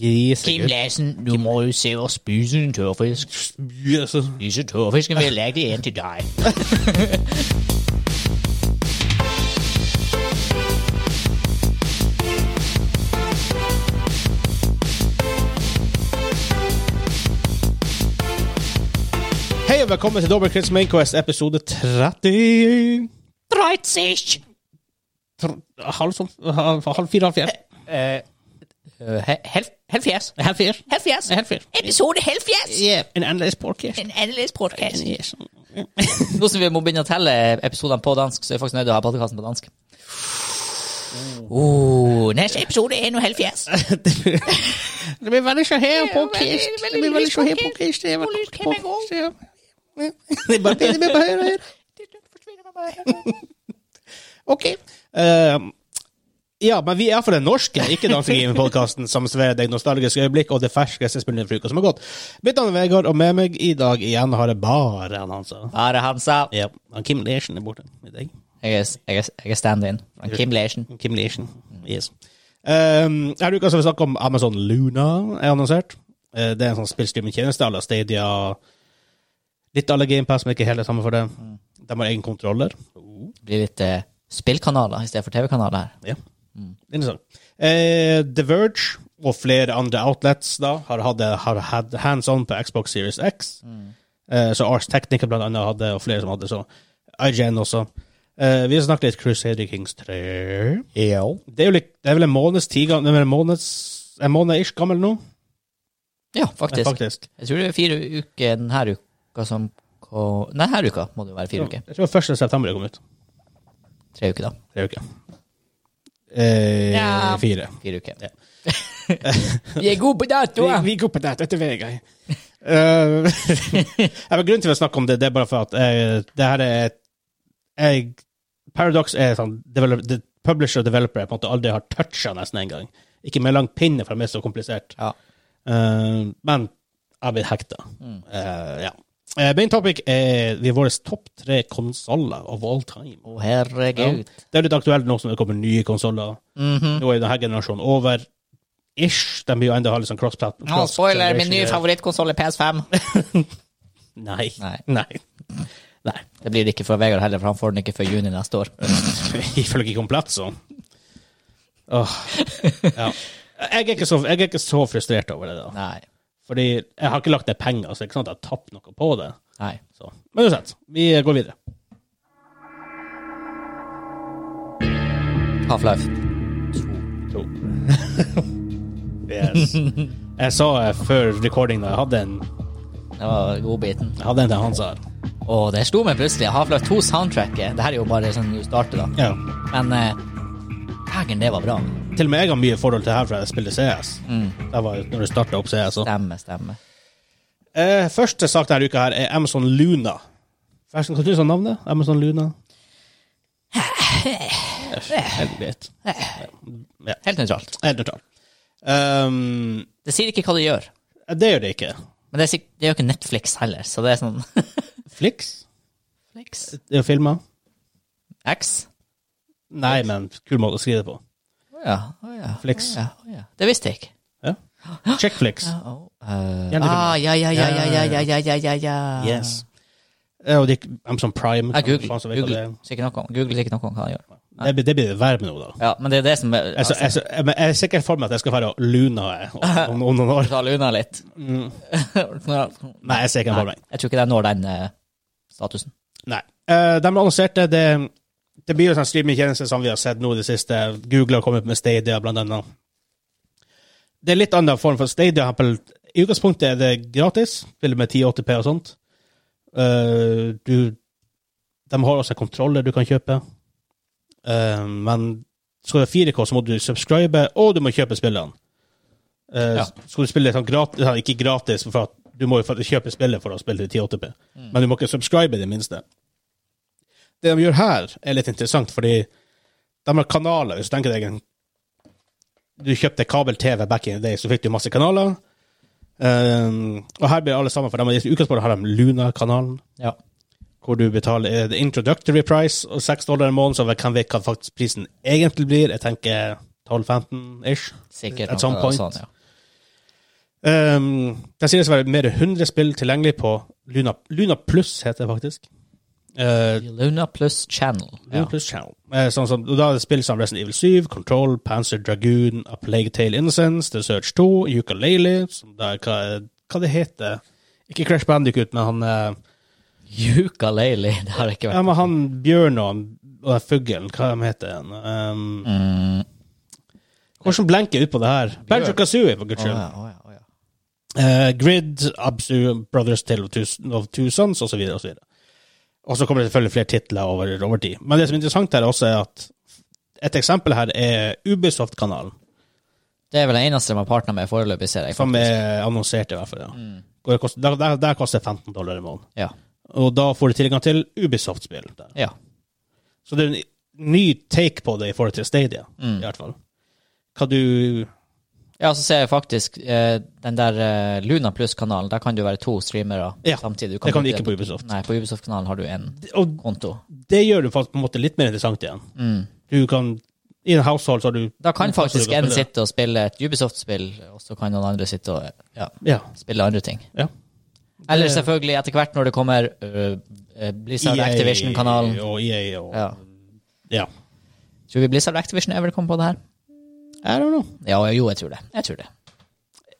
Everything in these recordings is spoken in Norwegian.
Grisekøtt. Lassen, du må jo se og spise en tørrfisk. Yes. Disse tørrfiskene vil jeg legge igjen til deg. Hei og velkommen til Double Crits Main Quest episode 30 Dreitzisch! Tr- Halv, sånn, halv, halv fire, halv fire. Øh, Helfjes. Halv fire. Helfjes. Halv fire. Episode helfjes! Yeah. En annerledes podcast. En annerledes podcast. Yes. Nå som vi må begynne å telle episodene på dansk, så er jeg faktisk nødt til å ha podkasten på dansk. Uh. Oh, neste episode er nå helfjes. Det blir veldig sjaher veldig- podcast. Det veldig blir veldig lyst sjaher podcast. podcast. Det er Og veldig lyd kan jeg podcast, ja. Ja. Det er bare det blir bare høyre, høyre. Ok. Ehm, ja, men vi er for den norske, ikke danske gamingpodkasten som serverer deg nostalgiske øyeblikk og det ferskeste spillet for uka som har gått. Mitt navn er Vegard, og med meg i dag igjen har jeg bare han, altså. Are Hansa. Ja, han Kim Lersen er borte i dag. Jeg er, jeg er, jeg er stand-in. fra Kim Leischen. Kim Lersen, yes. Um, her uka skal vi snakke om Amazon Luna, er annonsert. Eh, det er en sånn spillstreamingtjeneste à la Stadia. Litt à la GamePass, men ikke helt det samme for det. De har egen kontroller. Det Blir litt eh, spillkanaler i stedet for TV-kanaler. Ja. her. Mm. Interessant. Eh, The Verge og flere andre outlets da, har hatt, har hatt hands on på Xbox Series X. Mm. Eh, så Ars Technica blant annet hadde, og flere som hadde, så IGN også. Eh, vi har snakket litt Crusader Kings 3. Det er, jo litt, det er vel en måneds tid gammel, en, måneds, en måned ish gammel nå? Ja, Eh, faktisk. Faktisk. Jeg tror det er fire uker denne uka som ko- Nei, denne uka må det jo være fire uker. Jeg tror det var 1. september det kom ut. Tre uker, da. Tre uker. Eh, Ja. Fire. Fire uker. Ja. Vi er gode på datoer! går på det etter Vegard. Eh, grunnen til å snakke om det, det er bare for at eh, det her er jeg, Paradox er sånn develop, de, Publisher og developer jeg på en måte aldri har toucha nesten en gang. Ikke med lang pinne, for det er så komplisert. Ja. Eh, men jeg blir hekta. Eh, ja. Eh, main topic er vi våre topp tre konsoller of all time. Å, herregud. Ja. Det er litt aktuelt nå som det kommer nye konsoller. Mhm. Nå er jo denne generasjonen over. Ish. De blir jo enda ha litt sånn cross-plat. Nå, spoiler, min nye cross-generation- favorittkonsoll er PS5. Nei. Nei. Nei. Det blir det ikke fra Vegard heller, for han får den ikke før juni neste år. Ifølge Komplett, så. Åh. Ja. Jeg er, ikke så, jeg er ikke så frustrert over det, da. Nei. Fordi jeg har ikke lagt ned penger, så det er ikke sånn at jeg har tapt noe på det. Nei. Så. Men uansett, vi går videre. Half-Life. To. yes. Jeg sa eh, før recording da, jeg hadde en, Det var godbiten. jeg hadde en til Hans her. Og det slo meg plutselig. Half-Life 2-soundtracket. Det her er jo bare sånn du starter, da. Ja. Men eh, dægen, det var bra. Til og med jeg har mye forhold til det her fra jeg spiller CS. Mm. Det var jo når du startet opp CS. Så. Stemme, stemme. Eh, første sak denne uka her er Amazon Luna. Forresten, hva syns du om navnet? Amazon Luna? Helvete. Helt nøytralt. Helt nøytralt. Um, Det sier ikke hva det gjør. det gjør det ikke. Men det, er sikk- det gjør ikke Netflix heller, så det er sånn Flix? Netflix? Det er jo filmer? X? Nei, men kul måte å skrive det på. Å ja. Å ja. å Flix. Ja, å ja. Det visste jeg ikke. Ja. Checkflix. Ja, å, eh, Gjerne ah, ja, ja, ja, ja, ja, ja, ja, ja, ja, ja. Yes. Eh, Og de, Amazon Prime. Jeg faen googler som vet hva Google, det er. sikkert noe om- Google sikkert noe om hva han gjør. Det blir- det blir det verre med nå, da. Ja, men det er det som er Jeg, jeg, jeg, jeg, Altså, men jeg er sikkert for meg at jeg skal være Luna om, om, om noen år. Ta unna litt. Mm. Nei, jeg ser ikke den for meg. Jeg tror ikke den når den eh, statusen. Nei. Eh, de annonserte det Det blir jo sånn streamingtjeneste som vi har sett nå i det siste. Google har kommet med Stadia, blant annet. Det er litt annen form for Stadia. Apple. I utgangspunktet er det gratis, til og med 1080p og sånt. Eh, du De har også kontroller du kan kjøpe. Eh, men skal du ha 4K, så må du subscribe, og du må kjøpe spillene. Eh, Ja. Skal du spille sånn gratis, sånn, ikke gratis, for at du må jo faktisk kjøpe spillet for å spille det i 1080p, men du må ikke subscribe i det minste. Det de gjør her, er litt interessant, fordi de har kanaler. Hvis du tenker deg en Du kjøpte kabel-TV back in the day, så fikk du masse kanaler. Eh, og her blir alle sammen, for de, har- i utgangspunktet har de Luna-kanalen Ja. hvor du betaler eh, the introductory price og 6 dollar i måneden, så jeg kan vite hva faktisk prisen egentlig blir. Jeg tenker 12-15 ish. Sikkert At some noe point. sånn, ja. Um, det sies å være mer enn 100 spill tilgjengelig på Luna, Luna Plus, heter det faktisk. Uh, Luna pluss Channel. Luna Plus Channel. Eh, sånn som, og da er det spill som Resident Evil 7, Control, Panzer Dragoon, A Plague Tale Innocence, The Search 2, Yooka-Laylee, som da er hva, hva det heter Ikke Crash Bandicoot, men han eh, Yuka Leili, det har jeg ikke Ja, vært. men han bjørn og, og den fuglen, hva de heter han? Um, Hvordan blenker jeg ut på det her? Banjo Kazooie, for guds Å skyld. ja, å ja, å ja. Eh, Grid, Absu, Brothers Tale of Two, of two Sons, osv. Og, så videre. og så kommer det selvfølgelig flere titler over, over tid. Men det som er interessant her også, er at et eksempel her er Ubisoft-kanalen, Det er vel den eneste de har partner med foreløpig, ser jeg. som er annonsert i hvert fall. Ja. Og det koster, der, der, der koster 15 dollar i måneden. Ja. Og da får du tilgang til Ubisoft-spill. der. ja. Så det er en ny take på det i forhold til Stadia, i hvert fall. Hva du Ja, så ser jeg faktisk eh, den der eh, Luna Pluss-kanalen. Der kan du være to streamere Ja, samtidig. Du Det kan du bruke- ikke på Ubisoft. Nei, på Ubisoft-kanalen har du en Og konto. det gjør det faktisk på en måte litt mer interessant igjen. Du kan I en household så har du Da kan faktisk du en spille. sitte og spille et Ubisoft-spill, og så kan noen andre sitte og ja, Ja. spille andre ting. ja. Eller selvfølgelig etter hvert når det kommer øh, øh, Blizzard EA Activision-kanalen. E Og EA og Ja. ja. Tror vi Blizzard Activision er velkommen på det her? I don't know. Ja, jo, jeg tror det. Jeg tror det.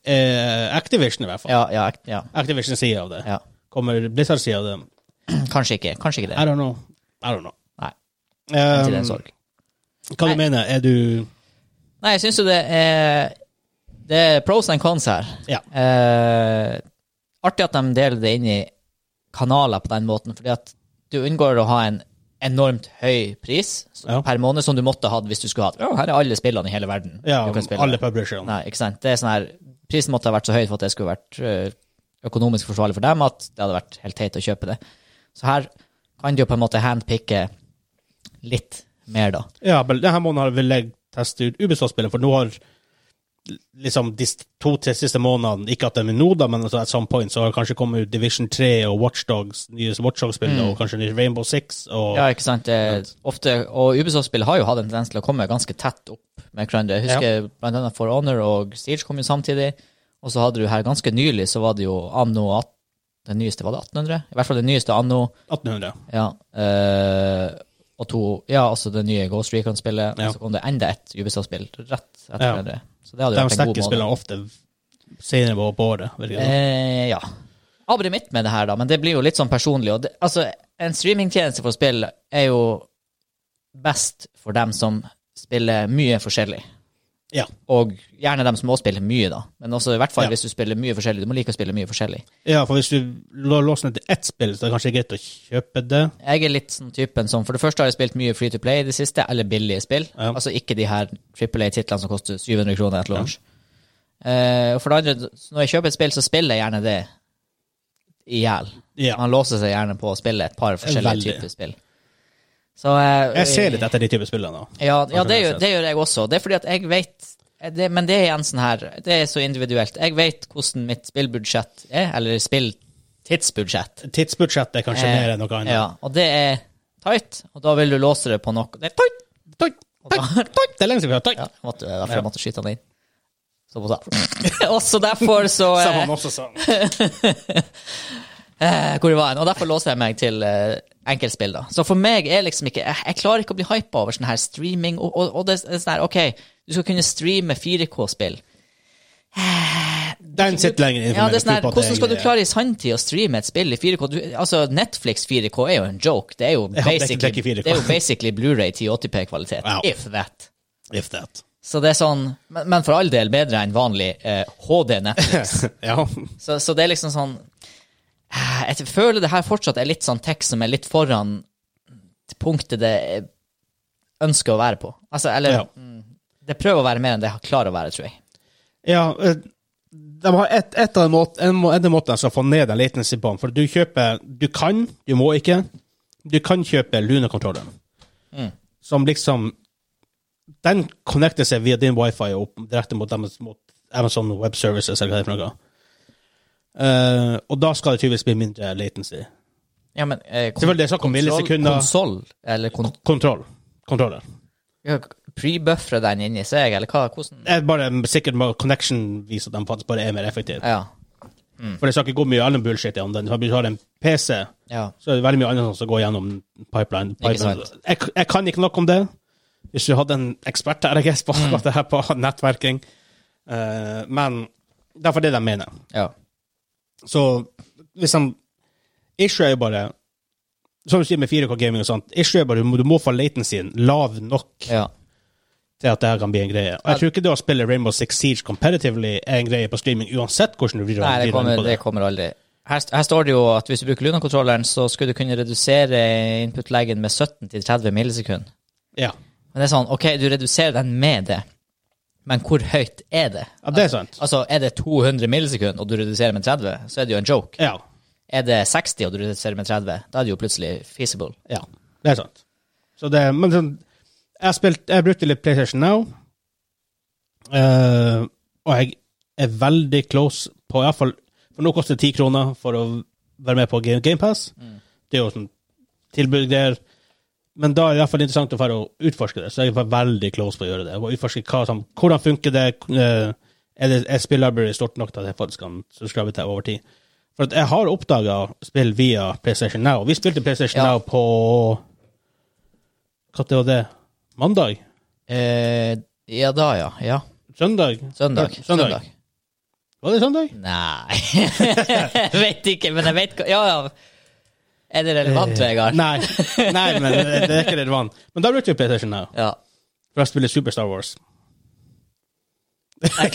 Eh, Activision, i hvert fall. Ja, ja, act- ja, Activision sier av det. ja. Kommer Blizzard sier av det. Kanskje ikke. Kanskje ikke I det. don't know. I don't know. Nei. Eh, Til den sorg. hva du Nei. mener? Er du Nei, jeg syns jo det er Det er pros and cons her. Ja. Eh, artig at de deler det inn i kanaler på den måten, fordi at du unngår å ha en enormt høy pris så- Ja. per måned som du måtte hatt hvis du skulle hatt Ja, her er alle spillene i hele verden. Ja, du kan spille. alle publisherne. Nei, ikke sant. Det er sånn her, prisen måtte ha vært så høy for at det skulle vært øh, økonomisk forsvarlig for dem, at det hadde vært helt teit å kjøpe det. Så her kan du jo på en måte handpikke litt mer, da. Ja, men denne måneden har vi legg testet ut Ubisoft-spillet, for nå har liksom de to-tre siste månedene, ikke at de er nå da, men altså at some point, så har det kanskje kommet ut Division 3 og Watchdogs, nye Watchdogs-spillet, og kanskje nye Rainbow Six, og Mm. Ja, ikke sant. Det, er ofte, og Ubisoft-spill har jo hatt en tendens til å komme ganske tett opp med hverandre. Jeg husker blant annet For Honor og Siege kom jo samtidig, og så hadde du her ganske nylig, så var det jo anno 18, den nyeste, var det 1800? I hvert fall det nyeste anno. 1800. Ja. eh, og to Ja, altså det nye Ghost Recon-spillet. Ja. Og så kom det enda et Ubisoft-spill rett etter Ja. hverandre. Så det hadde jo De vært en god stekker måned. spillene ofte senere på- på året, virker det. Eh, ja. Abri mitt med det her, da, men det blir jo litt sånn personlig. Og det, altså, en streamingtjeneste for spill er jo best for dem som spiller mye forskjellig. Ja. Og gjerne dem som også spiller mye, da. Men også i hvert fall Ja. hvis du spiller mye forskjellig. Du må like å spille mye forskjellig. Ja, for hvis du lå- låser ned til ett spill, så er det kanskje greit å kjøpe det. Jeg er litt sånn typen som For det første har jeg spilt mye Free to Play i det siste, eller billige spill. Ja. Altså ikke de her Triple A-titlene som koster 700 kroner etter launch. Eh, og for det andre, så når jeg kjøper et spill, så spiller jeg gjerne det i hjel. Ja. Man låser seg gjerne på å spille et par forskjellige Veldig. typer spill. Så eh, Jeg ser litt etter de type spillene da. Ja, ja det, jeg gjør, det gjør jeg også. Det er fordi at jeg vet det, Men det er igjen sånn her Det er så individuelt. Jeg vet hvordan mitt spillbudsjett er, eller spilltidsbudsjett. Tidsbudsjettet er kanskje Eh, mer enn noe annet. Ja, og det er tight, og da vil du låse det på noe Det er tight! Toit, toit, toit. Det er lenge siden vi har toit. Ja, måtte, det er derfor Ja. jeg måtte skyte han inn. Så måtte jeg Også derfor så Som eh, han også sa. eh, Hvor det var en, Og derfor låser jeg meg til eh, enkeltspill, da. Så for meg er liksom ikke Jeg, jeg klarer ikke å bli hypa over sånn her streaming, og, og, og det er sånn her OK, du skal kunne streame 4K-spill. Den sitter lenger innenfor Ja, meg. det er sånn Jeg her, tror på at Hvordan skal du jeg- klare i sanntid å streame et spill i 4K? Du, altså, Netflix 4K er jo en joke. Det er jo Ja, det er ikke- det er basically, ikke det 4K. er jo basically Blu-ray 1080p-kvalitet. Wow. If that. If that. Så det er sånn, men, men for all del bedre enn vanlig eh, HD-Netflix. ja. så, så det er liksom sånn eh, Jeg føler det her fortsatt er litt sånn tekst som er litt foran punktet det eh, ønsker å være på. Altså, eller Ja. mm, Det prøver å være mer enn det klarer å være, tror jeg. ja eh, de har et, et av de måt, en, må- en av måtene som får ned den latency på den, for du kjøper Du kan, du må ikke. Du kan kjøpe Luna-kontrolleren, som liksom Den connecter seg via din wifi og opp direkte mot, deres, mot Amazon Web Services, eller hva det er for noe. Eh, og da skal det tydeligvis bli mindre latency. Ja, men, eh, kon- Selvfølgelig, det er snakk om kontroll- millisekunder. Konsoll, eller kon Kontroll. Kontroller. Ja, pre-buffre den inni seg, eller hva? Hvordan? Det er bare sikkert bare connection viser at de faktisk bare er mer effektive. Ja. For det skal ikke gå mye annen bullshit om den. Hvis du har en PC, ja. så er det veldig mye annet som går gjennom pipeline. Ikke pipeline. sant. Jeg, jeg kan ikke nok om det. Hvis du hadde en ekspert der, jeg Mm. på akkurat det her på nettverking. Eh, men det er for det de mener. ja. Så liksom Issue er jo bare Som du sier med 4K gaming og sånt, issue er bare du må, du må få latensien lav nok ja. til at det her kan bli en greie. Og jeg tror ikke det å spille Rainbow Six Siege competitively er en greie på streaming, uansett hvordan du vrir Nei, det vrir kommer, på det kommer aldri. Her, st- her står det jo at hvis du bruker Luna-kontrolleren, så skulle du kunne redusere input-leggen med 17 til 30 millisekund. Ja. Men det er sånn, ok, du reduserer den med det, men hvor høyt er det? ja, det er sant. Altså, er det 200 millisekund, og du reduserer med 30, så er det jo en joke. Ja. Er det 60, og du reduserer med 30, da er det jo plutselig feasible. ja. Det er sant. Så det, men sånn, jeg, spilt, jeg brukte litt PlayStation Now, eh, og jeg er veldig close på i hvert fall, For nå koster det ti kroner for å være med på Game, Game Pass. Mm. Det er jo sånn tilbud der. Men da er det i hvert fall interessant å fare og utforske det. Så jeg var veldig close på å gjøre det. Og utforske hva som, Hvordan funker det? eh, Er, det, er spilllibrary stort nok til at jeg faktisk kan subscribe til over tid? For at jeg har oppdaga spill via PlayStation Now. Vi spilte PlayStation Ja. Now på Når var det? Mandag? Eh, ja da, ja. ja. Søndag? Søndag. Ja, søndag. Var det søndag? Nei Jeg vet ikke, men jeg vet hva Ja, ja. Er det relevant, Eh, Vegard? Nei, nei men det, det er ikke relevant. Men da brukte vi PlayStation Now. Ja. For jeg spiller Super Star Wars. Jeg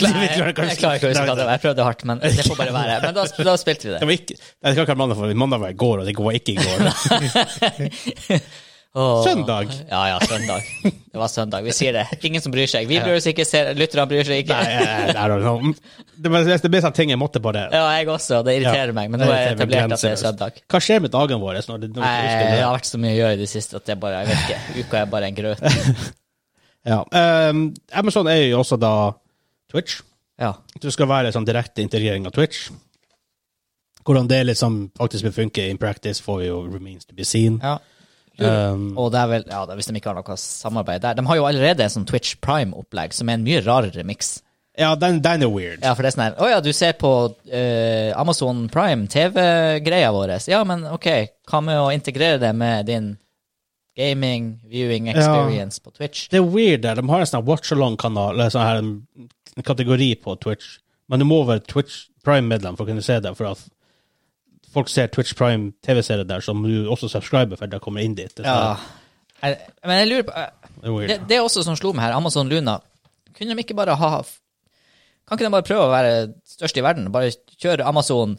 klarer, jeg, Det vet du kanskje. klarer ikke å huske hva det var. Jeg prøvde hardt, men det får bare være. Men da, da spilte vi Det det. var ikke, jeg skal ikke ha mandag, for mandag var i går, og det var ikke i går. Åh. Søndag. Ja, ja, søndag. Det var søndag. Vi sier det. Ingen som bryr seg. Vi bryr oss ikke, ser- lytterne bryr seg ikke. Nei, eh, I don't know. Det ble, det ble sånn ting jeg måtte bare Ja, jeg også. Det irriterer Ja. meg, men nå Det er jeg irriterer meg etablert at det er grenseløst. søndag. Hva skjer med dagene våre? Når det, når vi Nei, ikke husker det det? har vært så mye å gjøre i det siste at det bare, jeg vet ikke. Uka er bare en grøt. Ja. Ehm, Amazon er jo også da Twitch. Ja. Det skal være sånn direkte integrering av Twitch. Hvordan det liksom faktisk vil funke in practice, får jo remains to be seen. ja. Um, Ehm, Og det er vel, ja, det er hvis de ikke har noe samarbeid der. De har jo allerede en sånn Twitch Prime-opplegg, som er en mye rarere miks. ja, den, den er weird. Ja, for det er sånn her Å ja, du ser på eh, Amazon Prime, TV-greia vår. Ja, men OK, hva med å integrere det med din gaming, viewing experience på Twitch? Det er weird der. De har en sånn watch-along-kanal, eller sånn her en kategori på Twitch. Men du må være Twitch Prime-medlem for å kunne se det. For at folk ser Twitch Prime TV-serier der, som du også subscriber for, der kommer inn dit. Det er Ja. sånn- Jeg, men jeg lurer på eh, det er weird. det, det er også som slo meg her, Amazon Luna. Kunne de ikke bare ha Kan ikke de bare prøve å være størst i verden? Bare kjøre Amazon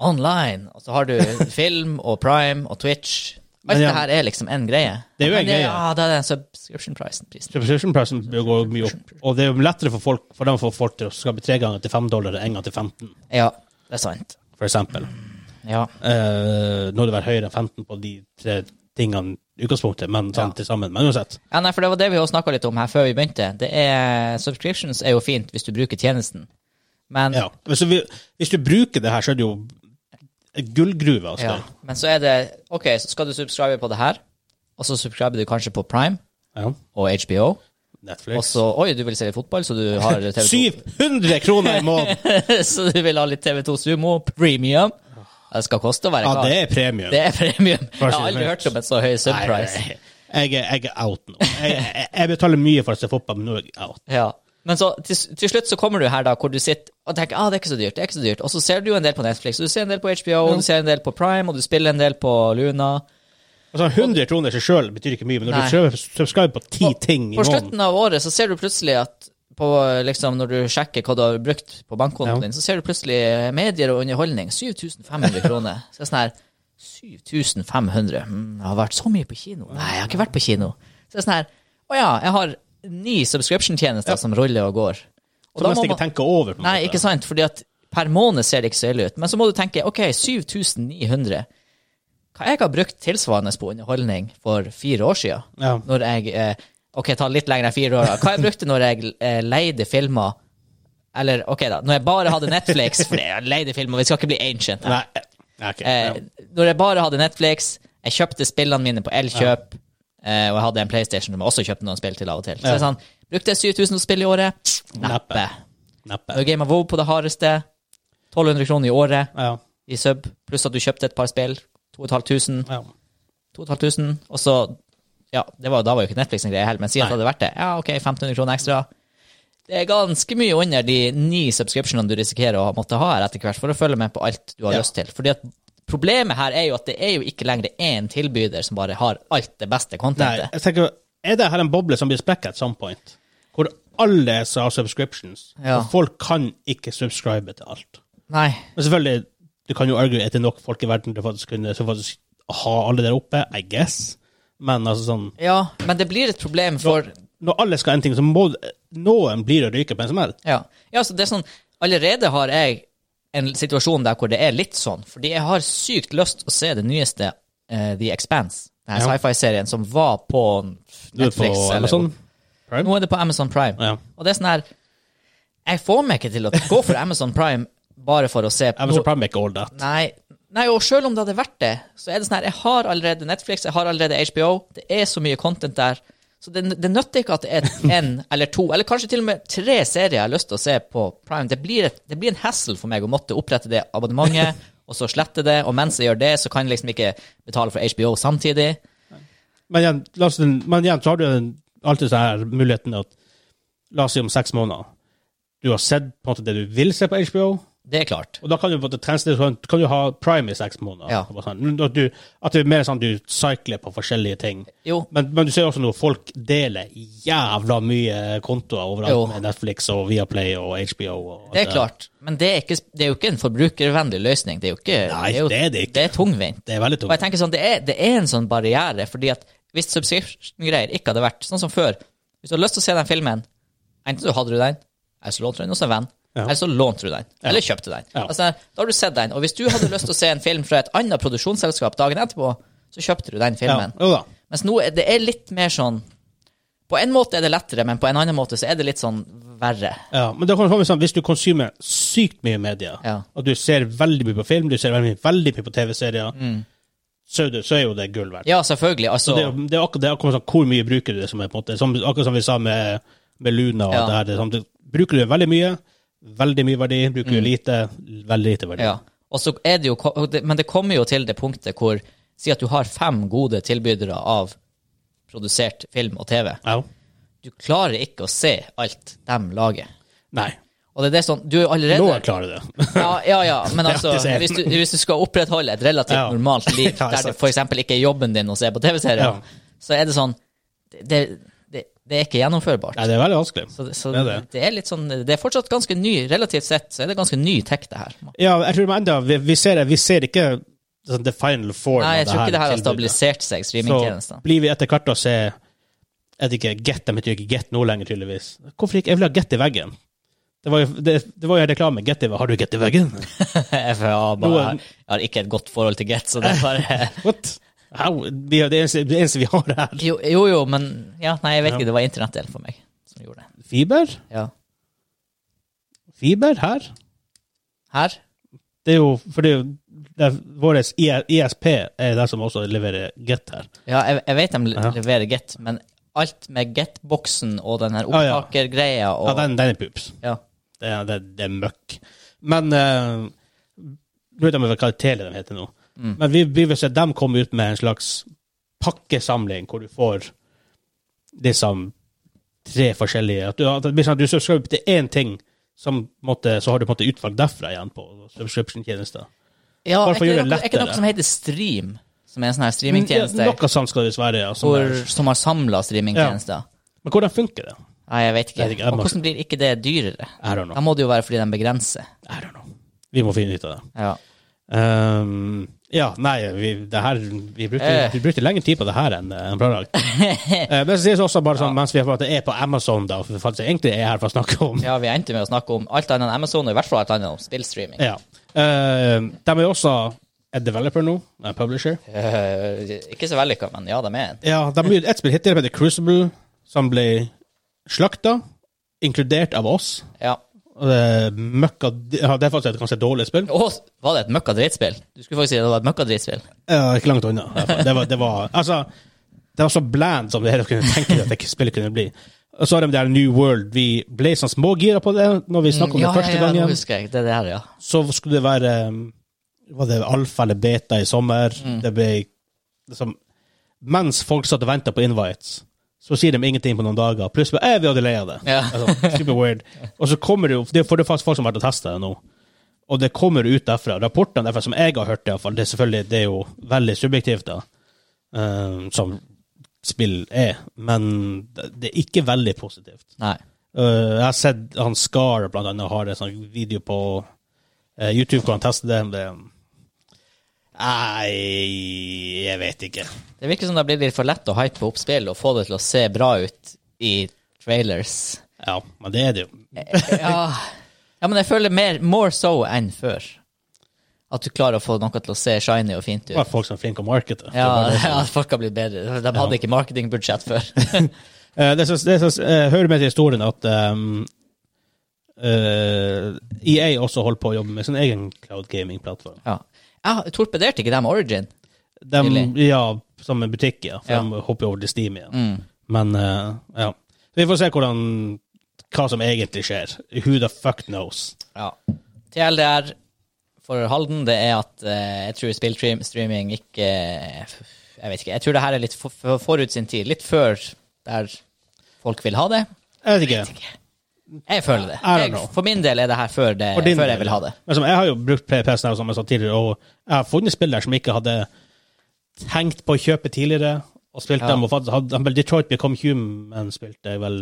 online, og så har du film og Prime og Twitch. Alt Men ja. det her er liksom én greie. Det er jo Men en greie. Ja, det er den subscription-prisen. prisen. Subscription pricing går mye opp, og det er jo lettere for folk for dem å få folk til å skape tre ganger til fem dollar enn en gang til 15, Ja, det er sant. for eksempel. Ja. Eh, når det var høyere enn 15 på de tre tingene i utgangspunktet, men sånn Ja. til sammen. Men uansett. ja, nei, for det var det vi også snakka litt om her før vi begynte. Det er, subscriptions er jo fint hvis du bruker tjenesten, men, Ja. Hvis, du, hvis du bruker det her, så er det jo gullgruve. Altså. ja, men så er det OK, så skal du subscribe på det her, og så subscriber du kanskje på Prime Ja. og HBO, og Netflix. så Oi, du vil se litt fotball, så du har TV2 700 kroner i måneden! Så du vil ha litt TV2 Sumo premium? Det skal koste å være Ja, kar. det er premium. det er premium. Jeg har Kanskje- aldri hørt om en så høy Nei, subprice. nei, Jeg, er- jeg er out nå. Jeg, jeg, jeg betaler mye for å se fotball, men nå er jeg out. Ja. Men så til, til slutt så kommer du her da, hvor du sitter og tenker ah, det er ikke så dyrt, det er ikke så dyrt. Og så ser du jo en del på Netflix, og du ser en del på HBO, og du ser en del på Prime, og du spiller en del på Luna. Altså, 100 kroner i seg sjøl betyr ikke mye, men når du du subscriber på ti ting i På måneden slutten av året så ser du plutselig at på, liksom, når du sjekker hva du har brukt på bankkontoen Ja. din, så ser du plutselig medier og underholdning. 7500 kroner. Så det er sånn her 7500. Mm, jeg har vært så mye på kino. Nei, jeg har ikke vært på kino. Så det er sånn her Å ja, jeg har ni subscription-tjenester som ruller og går. Og som da nesten må ikke man- tenker over. på en Nei, måte. ikke sant, fordi at per måned ser det ikke så ille ut. Men så må du tenke, ok, 7900. Hva jeg har brukt tilsvarende på underholdning for fire år siden? Ja. Når jeg, eh, ok, ta litt lenger enn fire år da. Hva jeg brukte når jeg eh, leide filmer, eller ok da, når jeg bare hadde Netflix, for jeg leide filmer, vi skal ikke bli ancient her. Nei, eh, ok. Eh, når jeg bare hadde Netflix, jeg kjøpte spillene mine på Elkjøp, Eh, og jeg hadde en PlayStation som jeg også kjøpte noen spill til av og til. Så det er sånn, Brukte 7000 spill i året? Neppe. Neppe. Når Game of WoW på det hardeste, 1200 kroner i året Ja. i sub, pluss at du kjøpte et par spill, 2500. ja. 2500, og så Ja, det var, da var jo ikke Netflix en greie heller, men si at det Nei. hadde vært det. Ja, OK, 1500 kroner ekstra. Det er ganske mye under de ni subscriptionene du risikerer å ha- måtte ha her etter hvert for å følge med på alt du har Ja. lyst til. Fordi at problemet her er jo at det er jo ikke lenger én tilbyder som bare har alt det beste Nei, contentet. jeg tenker, er det her en boble som blir sprekket at some point? Hvor alle som har subscriptions, Ja. og folk kan ikke subscribe til alt. Nei. Men selvfølgelig, du kan jo argue at det er nok folk i verden til faktisk kunne som faktisk ha alle der oppe, I guess. Men altså sånn, Ja, men det blir et problem for når alle skal ha en ting, så må noen blir å ryke på en smell. Ja. ja, så det er sånn Allerede har jeg en situasjon der hvor det er litt sånn, fordi jeg har sykt lyst å se det nyeste eh, The Expanse, denne Ja. sci-fi-serien som var på Du er på Netflix. eller Amazon hvor- Prime? Nå er det på Amazon Prime. Ja. Og det er sånn her Jeg får meg ikke til å gå for Amazon Prime bare for å se på Amazon Prime er ikke all that. Nei, nei, og selv om det hadde vært det, så er det sånn her, jeg har allerede Netflix, jeg har allerede HBO, det er så mye content der, så det, det nøtter ikke at det er en eller to, eller kanskje til og med tre serier jeg har lyst til å se på Prime. Det blir, et, det blir en hassle for meg å måtte opprette det abonnementet, og så slette det, og mens jeg gjør det, så kan jeg liksom ikke betale for HBO samtidig. Men igjen, la oss, men igjen så har du den- alltid sånn her muligheten at La oss si om seks måneder. Du har sett på en måte det du vil se på HBO, Det er klart. og da kan du på en måte trense det sånn, kan du ha prime i seks måneder. Ja. Og sånn. Men At, du, at det er mer sånn du sykler på forskjellige ting. Jo, Men, men du ser også nå folk deler jævla mye kontoer overalt Jo. med Netflix og Viaplay og HBO. Og det er klart, men det er, ikke, det er jo ikke en forbrukervennlig løsning. Det er jo ikke, Nei, jo, det er det ikke. Det er tungvint. Det er veldig Og jeg tungt. tenker sånn, det er, det er en sånn barriere, fordi at hvis subscription-greier ikke hadde vært sånn som før Hvis du har lyst til å se den filmen, enten så hadde du den, eller så lånte du den hos en venn, Ja. eller så lånte du den, eller kjøpte den. Ja. Altså, da har du sett den, og hvis du hadde lyst til å se en film fra et annet produksjonsselskap dagen etterpå, så kjøpte du Ja, den filmen. jo da. Mens nå er det er litt mer sånn På en måte er det lettere, men på en annen måte så er det litt sånn verre. Ja, men det kan komme sånn, hvis du konsumer sykt mye medier, Ja. og du ser veldig mye på film, du ser veldig, mye- veldig mye på TV-serier, Mm. så, er det- så er jo det gull verdt. Ja, selvfølgelig. Altså, Så det, er jo- det er akkurat det er akkurat sånn, hvor mye bruker du det som er på en måte, som, akkurat som vi sa med, med Luna og Ja. det her, det, er sånn, du- bruker du det veldig mye, veldig mye verdi, bruker du lite, veldig lite verdi. Mm. Ja. Og så er det jo, ko- og det- men det kommer jo til det punktet hvor Si at du har fem gode tilbydere av produsert film og TV. Ja. Du klarer ikke å se alt de lager. Nei, Og det er det sånn, du er nå jo er allerede jeg klar i det. ja, ja, ja, men Det er altså, alltid sen. hvis du, hvis du skal opprettholde et relativt Ja. normalt liv, Ja, der det sant. f.eks. ikke er jobben din å se på TV-serier, Ja. så er det sånn Det, det, det er ikke gjennomførbart. Nei, det er veldig vanskelig. Så, så Det det, er er det. litt sånn Det er fortsatt ganske ny, relativt sett, så er det ganske ny tech, det her. Ja, jeg tror enda, vi, vi, ser, vi ser ikke sånn, the final form Nei, jeg av tror ikke det her har tilbudet. stabilisert seg, så streamingtjenestene. blir vi etter hvert å se Jeg vet ikke, Get dem betyr ikke Get nå lenger, tydeligvis. Hvorfor ikke? Jeg vil ha Get i veggen. Det var jo, det, det var jo en reklame. Get i, har du Get i veggen? FA bare, Noen- jeg har ikke et godt forhold til Get, så det er bare What? How? Vi er det, eneste, det eneste vi har her. jo, jo, jo, men ja, Nei, jeg vet ikke, det var internettdelen for meg som gjorde det. Fiber? Ja. Fiber her? Her? Det er jo For det er jo det er, Vår E ISP er det som også leverer Get her. Ja, jeg, jeg vet de Ja. leverer Get, men alt med Get-boksen og den her Ja, ja. opptakergreia og Ja, den, den er poops. ja. Det er, det, det er møkk. Men eh, Nå vet jeg ikke hva tele de heter nå. Men vi, vi vil se dem komme ut med en slags pakkesamling hvor du får liksom tre forskjellige At du, at det blir sånn at du subscriber til én ting, som, på en måte, så har du på en måte utvalg derfra igjen på subscription-tjenester. ja Bare er for å ikke gjøre det det noe, er ikke lettere. noe som heter Stream, som er en sånn Men, her ja, streamingtjeneste Noe sånt skal det visst være. Ja, som hvor, er- som har samla streamingtjenester? sånn men hvordan funker det? Nei, jeg vet ikke. Jeg vet ikke, jeg og må- hvordan blir ikke det dyrere? I don't know. Da må det jo være fordi de begrenser. I don't know. Vi må finne ut av det. Ja. Ehm, ja, nei, vi, det her, vi, brukte, Eh. vi brukte lengre tid på det her enn eh, enn planlagt. Eh, men så sies det også bare sånn, mens vi på at det er på Amazon, da, for vi faktisk egentlig er her for å snakke om. Ja. Ja, vi endte med å snakke om alt annet enn Amazon, og i hvert fall alt annet om spillstreaming. Eh, de er jo også en developer nå, en publisher. Eh, ikke så vellykka, men ja, de er en. Ja, de har gitt ett spill hittil, som heter Crucible, som ble slakta, inkludert av oss. Ja. Og det er møkka ja, Det er faktisk et ganske dårlig spill. Å, var det et møkka drittspill? Du skulle faktisk si det var et møkka drittspill. Ja, ikke langt unna. i hvert fall. Det var, det var Altså, Det var så bland som det hele kunne tenke deg at det spillet kunne bli. Og så har de der New World. Vi ble sånn smågira på det når vi snakket om Mm, ja, det første ja, ja, nå gangen. husker jeg. Det er det her, ja. Så skulle det være um, Var det alfa eller beta i sommer? Det ble liksom Mens folk satt og venta på invites, så sier de ingenting på noen dager. Plutselig er vi hadde lei av det. Ja. Altså, super weird. Og så kommer det jo det- For det er faktisk folk som har vært og testa det nå. Og det kommer ut derfra. Rapportene derfra som jeg har hørt, i hvert fall, det er selvfølgelig det er jo veldig subjektivt, da, eh, som spill er, men det det er ikke veldig positivt. Nei. Uh, jeg har sett han Scar blant annet har en sånn video på eh, YouTube hvor han tester det. det Nei, jeg vet ikke. Det virker som det blir litt for lett å hype opp spill og få det til å se bra ut i trailers. Ja, men det er det jo. Ja, ja men jeg føler mer more so enn før. At du klarer å få noe til å se shiny og fint ut. Det er folk som er flinke å markete. Det Ja, er bare det. ja, folk har blitt bedre. De hadde ikke marketingbudsjett før. Eh, det som- det som, eh, hører med til historien at ehm, eh, EA også holder på å jobbe med sin egen cloud gaming-plattform. Ja. Ja, torpederte ikke de Origin? De, Tydelig. ja, som en butikk, ja. For Ja. de hopper over til Steam igjen. Mm. Men eh, ja. Vi får se hvordan, hva som egentlig skjer. Who the fuck knows? Ja. TLDR for Halden, det er at eh, jeg tror spillstreaming ikke Jeg vet ikke. Jeg tror det her er litt for, for, forut sin tid. Litt før der folk vil ha det. Jeg vet ikke. Jeg føler det. I don't Jeg, know. for min del er det her før, det, For din før del. jeg vil ha det. Men som, jeg har jo brukt PPS nå, som jeg sa tidligere, og jeg har funnet spill der som jeg ikke hadde tenkt på å kjøpe tidligere, og spilt Ja. dem. Og faktisk, hadde, vel, Detroit Become Human spilte jeg vel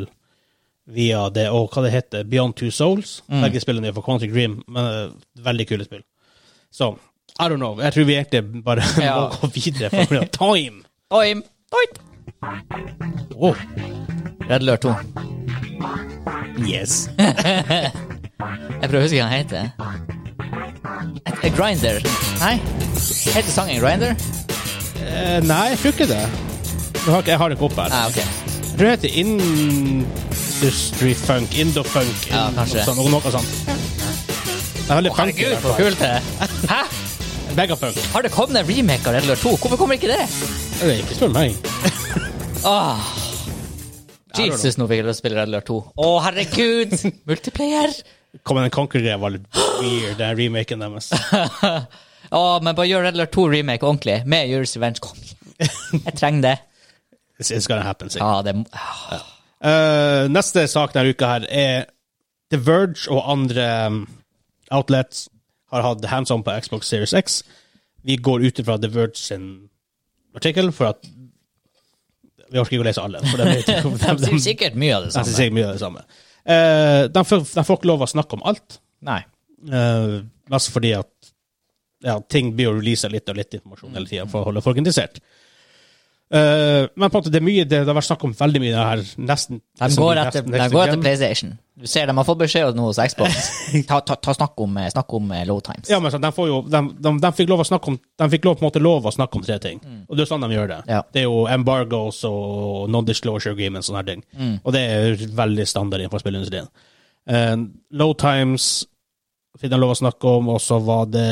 via det, og hva det heter, Beyond Two Souls. Mm. Begge spillene er for Quantic Dream, men eh, veldig kule spill. Så I don't know. Jeg tror vi egentlig bare Ja. må gå videre. For grunn av time! Oh, Oim, oim. Wow. Red Lør 2. Yes. Jeg prøver å huske hva han heter. Eh, Grinder. Nei? Heter sangen Grinder? Eh, nei, jeg tror ikke det. Jeg har, ikke- jeg har det ikke opp her. Nei, Ah, ok. Jeg tror det heter Industry Funk, Indofunk, Ja, in- kanskje. noe sånt. Noe sånt. Det er veldig funky. Herregud, så kult det er. Hæ? Megafunk. Har det kommet en remake av Red Alert 2? Hvorfor kommer ikke det? Det er ikke spør meg. Åh. det er Jesus, nå fikk jeg lyst til å spille Red Alert 2. Å, herregud! Multiplayer! Command and Conquer-greia var litt weird, den remaken deres. Å, men bare gjør Red Alert 2 remake ordentlig, med Juris Revenge. Kom igjen. Jeg trenger det. It's, it's gonna happen, sikkert. Ja, det må- ah. Eh, neste sak denne uka her er The Verge og andre um, outlets har hatt hands on på Xbox Series X. Vi går ut ifra The Verge sin artikkel, for at Vi orker ikke å lese alle. For de, vet ikke om- de, Det de, er sikkert mye av det Jeg synes samme. Altså, jeg mye av det samme. Eh, de, får, de får ikke lov å snakke om alt, Nei. eh, mest fordi at ja, ting blir å release litt og litt informasjon hele tiden for å holde folk interessert. Eh, men på en måte, det er mye, det, det har vært snakk om veldig mye her, nesten. De nesten- går etter, nesten- de nesten går etter igjen. PlayStation. Du ser, de har fått beskjed om noe hos Xbox. Ta, ta, ta snakk om, eh, snakk om eh, low times. Ja, men sånn, de, får jo, de, de, de fikk lov å snakke om De fikk lov, på en måte, lov å snakke om tre ting. Og det er sånn de gjør det. Ja. Det er jo embargoes og non-disclosure agreements og sånne her ting. Og det er veldig standard innenfor spillindustrien. Eh, low times fikk de lov å snakke om, og så var det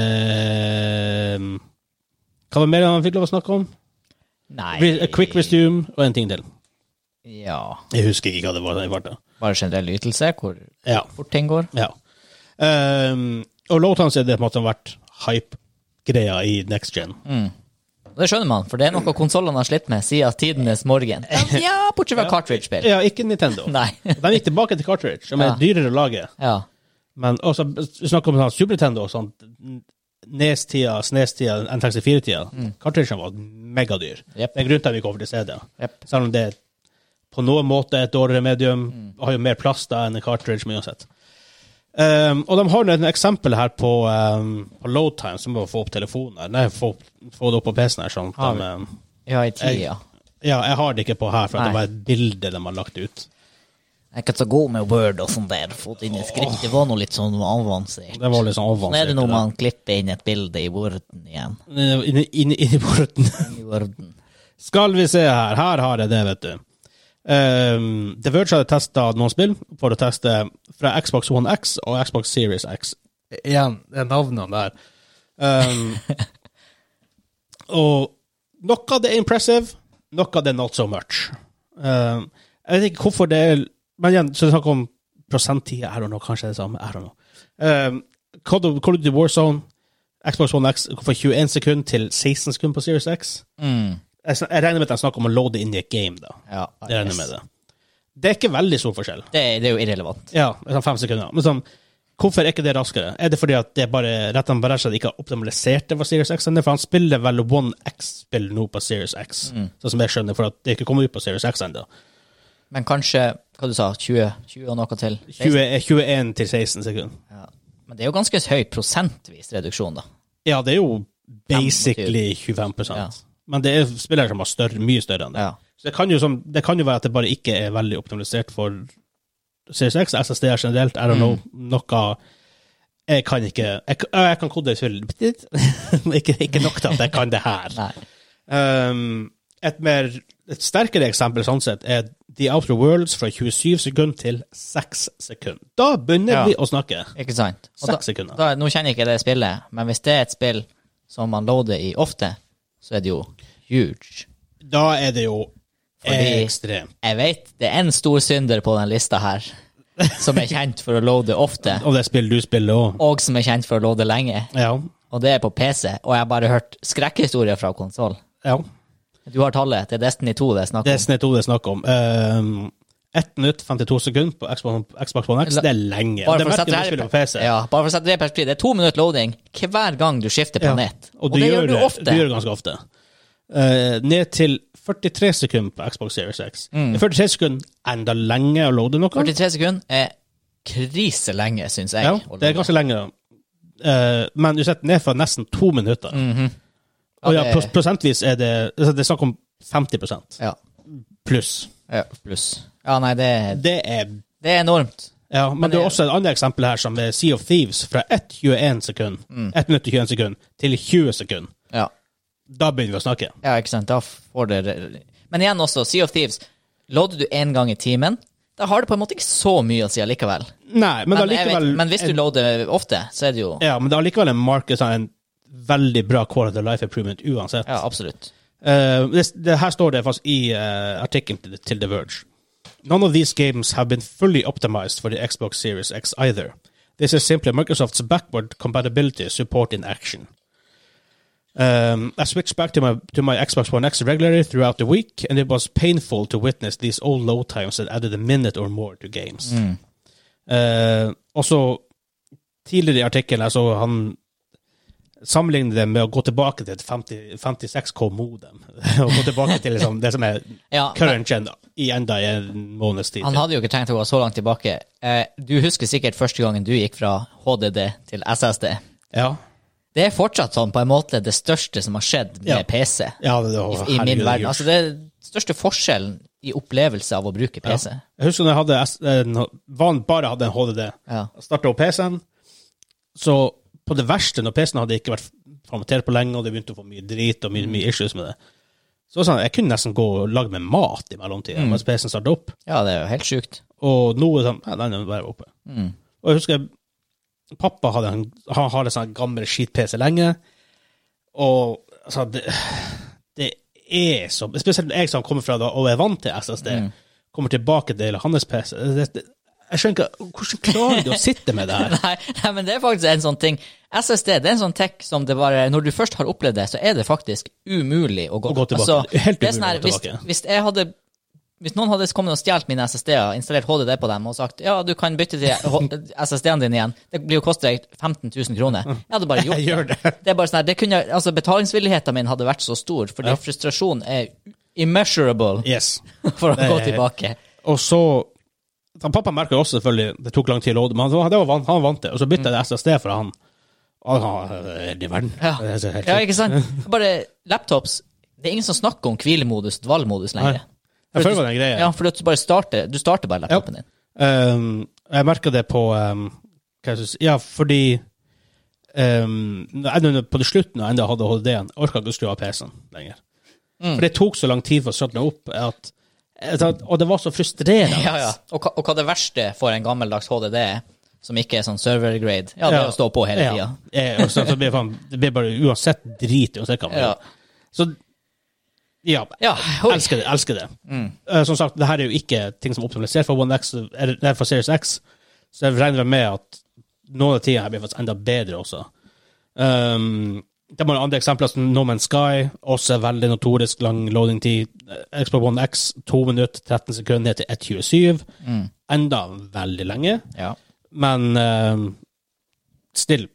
mm, Hva var det mer de fikk lov å snakke om? Nei. Re a quick resume og en ting til. Ja. Jeg husker ikke hva det var. i farta. Bare generell ytelse, hvor Ja. fort ting går. Ja. Ehm, og low times er det på en måte som har vært hype-greia i next gen. Det skjønner man, for det er noe konsollene har slitt med siden tidenes morgen. Ja, bortsett fra cartridge-spill. Ja, ikke Nintendo. Nei. De gikk tilbake til cartridge, som er Ja. dyrere å lage. Ja. Men også vi snakker om sånn Super Nintendo og sånn. E Nes-tida, Snes-tida, N64-tida. Cartridgen var megadyr. Mm. Jep. Det er grunnen til at vi går over til CD. Jep. Selv om det er på noen måte et dårligere medium, Mm. har jo mer plass da enn en cartridge, men uansett. Um, og de har jo et eksempel her på, um, på load time, som må få opp telefonen her. Nei, få, få det opp på PC-en her, sånn. at Har de, vi. um, Ja, i tida. ja, jeg har det ikke på her, for at Nei. det var et bilde de har lagt ut. Jeg er ikke så god med Word og sånn der. Fått inn i skrift. Det var noe litt sånn avansert. Det var litt sånn Nå er avansert. det det når eh, der. man klipper inn et bilde i Worden igjen. Inni inn, inn i porten. I Worden. Skal vi se her. Her har jeg det, vet du. Ehm, The Verge hadde testa noen spill for å teste fra Xbox One X og Xbox Series X. Igjen, det er navnene der. Ehm, og noe av det er impressive, Noe av det not so much. Eh, jeg vet ikke hvorfor det er Men igjen, så det er snakk om prosenttid. I don't know, kanskje det er det samme. I don't know. Eh, Call of Call of Duty Warzone, Xbox One X går fra 21 sekunder til 16 sekunder på Series X. Mm. Jeg, sn- jeg regner med at de snakker om å loade inn i et game, da. Ja, Jeg regner med det. Det er ikke veldig stor forskjell. Det, det er jo irrelevant. Ja, sånn fem sekunder. Men sånn, hvorfor er ikke det raskere? Er det fordi at det bare rett og slett ikke har optimalisert det for Series X? ennå? For han spiller vel One X-spill nå på Series X, sånn som jeg skjønner, for at det ikke kommer ut på Series X ennå. Men kanskje hva du sa, 20, 20 og noe til? 20 21 eh, til 16 sekunder. Ja. Men det er jo ganske høy prosentvis reduksjon, da. Ja, det er jo basically 25 Ja. Men det er spillere som har større, mye større enn det. Ja. Så det kan, jo som, det kan jo være at det bare ikke er veldig optimalisert for Series X. SSD er generelt, I don't know, Mm. noe Jeg kan ikke Jeg, kan- jeg kan kode i fyll, ikke, ikke nok til at jeg kan det her. Nei. Um, et mer et sterkere eksempel sånn sett er The Outer Worlds fra 27 sekunder til 6 sekunder. Da begynner Ja. vi å snakke. Ikke sant? Og Seks sekunder. Da, nå kjenner jeg ikke det spillet, men hvis det er et spill som man loader i ofte, så er det jo huge. Da er det jo Fordi- ekstremt. Jeg vet det er en stor synder på den lista her, som er kjent for å loade ofte, Og det spillet du spiller òg. og som er kjent for å loade lenge, Ja. og det er på PC, og jeg har bare hørt skrekkhistorier fra konsoll. ja. Du har tallet, det er Destiny 2 det er snakk Det om. er snitt 2 det er snakk om. Um, 1 minutt 52 sekunder på Xbox, Xbox One X, det er lenge. Bare det for, å merker sette du når du det her, spiller i- på PC. ja, bare for å sette det i perspektiv, det er to minutter loading hver gang du skifter Ja. planet. Og, du, det gjør det, ofte. du gjør det ganske ofte. Eh, ned til 43 sekunder på Xbox Series X. Mm. Det er 43 sekunder enda lenge å loade noe. 43 sekunder er kriselenge, syns jeg. Ja, å det er loade. ganske lenge. Eh, men du setter ned for nesten to minutter. Og ja, Mhm. det- pros- prosentvis er det altså, Det er snakk om 50 ja. pluss. ja. Pluss. Ja, nei, det, er- Det er det er enormt. Ja, men, det er det- også et annet eksempel her, som er Sea of Thieves, fra 1,21 sekund, 1 minutt og 21 sekund, til 20 sekund. Ja. Da begynner vi å snakke. ja, ikke sant. Da får det Men igjen også, Sea of Thieves. Loader du én gang i timen, da har det på en måte ikke så mye å si allikevel. Nei, men, Men, det er jeg likevel vet, men hvis du en, loader ofte, så er det jo Ja, men det er likevel en marked som er en veldig bra quality of life improvement uansett. Ja, absolutt. Eh, det, det her står det faktisk i eh, artikkelen til, til The Verge. None of these games have been fully optimized for the Xbox Series X either. This is simply Microsoft's backward compatibility support in action. Um, I switched back to my to my Xbox One X regularly throughout the week, and it was painful to witness these old low times that added a minute or more to games. Eh, også tidligere i artikkelen altså han sammenlignet det med å gå tilbake til et 50, 56K-modem. og gå tilbake til liksom, det som er Ja, current gen i enda i en måneds tid. Han hadde jo ikke trengt å gå så langt tilbake. Eh, du husker sikkert første gangen du gikk fra HDD til SSD. Ja, Det er fortsatt sånn på en måte det største som har skjedd med Ja. PC ja det, å, i herregud, min det er verden. gjort. Altså det er den største forskjellen i opplevelse av å bruke PC. Jeg husker når jeg hadde S- en, van bare hadde en HDD. Ja. Jeg startet opp PC-en, så på det verste, når PC-en hadde ikke vært formatert på lenge, og det begynte å få mye drit og mye, mye issues med det, så var det sånn, jeg kunne nesten gå og lage meg mat i Mm. mellomtiden, mens PC-en startet opp. Ja, det er jo helt sjukt. Og nå er det sånn, nei, den er bare oppe. Mm. Og jeg husker, pappa hadde en, han hadde en sånn gammel skit-PC lenge, og altså, det, det er så, spesielt jeg som kommer fra det, og er vant til SSD, Mm. kommer tilbake til hans PC, det, det, jeg skjønner ikke, hvordan klarer du å sitte med det her? Nei, nei, men det er faktisk en sånn ting. SSD det er en sånn tech som det bare Når du først har opplevd det, så er det faktisk umulig å gå, Å gå tilbake. Helt det er sånn umulig å her, gå tilbake. Hvis, hvis jeg hadde hvis noen hadde kommet og stjålet mine SSD-er, installert HDD på dem og sagt ja, du kan bytte til H- SSD-en din igjen, det blir jo koste deg 15 000 kroner. Jeg hadde bare gjort Jeg gjør det. det er bare sånn her, det kunne, altså Betalingsvilligheten min hadde vært så stor, fordi Ja. frustrasjonen er immeasurable Yes. for å Det gå er- tilbake. Og så han, Pappa merka også selvfølgelig det tok lang tid å låde, men han var, det var vant, han vant det. Og så bytta jeg SSD for han. Og han har hele verden. Mm. Ja. Det er så helt Ja, sjukt. ikke sant? Bare laptops Det er ingen som snakker om hvilemodus, dvalmodus lenger. Nei. Jeg føler det var den greia. Ja, for at du bare starter Du starter bare laptopen din. Um, jeg merka det på um, hva jeg skal si, Ja, fordi um, når jeg- når- På det slutten da jeg enda hadde HDD-en, orka ikke å skru av PC-en lenger. Mm. For det tok så lang tid for å starte den opp, at, at, og det var så frustrerende. Ja, ja. Og, hva- og hva det verste for en gammeldags HDD er, som ikke er sånn server grade, ja, det er å stå på hele tida. Ja. Eh, og så, så blir det faen- det blir bare uansett drit uansett hva man Ja. gjør. Så Ja, Ja, oi. elsker det. elsker det. Eh, som sagt, det her er jo ikke ting som er optimalisert for, One X, eller, nei, for Series X, så jeg regner med at noen av tingene her blir faktisk enda bedre også. Um, det er andre eksempler som No Man's Sky, også veldig notorisk lang loading-tid. Eh, Xbox One X, 2 minutter, 13 sekunder, ned til 1,27. Enda veldig lenge, Ja. men um, still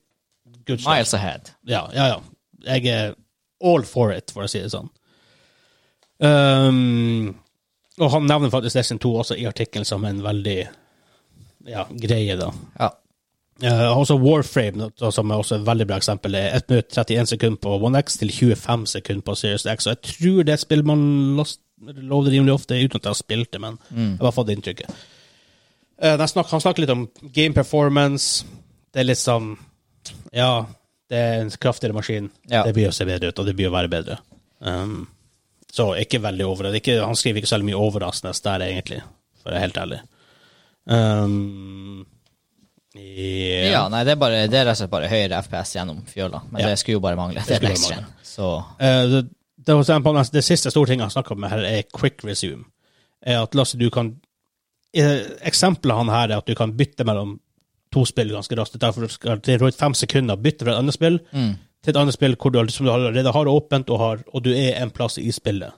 good stuff. Miles ahead. Ja, ja, ja. Jeg er all for it, for å si det sånn. Um, og han nevner faktisk Destiny 2 også i artikkelen som en veldig ja, greie, da. Ja. Eh, også Warframe, da, som er også et veldig bra eksempel, er 1 minutt 31 sekunder på One X til 25 sekunder på Series X. Og jeg tror det er et spill man lost- lovde rimelig ofte, uten at jeg har spilt det, men Mm. jeg har fått det inntrykket. Eh, den snak, han snakker litt om game performance. Det er litt sånn Ja, det er en kraftigere maskin. Ja. Det blir å se bedre ut, og det blir å være bedre. Um, så ikke veldig over det. Ikke, han skriver ikke så veldig mye overraskende der, egentlig, for å være helt ærlig. Um, yeah. ja, nei, det er, bare, det er rett og slett bare høyere FPS gjennom fjøla. Men Ja. det skulle jo bare mangle. Det Det er skulle next bare gen. Så Eh, det, det, var sånn på nesten- det siste store tinget han snakker om her, er quick resume. Er at Lasse, du kan eh, Eksempelet han her er at du kan bytte mellom to spill ganske raskt. Det tar for- skal til rundt fem sekunder å bytte fra et annet spill til et annet spill hvor du, som du allerede har åpent, og, har, og du er en plass i spillet.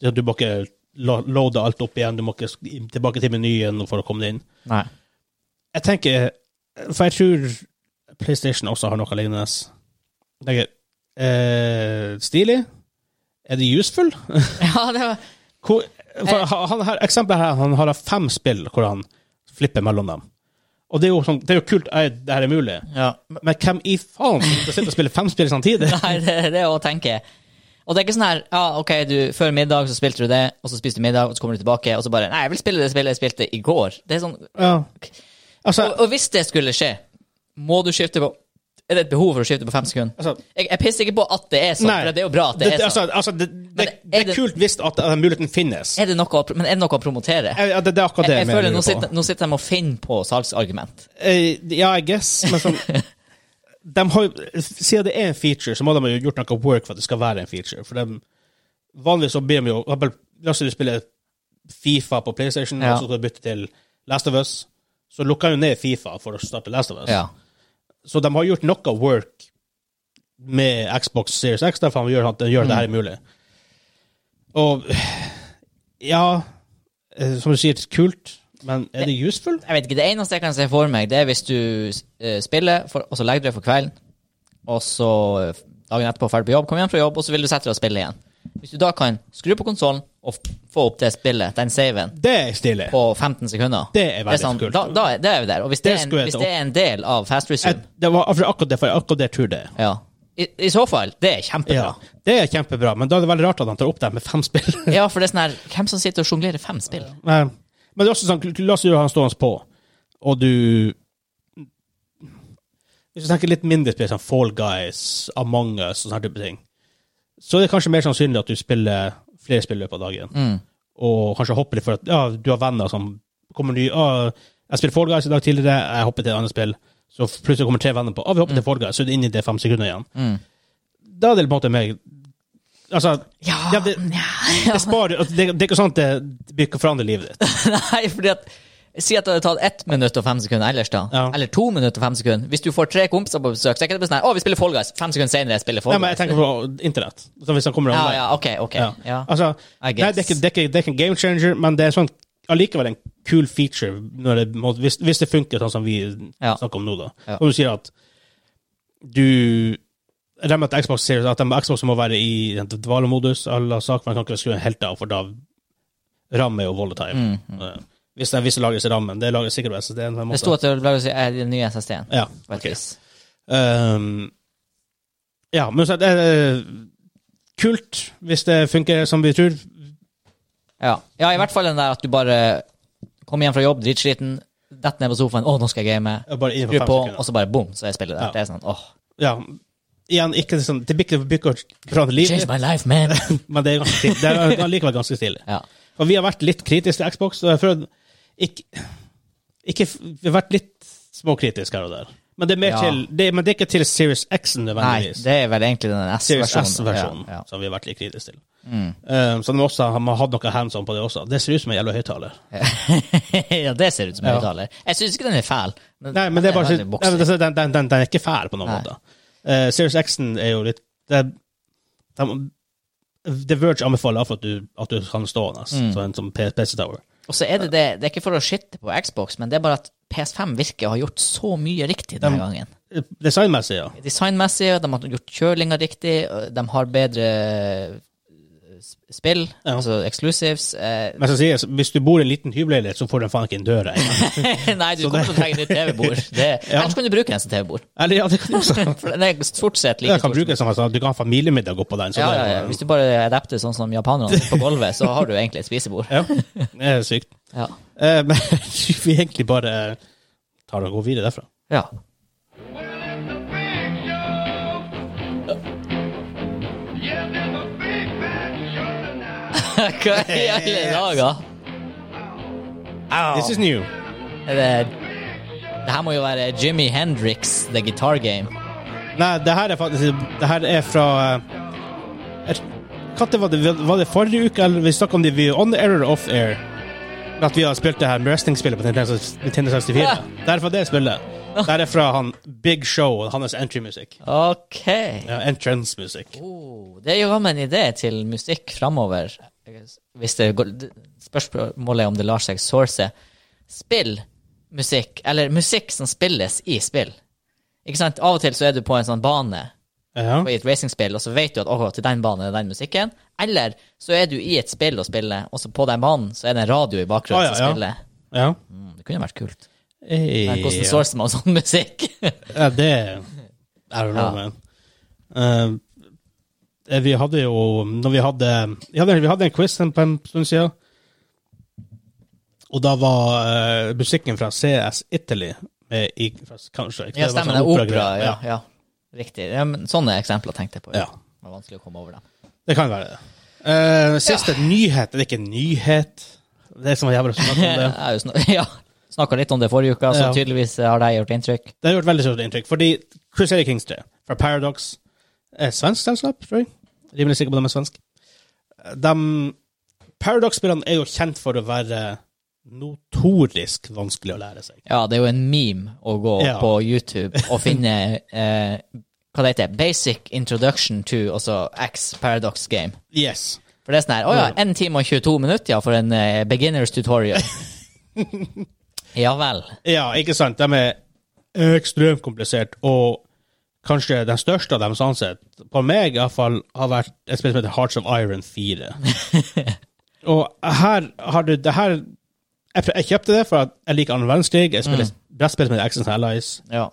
Det at Du må ikke la- loade alt opp igjen, du må ikke sk- tilbake til menyen for å komme deg inn. nei. Jeg tenker For jeg tror PlayStation også har noe lignende. Jeg tenker, eh, stilig? Er det useful? Ja, det var Hvor, Eh. for han her, eksempelet her, han har fem spill hvor han flipper mellom dem. Og det er jo, sånn, det er jo kult at det her er mulig, ja. men hvem i faen som sitter og spiller fem spill samtidig? Nei, det er det å tenke. Og det er ikke sånn her Ja, OK, du, før middag så spilte du det, og så spiste du middag, og så kommer du tilbake, og så bare Nei, jeg vil spille det spillet jeg spilte i går. Det er sånn Ja. Altså, Og, og hvis det skulle skje, må du skifte på Er det et behov for å skifte på fem sekunder? Altså- jeg, jeg pisser ikke på at det er sånn, nei. for det er jo bra at det, er sånn. altså, altså, det, det, er det er det- kult hvis at den muligheten finnes. Er det noe å, pr- men er det noe å promotere? Jeg, Ja, det, det er akkurat det jeg mener føler du nå på. sitter, nå sitter de og finner på salgsargument. Eh, ja, I guess, men sånn de har, jo- Siden det er en feature, så må de ha gjort noe work for at det skal være en feature. For de, Vanligvis så ber de jo for eksempel, La oss si du spiller Fifa på PlayStation, Ja. og så skal du bytte til Last of Us. Så lukker han jo ned Fifa for å starte Last of Us. Ja. Så de har gjort noe work med Xbox Series X, derfor de gjør at de gjør det her Mm. mulig. Og ja eh, Som du sier, kult, men er Eh, det useful? Jeg vet ikke, Det eneste jeg kan se for meg, det er hvis du eh, spiller, for, og så legger du deg for kvelden, og så eh, dagen etterpå ferdig på jobb, kommer hjem fra jobb, og så vil du sette deg og spille igjen. Hvis du da kan skru på konsollen og f få opp det spillet, den saven, Det er stilig. på 15 sekunder Det er veldig kult. Da, da, er- det er vi der. Og hvis det, Det er, skulle jeg en, hvis ta det er en del av fast Jeg, resume, det var akkurat akkurat det, for jeg akkurat det tror det. er. ja. I, i så fall, det er Ja, kjempebra. det er kjempebra, men da er det veldig rart at han tar opp det med fem spill. Ja, for det er sånn her Hvem som sitter og sjonglerer fem spill? Nei. men det er også sånn, la oss gjøre han stående på, og du Hvis du tenker litt mindre spill, sånn Fall Guys, Among Us og sånne type ting, så er det kanskje mer sannsynlig at du spiller flere spill i løpet av dagen, og kanskje hopper litt for at ja, du har venner som kommer ny ah, 'Jeg spiller Fall Guys i dag tidligere, jeg hopper til et annet spill.' Så plutselig kommer tre venner på 'Å, vi hopper til Fall Guys', så er du inne i det fem sekunder igjen. Da er det på en måte mer Altså, Ja, ja, det, det sparer altså, det, det er ikke sånn at det, det blir ikke forandre livet ditt. Nei, fordi at Si at det hadde tatt ett minutt og fem sekunder ellers, da. Ja. Eller to minutter og fem sekunder. Hvis du får tre kompiser på besøk, så er ikke det bare sånn her Å, vi spiller Fall Guys. Fem sekunder senere spiller Fall Nei, men jeg Guys. tenker på internett. Så hvis han kommer Ja, online. ja, OK, OK. Ja. Ja. Altså, nei, I det guess. er, ikke, det, er ikke, det er ikke en game changer, men det er sånn, allikevel en kul feature når det, må- hvis, hvis det funker sånn som vi Ja. snakker om nå. da. Ja. Og du sier at du jeg regner med at Xbox sier at de, Xbox må være i en dvalemodus. Alle saker man kan ikke skru en helt av, for da rammer jo volatile. Eh, Hvis det er visse lagres i rammen. Det lagres sikkert på SSD-en. på en Mhm. Det måte. sto at det ble å si eh, den nye SSD-en. Ja, på et ok. vis. Um, ja, men så er det eh, kult hvis det funker som vi tror. Ja. ja, i hvert fall den der at du bare kommer hjem fra jobb, dritsliten, detter ned på sofaen, å, nå skal jeg game, Bare inn på skru fem på, altså. sekunder. og så bare bom, så er spillet der. Ja. Det er sånn, åh. Ja. Igjen, ikke sånn, det blir ikke det blir ikke å forandre Change livet, my life, man! men det er, ganske, stilig. det er allikevel ganske stilig. ja. Og vi har vært litt kritiske til Xbox, og jeg føler ikke, ikke Vi har vært litt småkritiske her og der. Men det er, mer Ja. til, det, men det er ikke til Series X Nei, nødvendigvis. det er vel egentlig den Series S-versjonen. S-versjonen, Ja, Mm. ja. som vi har vært litt kritiske til. Eh, så de må også, man hadde noe hands on på det også. Det ser ut som en jævla høyttaler. ja, det ser ut som en Ja. høyttaler. Jeg syns ikke den er fæl. men Nei, men det er bare den så- veldig Nei, men boxy. det- den, den, den, den er ikke fæl på noen Nei. måte. Eh, Series X-en er jo litt det, de, The Verge anbefaler iallfall at, du- at du kan stå den, altså, som en som P- PC Tower. Og så er det det, det er ikke for å shitte på Xbox, men det er bare at PS5 virker å ha gjort så mye riktig denne Dem- gangen. Eh, Designmessig, ja. Designmessig, de har gjort kjølinga riktig, og de har bedre eh, sp- spill, Ja. altså exclusives. eh, Men så sier jeg, hvis du bor i en liten hybelleilighet, så får du faen ikke inn døra. engang. Nei, du kommer til å trenge nytt TV-bord. Det- Ja. Ellers kan du bruke den som TV-bord. Eller ja, det kan du også. For den er stort sett like Jeg kan stor som bruke det som altså, du kan ha familiemiddag oppå den. Så ja, det, ja, ja. Hvis du bare adapter sånn som japanerne på gulvet, så har du egentlig et spisebord. ja, det er sykt. Ja. Eh, men vi egentlig bare tar og går videre derfra. ja. Hva i alle dager? This is new. Er det det her må jo være Jimmy Hendrix, The Guitar Game. Nei, det her er faktisk Det her er fra eh, jeg- hva det var, det, var det forrige uke, eller vi snakket om det vi, on air eller off air? At vi har spilt det her wrestling-spillet på Nintendo 64. Ja. Det er fra det spillet. Det her er fra han Big Show og hans entry-musikk. Ok. Ja, entrance-musikk. Oh, det gir meg en idé til musikk framover. Hvis det går, det- spørsmålet er om det lar seg source. Spill musikk, eller musikk som spilles i spill. Ikke sant? Av og til så er du på en sånn bane Ja. på et racingspill, og så vet du at åh, til den banen er den musikken. Eller så er du i et spill og spiller, og så på den banen så er det en radio i bakgrunnen Å, ja, som ja. spiller. ja. Mm, det kunne vært kult. Men Hey, hvordan sourcer man sånn musikk? Ja, det I don't know, Ja. man. Eh, vi hadde jo Når vi hadde Vi hadde, vi hadde en quiz en- på en stund siden. Og da var eh, musikken fra CS Italy med i fra, Kanskje. ikke? Det ja, var stemmer sånn det. Opera, operagreier. ja. ja. Riktig. Ja, men sånne eksempler tenkte jeg på. Ja. Det var vanskelig å komme over dem. Det kan være det. Eh, siste nyhet Det er ikke en nyhet. Det er som er jævlig å snakke om det. Jeg har jo snak ja, snakka litt om det forrige uka, så Ja. tydeligvis har det gjort inntrykk. Det har gjort veldig stort inntrykk. Fordi Crusader Kings 3 fra Paradox er svensk selskap, tror jeg. Rimelig sikker på at de er svensk. De Paradox-spillene er jo kjent for å være notorisk vanskelig å lære seg. Ja, det er jo en meme å gå Ja. på YouTube og finne eh, hva det heter, Basic Introduction to altså X Paradox Game. Yes. For det er sånn her, å ja, 1 time og 22 minutter ja, for en eh, beginners tutorial. ja vel. Ja, ikke sant? De er ekstremt komplisert, og kanskje den største av dem, sånn sett, på meg iallfall, har vært et spill som heter Hearts of Iron 4. og her har du det her jeg, jeg kjøpte det for at jeg liker annen verdenskrig. Jeg spiller Mm. brettspill som heter Axons Allies. Ja,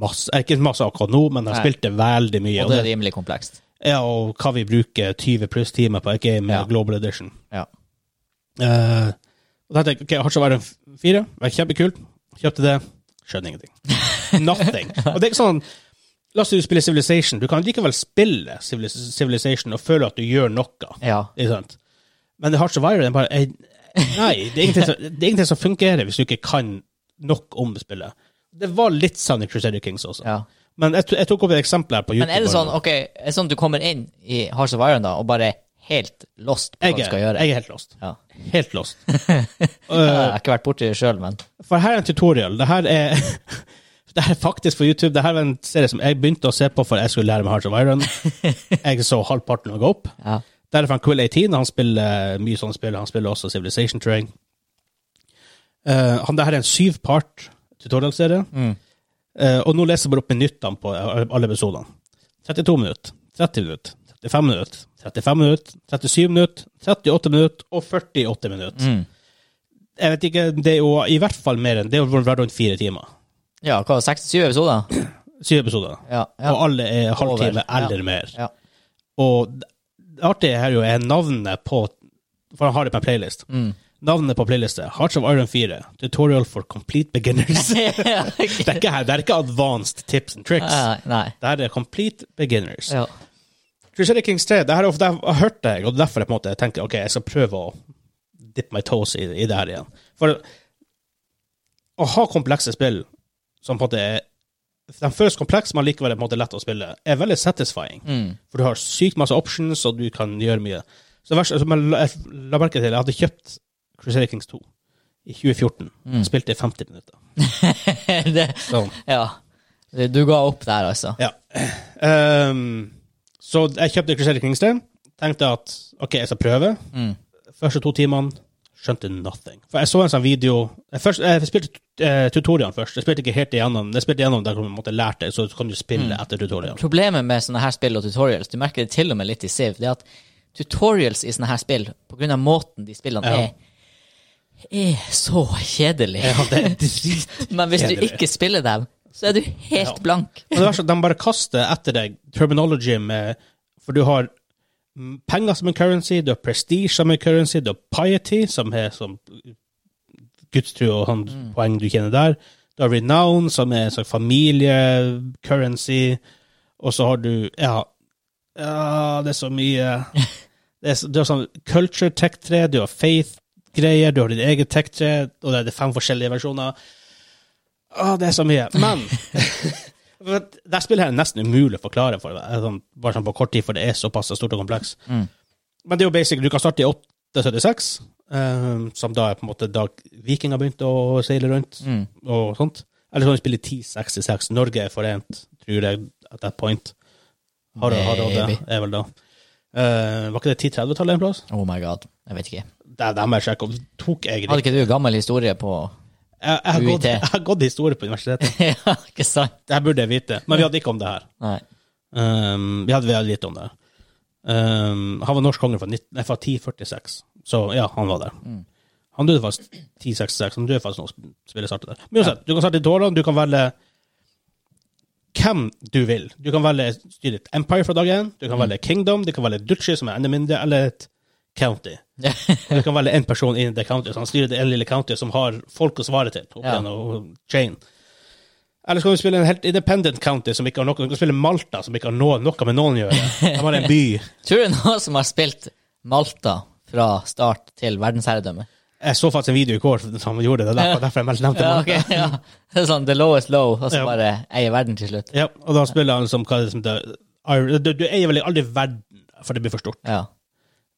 Masse, ikke masse akkurat nå, men jeg Nei. spilte veldig mye. Og det er rimelig komplekst. ja, og hva vi bruker 20 pluss timer på et game Ja. med Global Edition. Ja. Eh, og da tenkte jeg, ok, Hearts of Iron 4, var kjempekult. Kjøpte det, skjønner ingenting. Nothing. Og det er ikke sånn, la oss si du spiller Civilization, du kan likevel spille Civili- Civilization og føle at du gjør noe. ja. Ikke sant? Men det Hearts of Iron er bare, jeg, nei, det er, ingenting som, det er ingenting som fungerer hvis du ikke kan nok om spillet. Det var litt sånn i Crusader Kings også. ja. Men jeg, to- jeg tok opp et eksempel her på YouTube. Men er det sånn ok, er det sånn du kommer inn i Hearts of Iron da, og bare er helt lost på jeg, hva du er- skal gjøre? Jeg Eh, er helt lost. Ja. Helt lost. Jeg har ikke vært borti det sjøl, men For her er en tutorial. Det her er, det her er faktisk for YouTube. Det her var en serie som jeg begynte å se på for jeg skulle lære meg Hearts of Iron. Jeg så halvparten og gå opp. ja. Der er fra Quill 18. Han spiller eh, mye sånne spill. Han spiller også Civilization Train. Eh, han, det her er en syvpart tutorial-serie. Eh, og nå leser jeg bare opp minuttene på eh, alle episodene. 32 minutter, 30 minutter, 35 minutter, 35 minutter, 37 minutter, 38 minutter og 48 minutter. Jeg vet ikke, det er jo i hvert fall mer enn Det er jo vært rundt fire timer. ja, hva, 67 episoder? Syv episoder. Ja. ja. Og alle er halvtime Over, ja. eller mer. ja. Og det artige her jo er navnet på For han har det på en playlist. Mm. Navnet på playlisten Hearts of Iron 4, Tutorial for Complete Beginners. det, er ikke, her- det er ikke advanced tips and tricks. Nei, Nei. Det her er Complete Beginners. Ja. Crusader Kings 3, det her er ofte jeg har hørt det, og derfor jeg på en måte tenker ok, jeg skal prøve å dip my toes i, i det her igjen. For å ha komplekse spill som på en måte er de føles komplekse, men likevel er på en måte lett å spille, er veldig satisfying. For du har sykt masse options, og du kan gjøre mye. Så det verste, som jeg la- jeg la merke til, jeg hadde kjøpt Crusader Kings 2 i 2014. Spilte i 50 minutter. det, Så, ja. Du ga opp der, altså. ja. Ehm, så jeg kjøpte Crusader Kings 3. Tenkte at OK, jeg skal prøve. Mm. Første to timene skjønte nothing. For jeg så en sånn video Jeg, først, jeg spilte eh, tutorialen først. Jeg spilte ikke helt igjennom. Jeg spilte igjennom der hvor man måtte lært det, så kan du spille etter tutorialen. Problemet med sånne her spill og tutorials, du merker det til og med litt i Siv, det er at tutorials i sånne her spill, på grunn av måten de spillene Ja. er, er så kjedelig. Ja, det er drit. Men hvis du kjedelig. ikke spiller dem, så er du helt Ja. blank. Og det verste er at de bare kaster etter deg terminology med For du har mm, penger som en currency, du har prestige som en currency, du har piety, som er som gudstro og sånn poeng du tjener der. Du har renown, som er en sånn familie-currency. Og så har du Ja, ja det er så mye det er, så- Du har sånn culture tech-tre, du har faith-greier, du har ditt eget tech-tre, og det er fem forskjellige versjoner. Å, det er så mye. Men for at Det spillet her er nesten umulig å forklare, for det er sånn, bare sånn på kort tid, for det er såpass stort og kompleks. Mm. Men det er jo basic. Du kan starte i 876, eh, som da er på en måte da vikinger begynte å seile rundt, Mm. og sånt. Eller så kan du spille 1066. Norge er forent, tror jeg, at that point. Har du har du det? Maybe. Er vel da. Eh, var ikke det 1030-tallet en plass? Oh my god, jeg vet ikke. Det, det må jeg sjekke. om. Tok jeg Hadde riktig? ikke du gammel historie på Jeg, jeg, har UiT. gått, jeg har gått historie på universitetet. Ja, ikke sant? Det her burde jeg vite. Men vi hadde ikke om det her. Nei. Um, vi hadde veldig lite om det. Um, han var norsk konge fra, 19, nei, fra 1046, så ja, han var der. Han døde faktisk 1066, han døde faktisk nå spillet startet der. Men uansett, du kan starte i tårene, du kan velge hvem du vil. Du kan velge styre et empire fra dag én, du kan velge kingdom, du kan velge duchy, som er enda mindre, eller et county. Og du kan velge én person innen det county, så han styrer det ene lille county som har folk å svare til. Opp Ja. igjen og chain. Eller så kan du spille en helt independent county som ikke har noe Du kan spille Malta, som ikke har noe, noe med noen å gjøre. Det er bare en by. Tror du noen som har spilt Malta fra start til verdensherredømme? Jeg så faktisk en video i går som gjorde det, det er derfor, derfor jeg meldte nevnte Ja, Malta. ok, ja. Det er sånn the lowest low, og så Ja. bare eier verden til slutt. Ja, og da spiller han som hva er det som heter Ir- du, du eier vel aldri verden, for det blir for stort. Ja,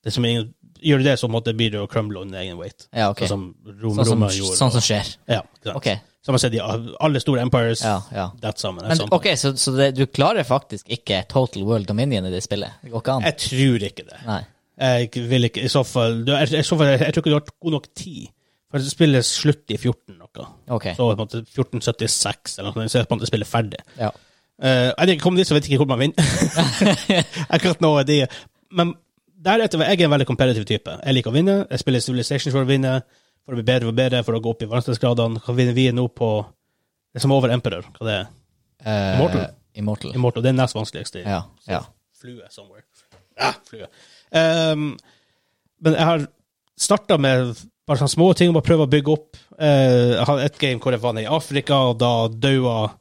Det som er, gjør du det, så måtte blir det å crumble under egen weight. ja ok. Sånn som rom, Sånn som, Roma gjorde. sånn som skjer. ja, ikke sant. Ok, Som jeg sier, de, alle store empires, ja, ja. that sammen. Men, sånn. ok, så, så det, du klarer faktisk ikke total world dominion i det spillet? Det går ikke an? Jeg tror ikke det. Nei. Jeg vil ikke, i så fall, du, jeg, i så fall, jeg tror ikke du har god nok tid. For spillet slutter i 14 noe. Ok. Så på en måte 1476 eller noe sånt, så er det på en måte spillet ferdig. Ja. Eh, jeg vet ikke kom dit, så vet jeg ikke hvor man vinner. Akkurat nå er det Men deretter var jeg en veldig kompetitiv type. Jeg liker å vinne. Jeg spiller Civilization for å vinne, for å bli bedre og bedre, for å gå opp i vanskelighetsgradene. Hva vinner vi nå på Det som er over Emperor. Hva det er Eh, Immortal. Immortal. Immortal. Det er nest vanskeligste. Ja, ja. Flue somewhere. Ja, flue. Ehm, men jeg har starta med bare sånne små ting, bare prøve å bygge opp. Eh, jeg hadde et game hvor jeg var nede i Afrika, og da daua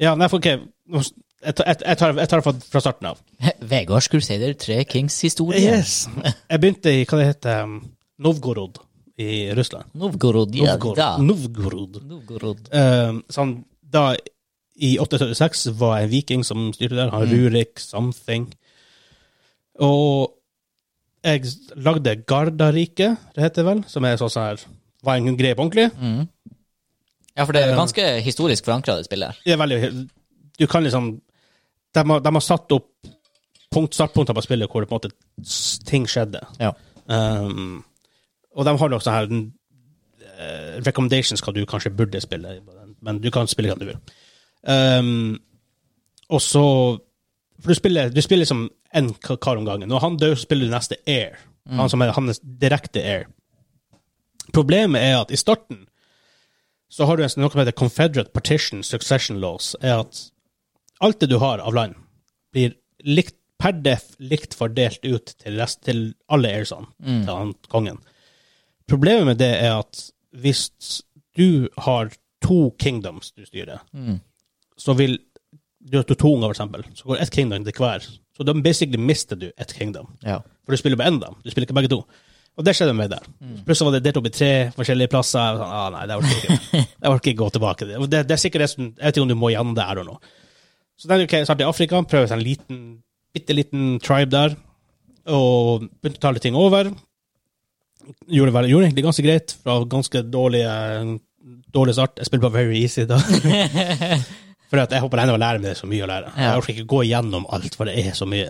Ja, nei, for OK. nå s- Jeg tar, jeg, jeg tar, jeg tar det fra, fra starten av. Vegards Crusader, tre kings historie. Yes. Jeg begynte i hva det heter um, Novgorod i Russland. Novgorod, ja Novgorod. da. Novgorod. Novgorod. Ehm, så han, da, i 876 var jeg en viking som styrte der. Han Rurik, something. Og jeg lagde Gardarike, det heter det vel, som er sånn sånn her Var en greie på ordentlig. Ja, for det er Eh, ganske historisk forankra, det spillet her. Det er veldig Du kan liksom De har, de har satt opp punkt, startpunkter på spillet hvor det på en måte s- ting skjedde. Ja. Ehm, og de har nok sånne her eh, recommendations hva du kanskje burde spille, men du kan spille hva du vil. Ehm, og så For du spiller, du spiller som én ka- kar om gangen. Når han dør, så spiller du neste air. Han som er hans direkte air. Problemet er at i starten så har du en, noe som heter Confederate Partition Succession Laws, er at alt det du har av land, blir likt, per def likt fordelt ut til, rest, til alle airsene til han, kongen. Problemet med det er at hvis du har to kingdoms du styrer, så vil du har to unger, for eksempel, så går ett kingdom til hver. Så da basically mister du ett kingdom. Ja. For du spiller bare én, da. Du spiller ikke begge to. Og det skjedde med der. Plutselig var det delt opp i tre forskjellige plasser. Jeg var sånn, ah, nei, det orker jeg ikke. Jeg orker ikke gå tilbake. Det, det, det er sikkert det som, Jeg vet ikke om du må gjennom det her og nå. Så da okay, startet jeg i Afrika, prøvde en liten, bitte liten tribe der, og begynte å ta litt ting over. Gjorde, vel- gjorde egentlig ganske greit, fra ganske dårlig, eh, dårlig start. Jeg spilte på Very Easy da. For at jeg håper ennå å lære meg det er så mye å lære. Ja. Jeg orker ikke gå igjennom alt, for det er så mye.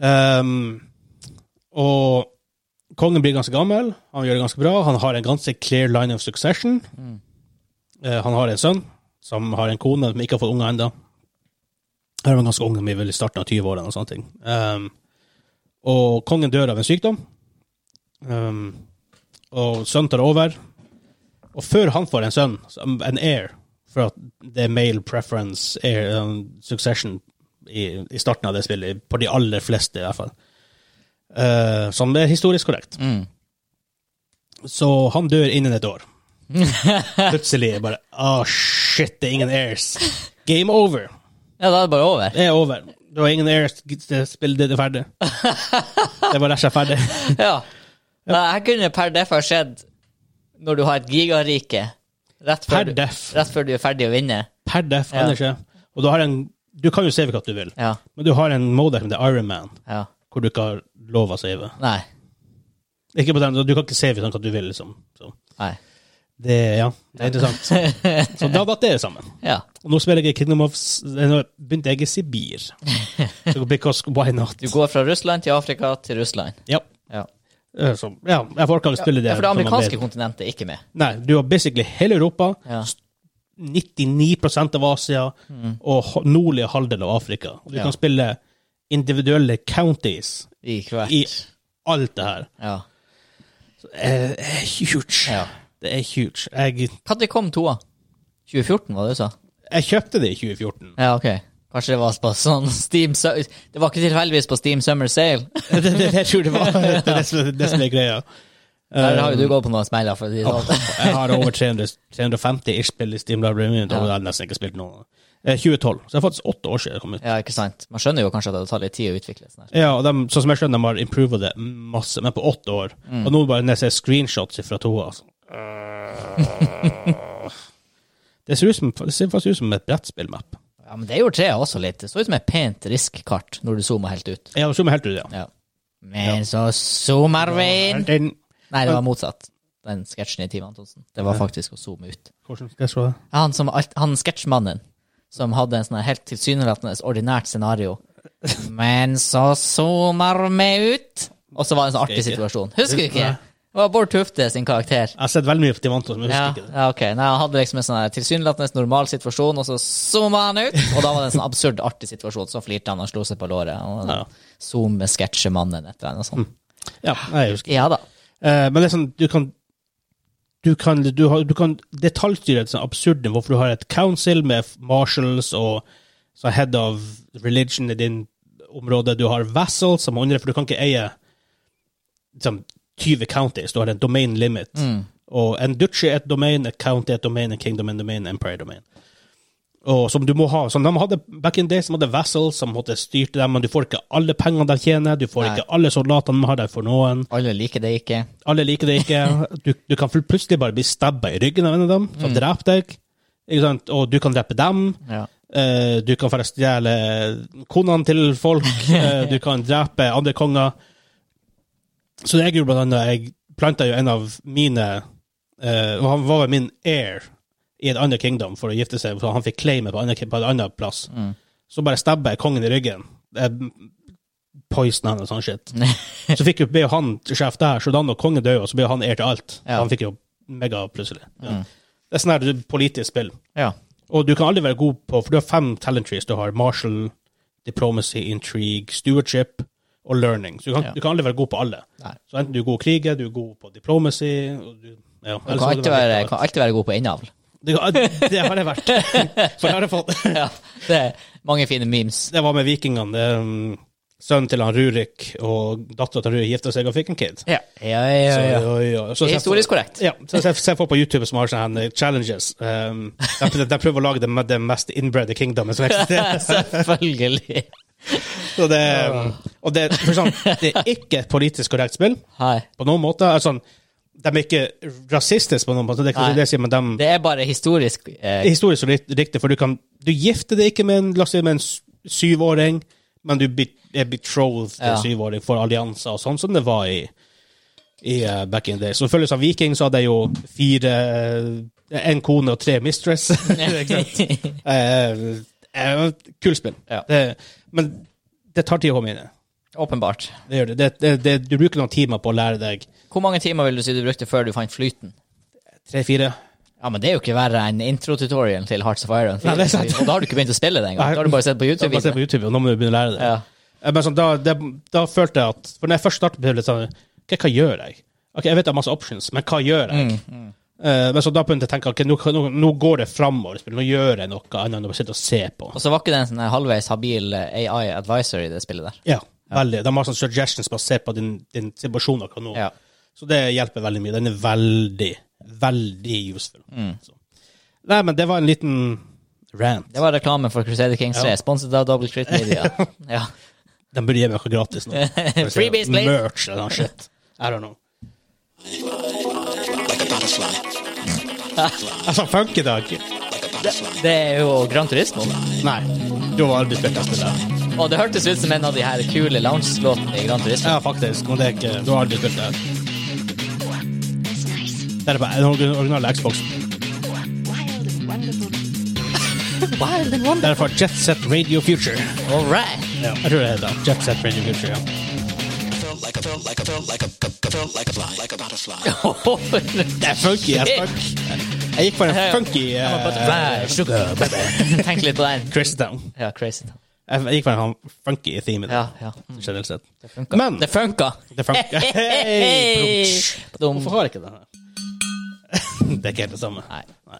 Ehm, og kongen blir ganske gammel, han gjør det ganske bra, han har en ganske clear line of succession. Eh, han har en sønn som har en kone, men ikke har fått unger ennå. Her var han ganske ung, han var vel i starten av 20-årene og sånne ting. Ehm, og kongen dør av en sykdom, Ehm, og sønnen tar over. Og før han får en sønn, som- en heir, for at det er male preference heir, um, succession i, i starten av det spillet, på de aller fleste i hvert fall, Eh, som er historisk korrekt. Mm. Så han dør innen et år. Plutselig bare Ah, shit, det er ingen heirs. Game over. Ja, da er det bare over. Det er over. Det var ingen heirs. Spillet det er ferdig. Det var rett og slett ferdig. Ja. Nei, jeg kunne per def ha skjedd når du har et gigarike rett Per før, du, def. rett før du er ferdig å vinne. Per def, Ja. ellers ja. Og du har en Du kan jo save hva du vil, Ja. men du har en modem det er Iron Man, Ja. hvor du ikke har lov å save. Nei. Ikke på den, Du kan ikke save sånn hva du vil, liksom. Så. Nei. Det, ja, det er interessant. Så da datt det sammen. Ja. Og nå spiller jeg i Kingdom of S- eh, Nå begynte jeg i Sibir. So, Because why not? Du går fra Russland til Afrika til Russland. Ja. Ja. Eh, Så, ja, jeg får ikke spille det. ja, for det som man amerikanske vet. kontinentet er ikke med. Nei, du har basically hele Europa, Ja. 99 av Asia og ho- nordlige halvdel av Afrika. Og du Ja. kan spille individuelle counties I hvert. i alt det her. Ja. Eh, Det er huge. Ja. Det er huge. Jeg, Når kom toa? 2014, var det du sa? jeg kjøpte det i 2014. Ja, ok. Kanskje det var på sånn Steam Su- Det var ikke tilfeldigvis på Steam Summer Sale? det, det, det tror jeg det var. Det, er det, som- det, er det som er greia. Der har jo du gått på noen smeller. For å si det Åh, sånn. jeg har over 300, 350 ish spill i Steam Library Minute, og Ja. jeg har nesten ikke spilt noe. Eh, 2012. Så det er faktisk åtte år siden det kom ut. Ja, ikke sant. Man skjønner jo kanskje at det tar litt tid å utvikle sånn her. Ja, og de, sånn som jeg skjønner, de har improved det masse, men på åtte år. Og nå bare når jeg ser screenshots fra toa altså. Det ser, ut som, det ser faktisk ut som et brettspillmap. Ja, men det gjorde treet også litt. Det så ut som et pent risk-kart når du zooma helt ut. Ja, det zoomer helt ut, ja. Ja. Men så zoomer vi inn! Den, Nei, det var motsatt. Den sketsjen i Team Antonsen. Det var faktisk å zoome ut. hvordan skal jeg se det? Ja, Han, som alt- han sketsjmannen som hadde en sånn her helt tilsynelatende ordinært scenario. Men så zoomer vi ut! Og så var det en sånn artig Husker ikke. situasjon. Husker du ikke? Nei. Det var Bård Tufte sin karakter. Jeg har sett veldig mye på Timanto, men jeg Ja, husker ikke det. ja, ok. Nei, Han hadde liksom en sånn her tilsynelatende normal situasjon, og så zooma han ut! Og da var det en sånn absurd artig situasjon. Så flirte han og slo seg på låret. Og Ja. Mm. Zoom med sketsjemannen etter henne og sånn. Ja, nei, jeg husker Ja da. Eh, men det er sånn, du kan du kan, du, har, du kan detaljstyre et sånn absurd nivå, for du har et council med marshals og så head of religion i din område. Du har vassals som andre, for du kan ikke eie liksom, 20 counties. Du har en domain limit. Og en duchy er et domain, et county er et domain, en kingdom er en domain, empire er domain. Og som du må ha, som de hadde back in days, som hadde vassals som måtte styrte dem, men du får ikke alle pengene de tjener, du får Nei. ikke alle soldatene de har der for noen. Alle liker det ikke. Alle liker det ikke. Du, du kan pl- plutselig bare bli stabba i ryggen av en av dem, som dreper deg. Ikke sant? Og du kan drepe dem. Ja. Eh, du kan faktisk stjele konene til folk. Eh, du kan drepe andre konger. Så jeg gjorde blant annet Jeg planta jo en av mine eh, og Han var vel min heir i et annet kingdom for å gifte seg, for han fikk claimet på, andre- på en annen plass. Så bare stabba jeg kongen i ryggen. Jeg Poisona han og sånn shit. Så fikk jo, ble jo han sjef der, så da når kongen døde, så ble jo han heir til alt. Ja. Han fikk jo mega plutselig. Ja. Det er sånn her politisk spill. Ja. Og du kan aldri være god på, for du har fem talent trees. Du har martial, diplomacy, intrigue, stewardship og learning. Så du kan, Ja. du kan aldri være god på alle. Nei. Så enten du er god kriger, du er god på diplomacy og du, ja. Du kan alltid, være, kan alltid være god på innavl. Det, kan- det har jeg vært. For det har jeg fått. Ja, det er mange fine memes. Det var med vikingene. det, um, Sønnen til han Rurik og dattera til Rurik gifta seg og fikk en kid. Ja, ja, ja. Så, ja. oi, oi. Så Det er ser folk- historisk korrekt. Ja, så ser- ser folk på YouTube som har sånne her challenges. Um, de, de prøver å lage det, med det mest inbredde kingdomet som eksisterer. Selvfølgelig. Så det, um, Og det, for sånn, det er ikke et politisk korrekt spill Hei. på noen måte. Altså, de er ikke rasistiske på noen måte, det er Nei. kanskje det jeg sier, men de Det er bare historisk Det er eh, historisk rikt- riktig, for du kan Du gifter deg ikke med en, la oss si, med en s- syvåring, men du be, er betrothed til en Ja. syvåring for allianser og sånn, som det var i, i eh, back in the day. Så selvfølgelig som viking så hadde jeg jo fire eh, En kone og tre mistress. Ikke sant? Eh, eh, Kult spill. Ja. Det, men det tar tid å komme inn i. Åpenbart. Det gjør det. Det, det, det. Du bruker noen timer på å lære deg Hvor mange timer vil du si du brukte før du fant flyten? tre-fire. Ja, men Det er jo ikke verre enn introtutorialen til Hearts of Iron. Nei, det er sant. Og da har du ikke begynt å spille det engang. Nei. Da har du bare sett på Så bare se YouTube. på YouTube, og nå må du begynne å lære det. Ja. Eh, Men sånn, da, det, da følte jeg at For når jeg først startet på det, så ok, hva gjør jeg? Ok, Jeg vet det er masse options, men hva gjør jeg? Mm, Eh, men så da begynte jeg å tenke ok, nå, nå, nå går det framover. Nå gjør jeg noe annet enn å bare sitte og se på. Og så var ikke det en sånn her halvveis habil eh, AI advisor i det spillet der. Ja, veldig. De har sånne suggestions på å se på din, din situasjon akkurat nå. Ja. Så det hjelper veldig mye. Den er veldig, veldig useful. Mm. Så. Nei, men det var en liten rant. Det var reklame for Crusader Kings 3, Ja. sponset av Double Crit Media. ja. De burde gi meg noe gratis nå. Freebies, please. Merch eller noe shit. I don't know. Jeg sa funk i dag. Det er jo Gran Turismo. Nei, du har aldri spilt det spillet. Og det hørtes ut som en av de her kule lounge-låtene i Gran Turismo. Ja, faktisk. Men det er ikke, du har aldri spilt det. Det er på den orgi- originale Xbox. Wild and wonderful. Det er fra Jet Set Radio Future. All right. Ja, jeg tror det heter det. Jet Set Radio Future, ja. Det er funky as fuck. Jeg gikk for en funky eh, I'm a butterfly, sugar, uh, Tenk litt på den. Chris Down. Ja, crazy. Jeg gikk for en sånn funky theme i det, Ja, ja. generelt sett. Funka. Men Det funka. Det funker. Hey! Dum. Hvorfor har jeg ikke den her? det er ikke helt det samme. Nei.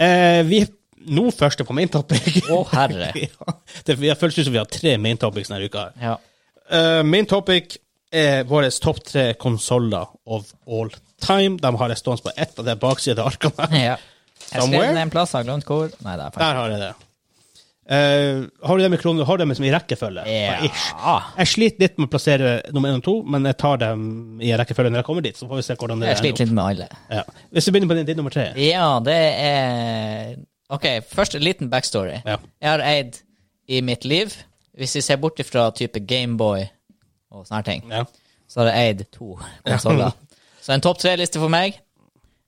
Eh, vi er nå første på main topic. Å, herre. ja. Det det føles ut som vi har tre main topics denne uka. her. Ja. Eh, main topic er våre topp tre konsoller of all time. De har det stående på ett av de baksidene av arkene. her. ja. Jeg Somewhere? skrev det en plass, har glemt hvor. Nei, det er faktisk Der har jeg det. Eh, har du dem i kroner? Har du dem liksom i rekkefølge? Ja. Ish. Jeg sliter litt med å plassere nummer én og to, men jeg tar dem i rekkefølge når jeg kommer dit. Så får vi se hvordan det Jeg ender opp. sliter litt med alle. Ja. Hvis vi begynner på din, din nummer tre. Ja, det er OK, først en liten backstory. Ja. Jeg har eid i mitt liv, hvis vi ser bort ifra type Gameboy og sånne her ting, Ja. så har jeg eid to konsoller. Så en topp tre-liste for meg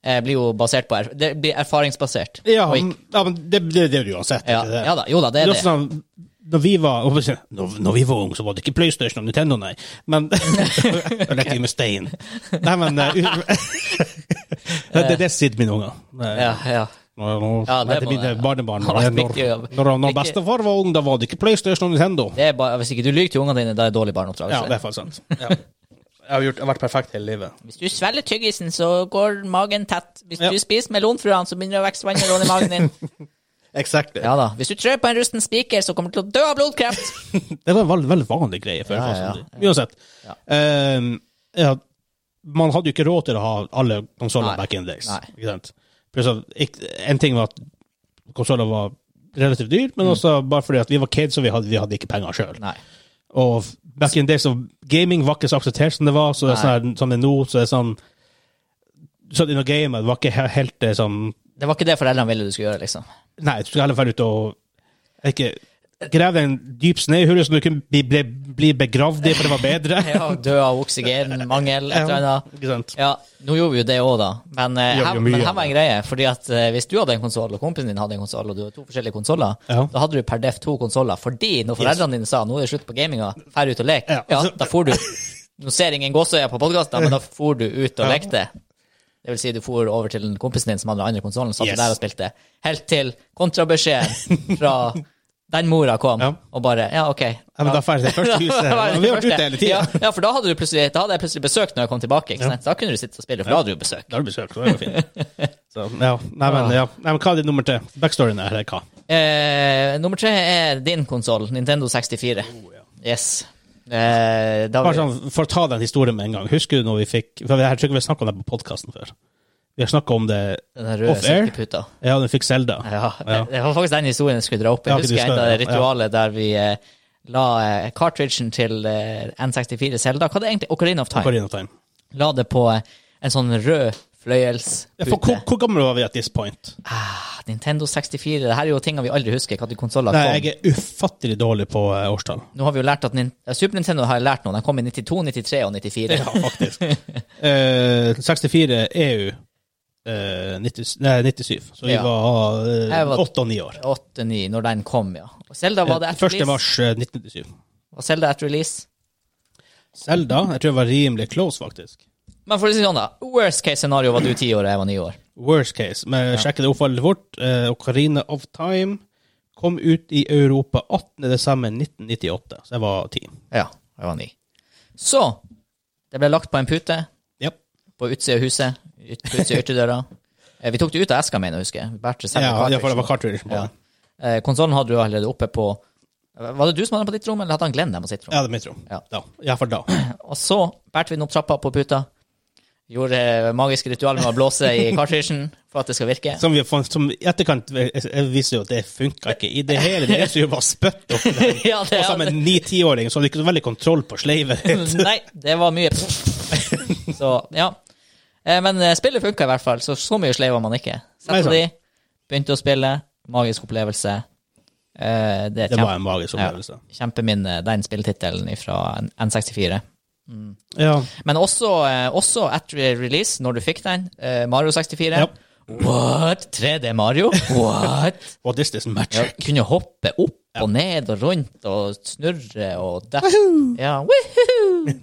eh, blir jo basert på erf Det blir erfaringsbasert. Ja, Og ikke- men- ja, men det, det, det er det uansett. ja, ikke det? ja da, jo da, det Det er er også det. sånn, når vi var hva skal jeg si, når, når vi var unge, så var det ikke PlayStation og Nintendo, nei. Men Jeg lekte med stein. Nei, men eh, u- Det er det sitter mine unger. Ja, ja. Nå- nå- Ja, nei, det det må blir jeg- det barnebarn. Ja, Når, viktig jobb. når, når Ikke- bestefar var ung, da var det ikke PlayStation og Nintendo. Det er bare, hvis ikke du lyver til ungene dine, da er det dårlig Ja, det barneoppdragelse. er faktisk sant. Ja. Jeg, har gjort, jeg har vært perfekt hele livet. Hvis du svelger tyggisen, så går magen tett. Hvis Ja. du spiser melonfruene, så begynner det å vokse vannmelon i magen din. Exactly. ja da. Hvis du trør på en rusten spiker, så kommer du til å dø av blodkreft. Det var en veldig, veldig vanlig greie før. Ja, sånn ja, som det. Uansett. Ehm, ja, man hadde jo ikke råd til å ha alle konsoller Nei. back in days. Nei. Ikke sant? Pluss at ikk- en ting var at konsoller var relativt dyr, Mm. men også bare fordi at vi var kids og vi hadde, vi hadde ikke penger sjøl. Nei. Og f- back in days, så gaming var ikke så akseptert som det var, så det er sånn, her- som det er nå, så det er sånn Sånn inne og game, det var ikke he- helt det som Det var ikke det foreldrene ville du skulle gjøre, liksom. Nei, du skulle heller dra ut og ikke Grav deg en dyp snøhule som du kunne bli, bli, bli begravd i, for det var bedre. Ja, dø av oksygenmangel, et eller Ja, annet. Ikke sant? Ja, nå gjorde vi jo det òg, da. Men, eh, Gjorde her, jo mye men her av var en greie. Fordi at eh, hvis du hadde en konsoll, og kompisen din hadde en konsoll, og du hadde to forskjellige konsoller, Ja. da hadde du per def to konsoller. Fordi når foreldrene dine sa nå er det slutt på gaminga, drar ut og lek, Ja. ja, da for du. Nå ser ingen gåseøyne på podkasten, men da for du ut og Ja. lekte. Det vil si, du for over til den kompisen din som hadde den andre konsollen, satt Yes. der og spilte. Helt til kontrabeskjeden fra den mora kom, Ja. og bare Ja, OK. Ja, men da ferdig det første huset. Det var det Vi har vært første. ute hele tida. Ja, ja, for da hadde, du plutselig, da hadde jeg plutselig besøk når jeg kom tilbake. Ikke sant? Da kunne du sitte og spille, for da hadde du besøk. Da har du besøkt, så det var fint. Så, ja. Nei, men, ja. Nei, men hva er din nummer tre? Backstoryen er eller hva? Eh, nummer tre er din konsoll, Nintendo 64. Oh, Yes. Eh, da Bare sånn, for å ta den historien med en gang. Husker du når vi fikk For jeg tror ikke vi har snakket om det på podkasten før. Vi har snakket om det den der røde off-air. silkeputa. Ja, du fikk Selda. Ja, det- det var faktisk den historien jeg skulle dra opp. Jeg Ja, ok, du husker skal- enda det ja, ja. ritualet der vi eh, la eh, cartridgen til eh, N64 Zelda, hva er det egentlig? Ocarina of Time. Ocarina of Time. La det på eh, en sånn rød Ja, for hvor, fløyelspute. hvor gammel var vi at this point? Ah, Nintendo 64, det her er jo ting vi aldri husker, hva de konsoller Nei, kom. jeg er ufattelig dårlig på eh, årstall. Nå har vi jo lært at Nin ja, Super Nintendo har jeg lært noe, de kom i 92, 93 og 94. Ja, faktisk. Eh, 64 EU eh, 90, nei, 97, så vi Ja. var, Jeg uh, var- 8 og 9 år. 8-9, når den kom, ja. Og Zelda var det 1. etter release. mars eh, 1997. Var Zelda etter release. Selda, jeg tror jeg var rimelig close, faktisk. Men for å si det sånn, da. Worst case scenario var du 10 år og jeg var 9 år. Worst case. Men jeg sjekket det opp veldig fort. Eh, Ocarina of Time kom ut i Europa 18.12.1998, så jeg var 10. Ja, jeg var 9. Så det ble lagt på en pute Japp. på utsida av huset. ut- På utsida av ytterdøra. Eh, Vi tok det ut av eska, mener jeg å huske. Vi bærte selve Ja, i hvert fall det var cartridgen. cartridge på Ja. den. Eh, Konsollen hadde du allerede oppe på Var det du som hadde den på ditt rom, eller hadde han Glenn den på sitt rom? Ja, det er mitt rom. Ja. Da. Iallfall da. Og så bærte vi den opp trappa på puta. Gjorde eh, magiske ritualer med å blåse i cartridgen for at det skal virke. Som, vi, fant- som i etterkant eh, viser jo at det funka ikke i det hele. Det er jo bare spytt opp der. ja, det, Og som en ni-tiåring så hadde du ikke så veldig kontroll på sleivet. Nei, det var mye Så, ja. Eh, Men eh, spillet funka i hvert fall, så så mye sleiv var man ikke. Nei, sant. Sette de, begynte å spille. Magisk opplevelse. Eh, Det er Det var kjempe, en magisk opplevelse. kjempeminne, den spilltittelen fra N64. Ja. Men også, eh, også etter release, når du fikk den, eh, Mario 64 Ja. What? 3D Mario? What? What is this Ja, magic? kunne hoppe opp og ned og rundt og snurre og dette. Ja, woohoo!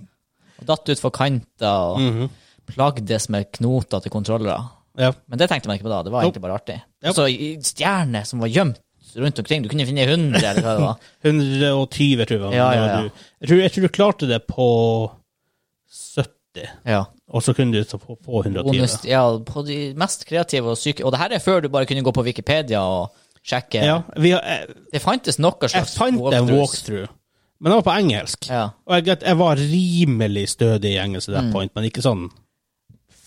Og datt ut for kanter og Mhm. plagdes med knoter til kontrollere. Ja. Men det tenkte man ikke på da. Det var egentlig bare artig. Yep. Så i- i stjerner som var gjemt rundt omkring. Du kunne finne 100 eller hva det var. 120, tror jeg. Ja, ja, ja. Du- Jeg, tror, jeg tror du klarte det på 70, Ja. og så kunne du ta på, på 120. Bonus, ja, på de mest kreative og syke Og det her er før du bare kunne gå på Wikipedia og sjekke. Ja, vi har, jeg, Det fantes noe jeg slags fant en walkthroughs. walkthrough, men den var på engelsk. Ja. Mm. Og jeg, jeg var rimelig stødig i engelsk til that point, men ikke sånn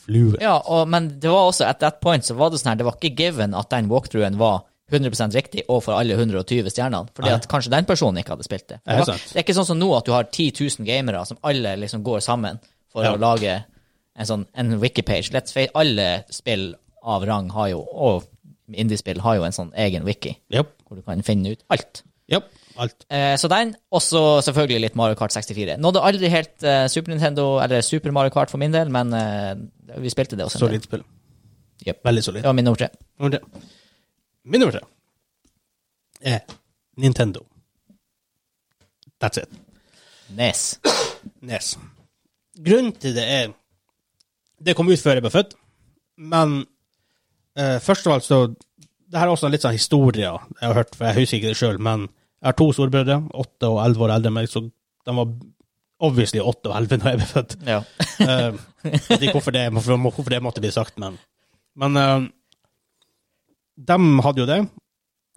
flue. Ja, og, men det var også at that point så var det sånn her, det var ikke given at den walkthroughen var 100 riktig og for alle 120 stjernene. Fordi Nei. at kanskje den personen ikke hadde spilt det. Ja, Det, var, sant. det er ikke sånn som nå at du har 10 000 gamere som alle liksom går sammen for Ja. å lage en sånn en wiki-page. Let's face alle spill av rang har jo, og indiespill har jo en sånn egen wiki Japp. hvor du kan finne ut alt. Japp. Alt. Eh, så den, og så selvfølgelig litt Mario Kart 64. Nådde aldri helt eh, Super Nintendo eller Super Mario Kart for min del, men eh, vi spilte det også. en del. Solid spill. Japp. Veldig solid. Det var min nummer tre. Nummer tre. Min nummer tre er Nintendo. That's it. Nes. Nes. Grunnen til det er Det kom ut før jeg ble født, men eh, først av alt så Det her er også en litt sånn historie jeg har hørt, for jeg husker ikke det sjøl, men jeg har to storebrødre, åtte og elleve år eldre enn meg, så de var obviously åtte og elleve da jeg ble født. Ja. Eh, jeg vet ikke hvorfor det, hvorfor, hvorfor det måtte bli sagt, men Men eh, dem hadde jo det,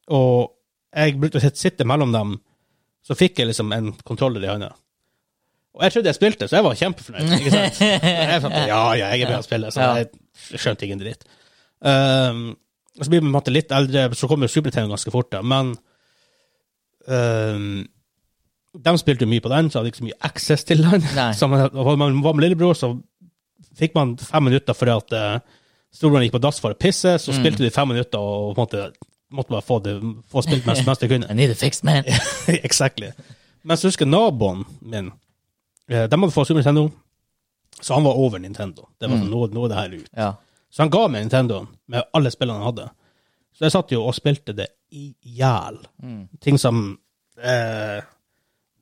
og jeg brukte å sitte- sitte mellom dem, så fikk jeg liksom en kontroller i hånda. Og jeg trodde jeg spilte, så jeg var kjempefornøyd. ikke sant? Jeg fant, ja, ja, jeg er bra til å spille, så jeg skjønte ingen dritt. Um, og så blir man på en måte litt eldre, så kommer jo Super Nintendo ganske fort, da, men um, de spilte jo mye på den, så hadde jeg ikke så mye access til den. Nei. Så man, og man var med lillebror, så fikk man fem minutter fordi at uh, storebroren gikk på dass for å pisse, så spilte de fem minutter og på en måte, måtte bare få, det, få spilt mest, mest de kunne. I need a fix, man. exactly. Men så husker jeg naboen min eh, De hadde fått Super Nintendo, så han var over Nintendo. Det var sånn, nå, nå er det her ut. Ja. Så han ga meg Nintendoen med alle spillene han hadde. Så jeg satt jo og spilte det i hjel. Mm. Ting som eh,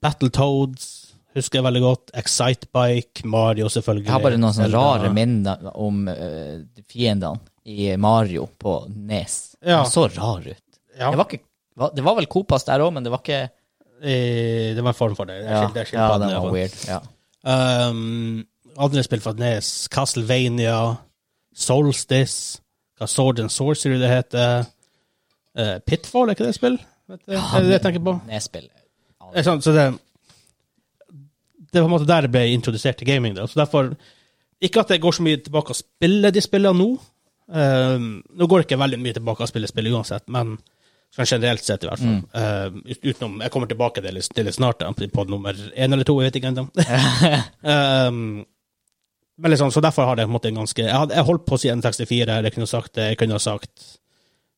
Battletoads husker jeg veldig godt. Excitebike, Mario selvfølgelig. Jeg har bare noen sånne Zelda. rare minner om eh, fiendene i Mario på Nes. Ja. De så rar ut. Ja. Det, var ikke, va- det var vel Copas der òg, men det var ikke Eh, det var en form for det. Det er Ja, skil- det er ja skilpadde, det i hvert var fall. weird. Ja. Um, andre spill fra Nes, Castlevania, Solstice, hva Sword and Sorcery det heter. Eh, Pitfall, er ikke det spill? Vet du, er det det jeg tenker på? Nes-spill. Eh, sånn, så det, det var på en måte der jeg ble introdusert til gaming. Da. Så derfor, Ikke at jeg går så mye tilbake og Ehm, spiller de spillene nå. Um, nå går jeg ikke veldig mye tilbake og spiller spill uansett, men Sånn generelt sett, i hvert fall. Eh, ut- utenom, jeg kommer tilbake til det- til det snart, da, på nummer én eller to, jeg vet ikke ennå. um, men liksom, så derfor har det på en måte en ganske Jeg, hadde, jeg holdt på å si N64, eller jeg kunne sagt det, jeg kunne ha sagt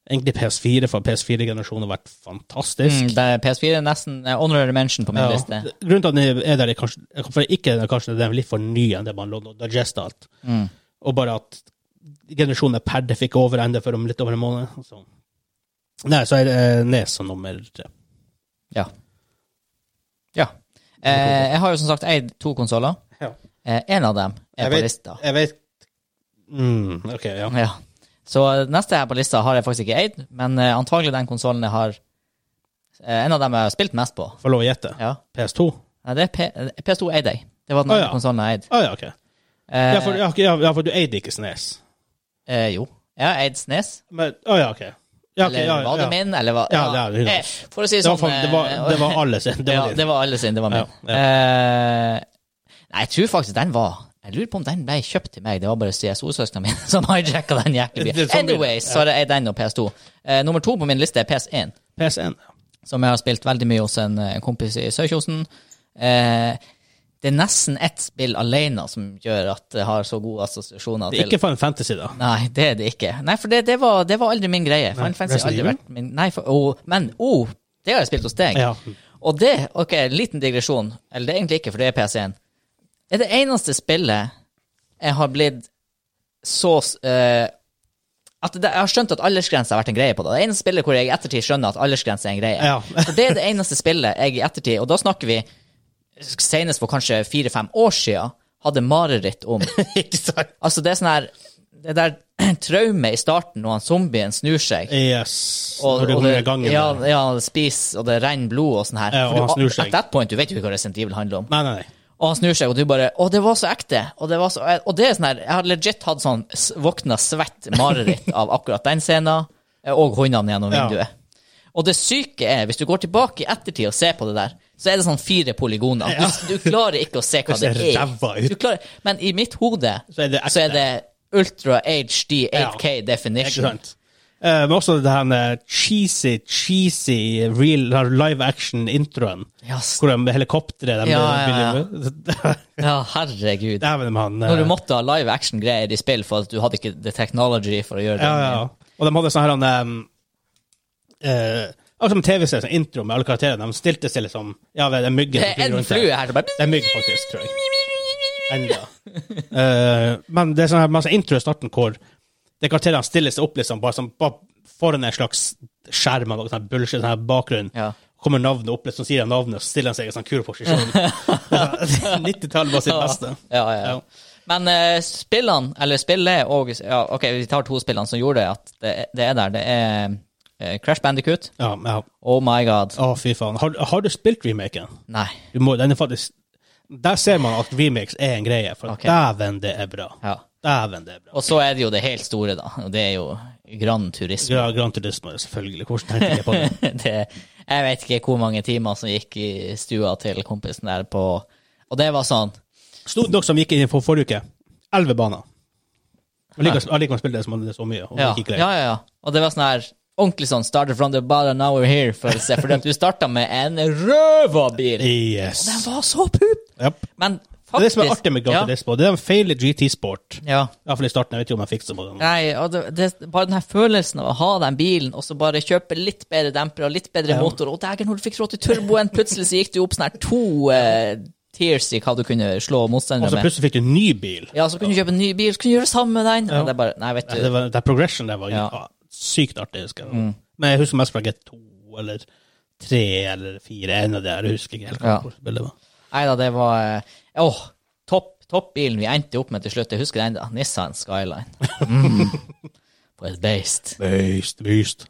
egentlig PS4, for PS4-generasjonen har vært fantastisk. Mm, det er PS4 er nesten eh, honorary mention på min Ja. liste. Grunnen til at den er der, er kanskje, for ikke den er kanskje den er litt for ny enn det man lå og digesta alt. Mm. Og bare at generasjonen per det fikk over ende for om litt over en måned. Så. Nei, så er det eh, Nes som nummer tre. Ja. ja. Eh, jeg har jo som sagt eid to konsoller. Ja. Eh, en av dem er Jeg på vet- lista. Jeg vet mm, OK, ja. Ja. Så eh, neste her på lista har jeg faktisk ikke eid, men eh, antagelig den konsollen jeg har eh, En av dem jeg har spilt mest på. Får lov å gjette. Ja. PS2? Nei, det er P eh, PS2 eide jeg. Det var den Å, andre ja. konsollen jeg eide. Å ja, OK. Eh, Ja, for, ja, ok, ja, ja, for du eide ikke Snes. eh, jo. Jeg har eid Snes. Men Å ja, OK. Ja, ok, Eller ja, var det ja. min, eller var Ja, det er det, eh, For å si det Det var, sånn fan, det var, eh, det var alle sin. Det ja, var det din. var alle sin, det var min. Ja, Eh, nei, jeg tror faktisk den var Jeg lurer på om den ble kjøpt til meg. Det var bare CSO-søsknene mine som hijacka den Det jækla er bilen. sånn blir det. Anyways, så er det er den og PS2. Eh, nummer to på min liste er PS1, PS1. ja. som jeg har spilt veldig mye hos en, en kompis i Sørkjosen. Eh, det er nesten ett spill alene som gjør at jeg har så gode assosiasjoner Det er til ikke Final Fantasy, da. Nei, det er det ikke. Nei, for det, det, var, det var aldri min greie. Final Fantasy har Resident aldri Evil? vært min Nei, for, oh, men oh, det har jeg spilt hos deg. Ja. Og det, ok, liten digresjon. Eller det er egentlig ikke, for det er PC1. Det er det eneste spillet jeg har blitt så eh, at det, Jeg har skjønt at aldersgrense har vært en greie på det. Det eneste spillet hvor jeg i ettertid skjønner at aldersgrense er en greie. Ja. for det er det eneste spillet jeg i ettertid, og da snakker vi senest for kanskje fire-fem år siden, hadde mareritt om. ikke sant? Altså, det er sånn her Det der traumet i starten når han zombien snur seg Yes. Når du går ned i gangen. ja, der. ja, han spiser, og det renner blod og sånn her. Ja, og For han du- snur seg. At that point, du vet jo ikke hva Resident Evil handler om. Nei, nei, nei. Og han snur seg, og du bare Å, det var så ekte! Og det, var så, og det er sånn her Jeg har legit hatt sånn s- våkna svett mareritt av akkurat den scenen, eh, og hundene gjennom Ja. vinduet. Og det syke er, hvis du går tilbake i ettertid og ser på det der, så er det sånn fire polygoner. Du, du klarer ikke å se hva det Det ser ræva er. ut. Du klarer, men i mitt hode Så er det ekte. så er det ultra HD 8K Ikke definition. sant? Eh, men også det her med cheesy, cheesy real, live action-introen. Ja, s- Hvor de med helikopteret de, Ja, ja, ja. ja. ja, herregud. Dæven med han. eh, Når du måtte ha live action-greier i spill for at du hadde ikke the technology for å gjøre det. ja, ja. Og de hadde sånn her han eh, eh, Akkurat som TV-serie, sånn intro med alle karakterene. De stilte seg liksom Ja, det er myggen. som flyr Det er en rundt her. flue her som Det bare er mygg, faktisk, tror jeg. Enda. Eh, men det er sånn her masse intro i starten hvor det karakterene stiller seg opp liksom, bare, sånn, bare foran en slags skjerm av noe sånn her bullshit, sånn her bakgrunn. Ja. Kommer navnet opp, liksom sier han navnet, og så stiller han seg i en sånn kul posisjon. 90-tallet var sitt beste. Ja, ja, ja. Ja. Men eh, spillene, eller spillet og ja, OK, vi tar to spillene som gjorde at det, det er der. Det er eh, Crash Bandicoot. Ja, ja. Oh my god. Å, fy faen. Har, har du spilt remaken? Nei. Du må, den er faktisk Der ser man at remakes er en greie, for Ok. dæven, det er bra. Ja. Dæven, det er bra. Og så er det jo det helt store, da. Og det er jo Grand Turismo. Ja, Gran Turismo, selvfølgelig. Hvordan tenkte jeg på det? det, jeg vet ikke hvor mange timer som gikk i stua til kompisen der på Og det var sånn Stort nok som vi gikk inn for forrige uke. Elleve baner. Og likevel og likevel spilte det som om det er så mye. Og Ja, ikke ja, greier. ja, ja. Og det var sånn her ordentlig sånn started from the bottom, now we're here. følelse Fordi at du starta med en røverbil. Yes. Den var så pup! Yep. Men Det faktisk er det som er artig med Gran ja, Turismo. Det er en feil GT-sport. Ja. Iallfall i starten. Jeg vet ikke om jeg fikser på den. Nei, og det, det, bare den her følelsen av å ha den bilen, og så bare kjøpe litt bedre demper og litt bedre Ja. motor, og dægen, når du fikk råd til turboen, plutselig så gikk du opp sånn her to eh, tiers i hva du kunne slå Og så motstandere med. plutselig fikk du en ny bil. Ja, så kunne du kjøpe en ny bil, så kunne du gjøre det samme med den. Og det er bare, nei, vet du. Det var, det progression der var Ja. Mm. ah, sykt artig. husker jeg. Men jeg husker mest fra G2 eller 3 eller 4. En av de her. Jeg husker ikke helt hva Ja. hvor spillet var. Nei da, det var eh, Åh, topp, toppbilen vi endte opp med til slutt. Jeg husker den, da. Nissan Skyline. Mm. På et beist. Beast, beast.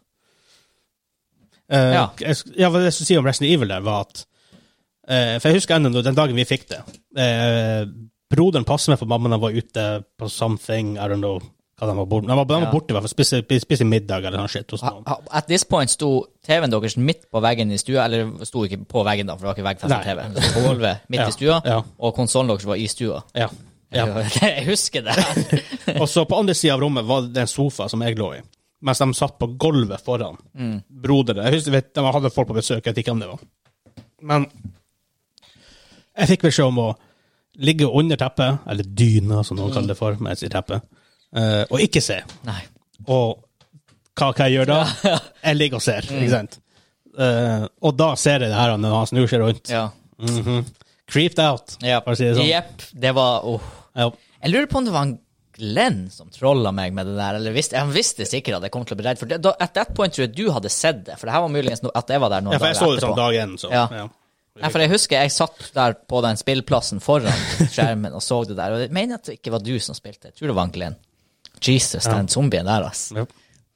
Eh, Ja. jeg sk- ja, hva jeg skulle si om Resident Evil der, var at eh, For jeg husker ennå den dagen vi fikk det. eh, broderen passet meg for mammaen han var ute på something, I don't know hva de var borte De var, de var Ja. borte, i hvert fall. Spise, spise middag eller noe shit hos Ha- noen. ha- At this point sto TV-en deres midt på veggen i stua, eller sto ikke på veggen, da, for det var ikke veggfesta Nei. TV. Det sto På gulvet midt Ja, i stua, ja. og konsollen deres var i stua. Ja. ja. Jeg husker det. her. Og så på andre sida av rommet var det en sofa som jeg lå i. mens de satt på gulvet foran Mm. brodere. Jeg husker, vet, De hadde folk på besøk, jeg vet ikke hvem det var. Men jeg fikk beskjed om å ligge under teppet, eller dyna, som Mm. noen kaller det for, men jeg sier teppet, eh, og ikke se. Nei. Og hva kan jeg gjøre da? Jeg ligger og ser, Mm. ikke sant? Eh, og da ser jeg det her når han snur seg rundt. Ja. Mhm. Creeped out, Ja. for å si det sånn. Jepp. Det var åh. Ja. Jeg lurer på om det var en Glenn som trolla meg med det der. Eller visste, han visste sikkert at jeg kom til å bli redd. For det, da, at that point tror jeg du hadde sett det. For det her var muligens no, at jeg var der noen ja, for jeg så dager det sånn etterpå. dag én, så. Ja. Ja. Nei, for jeg husker jeg satt der på den spillplassen foran skjermen og så det der. Og jeg mener at det ikke var du som spilte. Jeg tror det var en Glenn. Jesus, den zombien der, ass. Ja.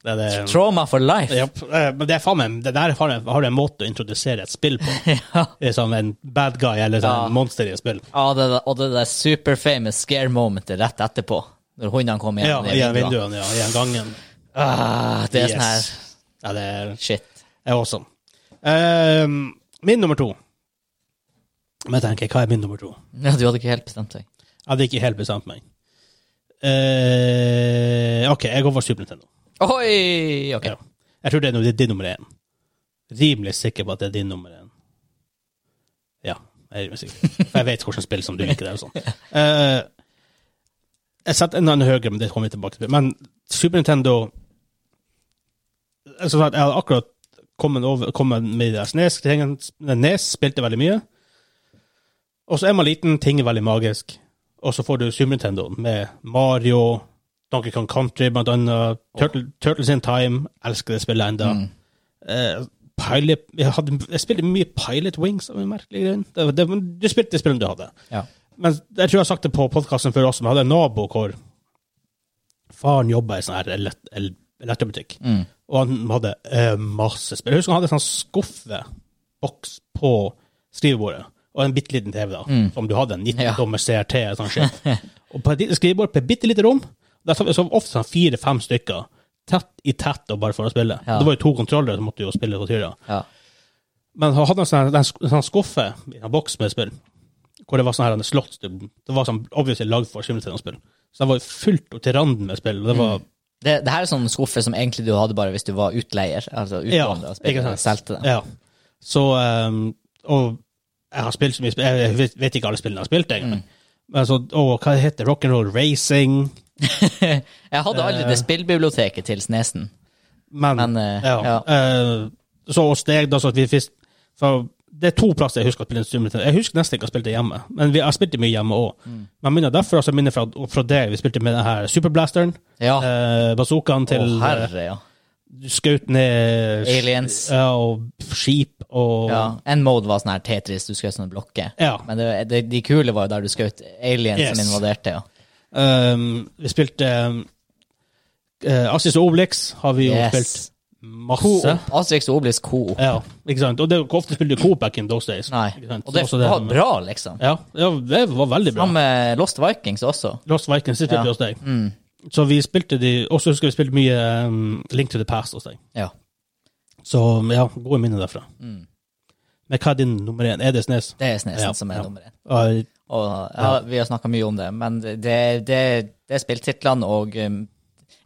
Det er det. Trauma for life. Ja, eh, men det er faen meg, det der har en, har en måte å introdusere et spill på. Det er som en bad guy eller sånn Ja. monster i et spill. Ja, det, der- og det der superfamous scare momentet rett etterpå. Når hundene kom igjen. Ja, i vinduene, ja, i gangen. Ah, det er sånn her Yes. Ja, det er, shit. er awesome. Ehm, min nummer to. Men jeg tenker, hva er min nummer to? Ja, du hadde ikke helt bestemt deg. Jeg hadde ikke helt bestemt meg. Eh, OK, jeg går for Super Nintendo. Oi! Ok. Ja. Jeg tror det er no- det er din nummer én. Rimelig sikker på at det er din nummer én. Ja, jeg er rimelig sikker. For jeg vet hvilket spill som du liker. Det, og sånn. Eh, jeg setter en annen høyere, men det kommer vi tilbake til. Men Super Nintendo altså, sånn at Jeg hadde akkurat kommet, over, kommet med det SNES-tingen. Nes spilte veldig mye. Og så er man liten, ting er veldig magisk. Og så får du Super Nintendo med Mario, Donkey Kong Country, blant annet. Turtle, Turtles in Time. Elsker det spillet enda. Eh, Pilot, jeg, hadde, jeg spilte mye Pilot Wings av en merkelig grunn. Det, var- det, var- du spilte det spillet du hadde. Ja. Men jeg tror jeg har sagt det på podkasten før også, men jeg hadde en nabo hvor faren jobba i sånn her elekt- el- elektrobutikk. Og han hadde eh, masse spill. Jeg husker han hadde en sånn skuffeboks på skrivebordet, og en bitte liten TV, da, som du hadde, en 19-tommer CRT eller sånn shit. og på et lite skrivebord på et bitte lite rom, der satt vi så ofte sånn fire-fem stykker, tett i tett og bare for å spille. Ja. Det var jo to kontrollere som måtte jo spille på tyra. Ja. Men han hadde en sånn, en sk- sånn skuffe, en boks med spill, hvor det var sånn her en slott. Det det var sånn obviously lagd for simulternspill. Så det var fullt opp til randen med spill. og Det var, Det, det her er sånn skuffe som egentlig du hadde bare hvis du var utleier. Altså utlåner og ikke spilte, sant. solgte den. Ja. Så ehm, Og jeg har spilt så mye spill, jeg vet, vet ikke alle spillene jeg har spilt, egentlig. Men så, og hva det heter Rock'n'roll Racing. Jeg hadde aldri Eh. det spillbiblioteket til Snesen. Men, Men, eh, ja. Eh, så og steg da, så at vi fisk, for Det er to plasser jeg husker å spille instrumenter. Jeg husker nesten ikke å spille det hjemme, men vi har spilt det mye hjemme òg. Mm. Men minner derfor, altså minner fra, fra det vi spilte med den her superblasteren, Ja. Å, eh, bazookaen til eh, herre, ja. du skjøt ned Aliens. Ja, og skip og ja. En mode var sånn her Tetris, du skjøt sånne blokker. Ja. Men det, det, de kule var jo der du skjøt aliens som Yes. invaderte, ja. Ehm, vi spilte um, Assis og Obelix har vi jo Yes. spilt masse. Coop. Asterix og Obelix Coop. Ja, ikke sant? Og det, hvor ofte spilte du Coop back in those days? Nei. Ikke sant? Og det Også var bra, liksom. Ja, ja, det var veldig bra. Sammen med Lost Vikings også. Lost Vikings det spilte Ja. Mm. vi hos deg. Så vi spilte de Og så husker jeg vi spilte mye ehm, Link to the Past hos deg. Ja. Så um, ja, gode minner derfra. Mm. Men hva er din nummer én? Er det Snes? Det er Snesen Ja, som er ja. nummer én. Og, Og, ja, vi har snakka mye om det, men det, det, det er spilltitlene, og um,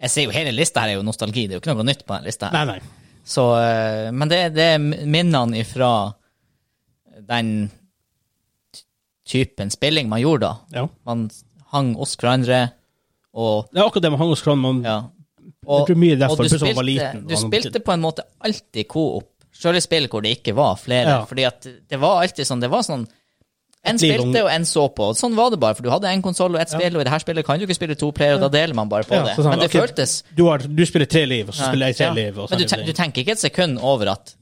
jeg ser jo hele lista her er jo nostalgi, det er jo ikke noe nytt på den lista. her. nei, nei. Så, eh, men det, det er minnene ifra den ty- typen spilling man gjorde da. Ja. Man hang oss hverandre, og Det er akkurat det med Hangos Kron. Man, ja. Jeg tror mye derfor, og du, plutselig spilte, man var liten, du og man- spilte på en måte alltid co-op, selv i spill hvor det ikke var flere. Ja. Fordi at det var alltid sånn, det var sånn en liv lang- spilte og en så på, og sånn var det bare. For du hadde en konsoll og ett spill, og i det her spillet kan du ikke spille to player, og da deler man bare på Ja, det. så sånn, Men det ok, føltes Du, har, du spiller tre liv, og så spiller jeg tre ja. liv. Og så Men du, ten- du tenker ikke et sekund over at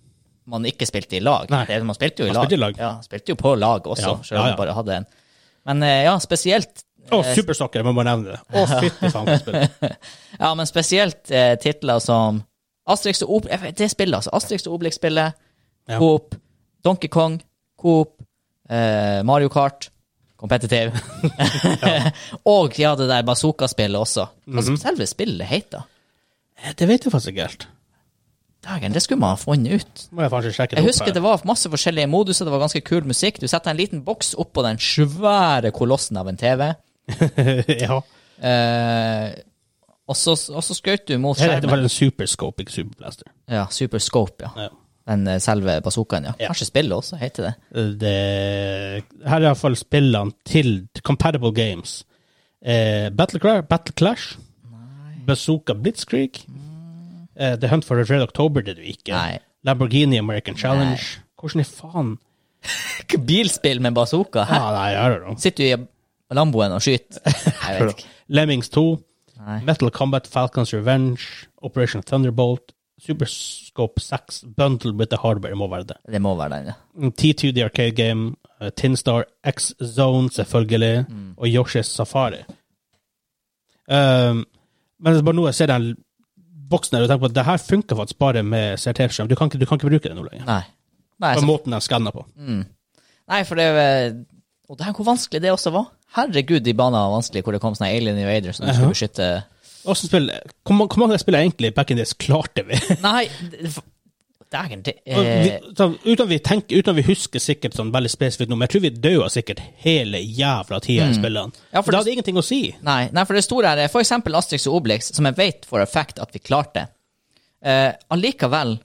man ikke spilte i lag. Nei. Det, man spilte jo i Man lag. spilte i lag. Ja, spilte jo på lag også, Ja, selv om ja, ja. man bare hadde en. Men eh, ja, spesielt Å, Supersoccer, jeg må bare nevne det. Å, fytti faen, for et spill. Ja, men spesielt eh, titler som Asterix og Ob- jeg vet- Det spillet, altså. Asterix og Obelix-spillet, Ja. Coop, Donkey Kong, Coop, eh, Mario Kart, Competitive. og ja, det der bazooka-spillet også. Mhm. Hva som selve spillet heter? Eh, Det vet jeg faktisk ikke helt. Dagen, det skulle man ha funnet ut. Må jeg faktisk sjekke det Jeg opp husker her. det var masse forskjellige moduser, det var ganske kul musikk. Du setter en liten boks oppå den svære kolossen av en TV. ja. Eh, og Og så, og så skjøt du mot Det heter vel skjermen. en superscope, ikke superblaster. Ja, Super Scope, ja. Ja. Den eh, selve bazookaen, ja. Ja. Kanskje spillet også heter det. Det, her er iallfall spillene til Compatible Games. Eh, Battle, Cra- Battle Clash, Bazooka Blitzkrieg, eh, The Hunt for the Red October det du ikke. Mm. Nei. Lamborghini American Challenge. Hvordan i faen Bilspill med bazooka? Hæ? ah, Nei, jeg hører det. Sitter du i Lamboen og skyter? Jeg vet ikke. Lemmings 2, Nei. Metal Combat, Falcons Revenge, Operation Thunderbolt, Superscope 6, Bundle with the Hardware må være det. Det må være den, ja. T2 The Arcade Game, eh, Tinstar, X-Zone selvfølgelig, Mm. og Yoshi's Safari. Um, men det er bare nå jeg ser den boksen her og tenker på at det her funker faktisk bare med CRT-skjerm. Du, kan ikke- du kan ikke bruke det nå lenger. Nei. Nei, På så, Mm. måten jeg skanner på. nei for det er vel- Og det her, hvor vanskelig det også var. Herregud, de banene var vanskelig hvor det kom sånne Alien Invaders som du skulle beskytte Og så spill, hvor, ma- hvor mange spill jeg egentlig back in this klarte vi? Nei, det- for- dægen, det eh, Og vi er sånn, uten, at vi tenker, uten at vi husker sikkert sånn veldig spesifikt nå, men jeg tror vi døde sikkert hele jævla tida i spillene. Mm. Ja, for det det- hadde ingenting å si. Nei, nei, for det store her er for eksempel Astrix og Obelix, som jeg vet for a fact at vi klarte. Eh, allikevel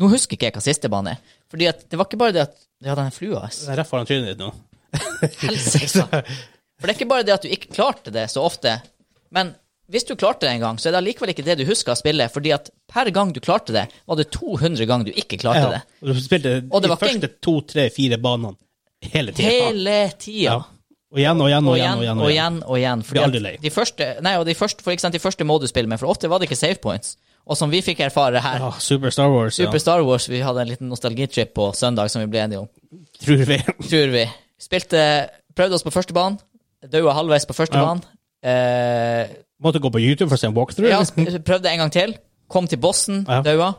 Nå husker ikke jeg hva siste bane er. Fordi at det var ikke bare det at Ja, den flua ass. Det er rett foran trynet ditt nå. Helsike. For det er ikke bare det at du ikke klarte det så ofte, men hvis du klarte det en gang, så er det allikevel ikke det du husker av spillet, fordi at per gang du klarte det, var det 200 ganger du ikke klarte Ja. det. Og du spilte Og det de var ikke første to, tre, fire banene hele tida. Hele tida. ja. Og igjen og igjen og igjen. Og igjen, og igjen. Og igjen, Blir aldri at lei. De første, nei, og de første, for eksempel, de første må du spille med, for ofte var det ikke save points. Og som vi fikk erfare her, Ah, Super Star Wars, Super Star Wars, vi hadde en liten nostalgitrip på søndag som vi ble enige om, ja. Tror vi. tror vi. Spilte, prøvde oss på første banen, døde halvveis på første Ja. banen. Eh, Måtte gå på YouTube for å se en walkthrough. ja, sp- prøvde en gang til, kom til bossen, Ja. daua.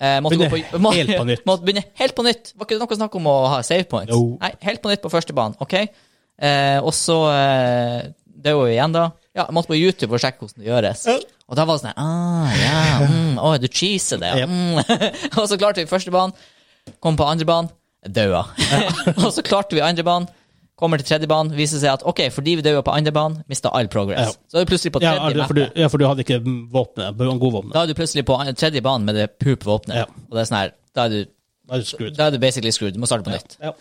Eh, måtte Begynne gå på, må, helt på nytt. Måtte begynne helt på nytt. Var ikke det noe snakk om å ha save points? No. Nei, helt på nytt på første banen, ok? Eh, og så eh, daua vi igjen, da. Ja, jeg måtte på YouTube og sjekke hvordan det gjøres. Ja. Og da var det sånn her, ah, ja, mm, Å, du cheeser det, Ja. ja. Mm. og så klarte vi første banen, kom på andre banen, daua. og så klarte vi andre banen, kommer til tredje banen, viser seg at ok, fordi vi daua på andre banen, mista all progress. Ja. Så er vi plutselig på Ja, tredje for du, ja, for du hadde ikke våpenet. Godvåpenet. da er du plutselig på an- tredje banen med det poop-våpenet. Ja. Og det er sånn her, da er, du, Da er du screwed. da er du basically screwed. Du må starte på nytt. Ja.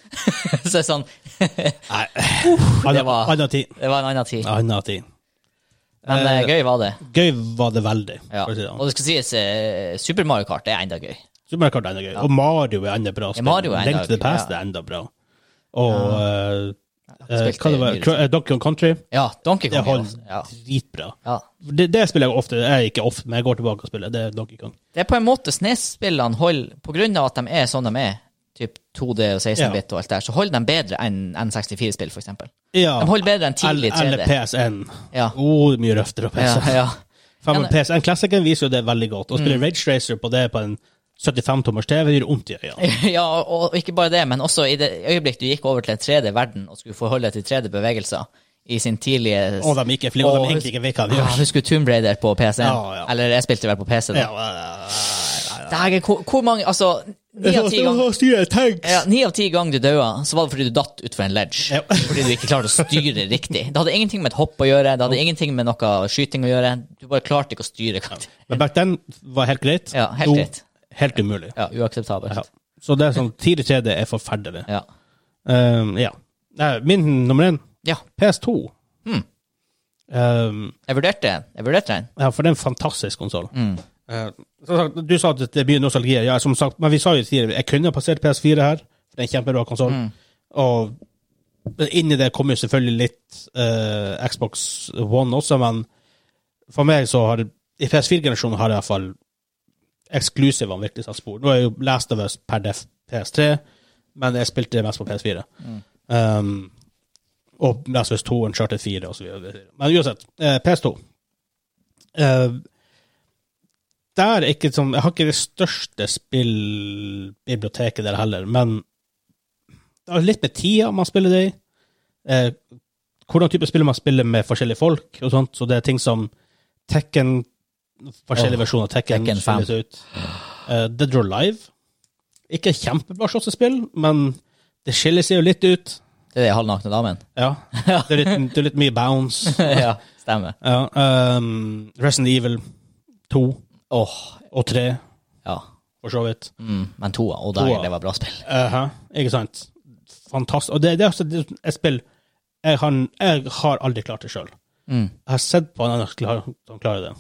Så det er sånn, Nei. det var- Anna tid. det var en annen tid. Anna tid. Men eh, gøy var det. Gøy var det veldig. Ja. for å si det sånn. Og det skal sies, eh, Super Mario Kart er enda gøy. Super Mario Kart er enda gøy. Og Mario er enda bra. spill. Mario er enda Link to the gøy, Past ja. er enda bra. Og eh, eh, spilt hva det var det nylig. Cra- eh, Donkey Kong Country. Ja, Donkey Det Kong. er holder også- Ja. dritbra. Ja. Det, det spiller jeg ofte. Jeg er ikke ofte, men jeg går tilbake og spiller. Det er Donkey Kong. Det er på en måte SNES-spillene holder, på grunn av at de er sånn de er, typ 2D og 16-bit og alt der, så holder de bedre enn N64-spill, for eksempel. Ja. De holder bedre enn tidlig Eller- Eller 3D. PSN. Ja. Oh, mye røftere Ja, PC. ja. Faen, Ja, Mm. men PSN Classicen viser jo det veldig godt. Å spille Rage Racer på det på en 75-tommers TV gjør vondt i øynene. ja, og og ikke bare det, men også i det øyeblikk du gikk over til en 3D-verden og skulle forholde deg til 3D-bevegelser i sin tidlige Og de ikke, fordi de Og- egentlig ikke vet hva de Ja, gjør. Husker du Tomb Raider på PC? Ja, ja. Eller jeg spilte vel på PC, da. Ja, ja, ja. Dægen, hvor, hvor mange Altså, ni av ti ganger Å, styre tanks! ja, ni av ti ganger du daua, så var det fordi du datt utfor en ledge. Ja. Fordi du ikke klarte å styre riktig. Det hadde ingenting med et hopp å gjøre, det hadde ingenting med noe skyting å gjøre. Du bare klarte ikke å styre. karakteren. Men back then var helt greit. Ja, helt Nå, greit. Helt umulig. Ja, uakseptabelt. Ja. Så det er sånn tidlig 3D er forferdelig. Ja. Um, ja. Nei, Min nummer én, ja. PS2. Hmm. Um, Jeg vurderte den. Jeg vurderte den. Ja, for det er en fantastisk konsoll. Eh, du sa at det blir nostalgi. Ja, som sagt, men vi sa jo tidligere jeg kunne ha passert PS4 her, for det er en kjempebra konsoll. Og inni det kommer jo selvfølgelig litt eh, Xbox One også, men for meg så har I PS4-generasjonen har jeg iallfall eksklusivene virkelig satt spor. Nå er jo Last of Us per def PS3, men jeg spilte det mest på PS4. Um, og Last of Us 2, Uncharted 4 og så videre. Men uansett, eh, PS2. Eh, der er ikke sånn Jeg har ikke det største spillbiblioteket der heller, men det har litt med tida man spiller det i. Eh, hvordan type spill man spiller med forskjellige folk og sånt. Så det er ting som Tekken Forskjellige Åh, versjoner av Tekken, Tekken fem. skilles ut. Eh, Dead or Live. Ikke kjempebra slåssespill, men det skiller seg jo litt ut. Det er de halvnakne damene. Ja. Det er litt, det er litt mye bounce. ja, stemmer. Ja, um, Resident Evil 2 Åh, og 3, ja. for så vidt. Mm, men toa, og Toa. der, det var bra spill. Aha, ikke sant? Fantastisk. Og det, det er også det- et spill jeg har, jeg har aldri klart det sjøl. Mm. Jeg har sett på en annen som klar- som klarer det.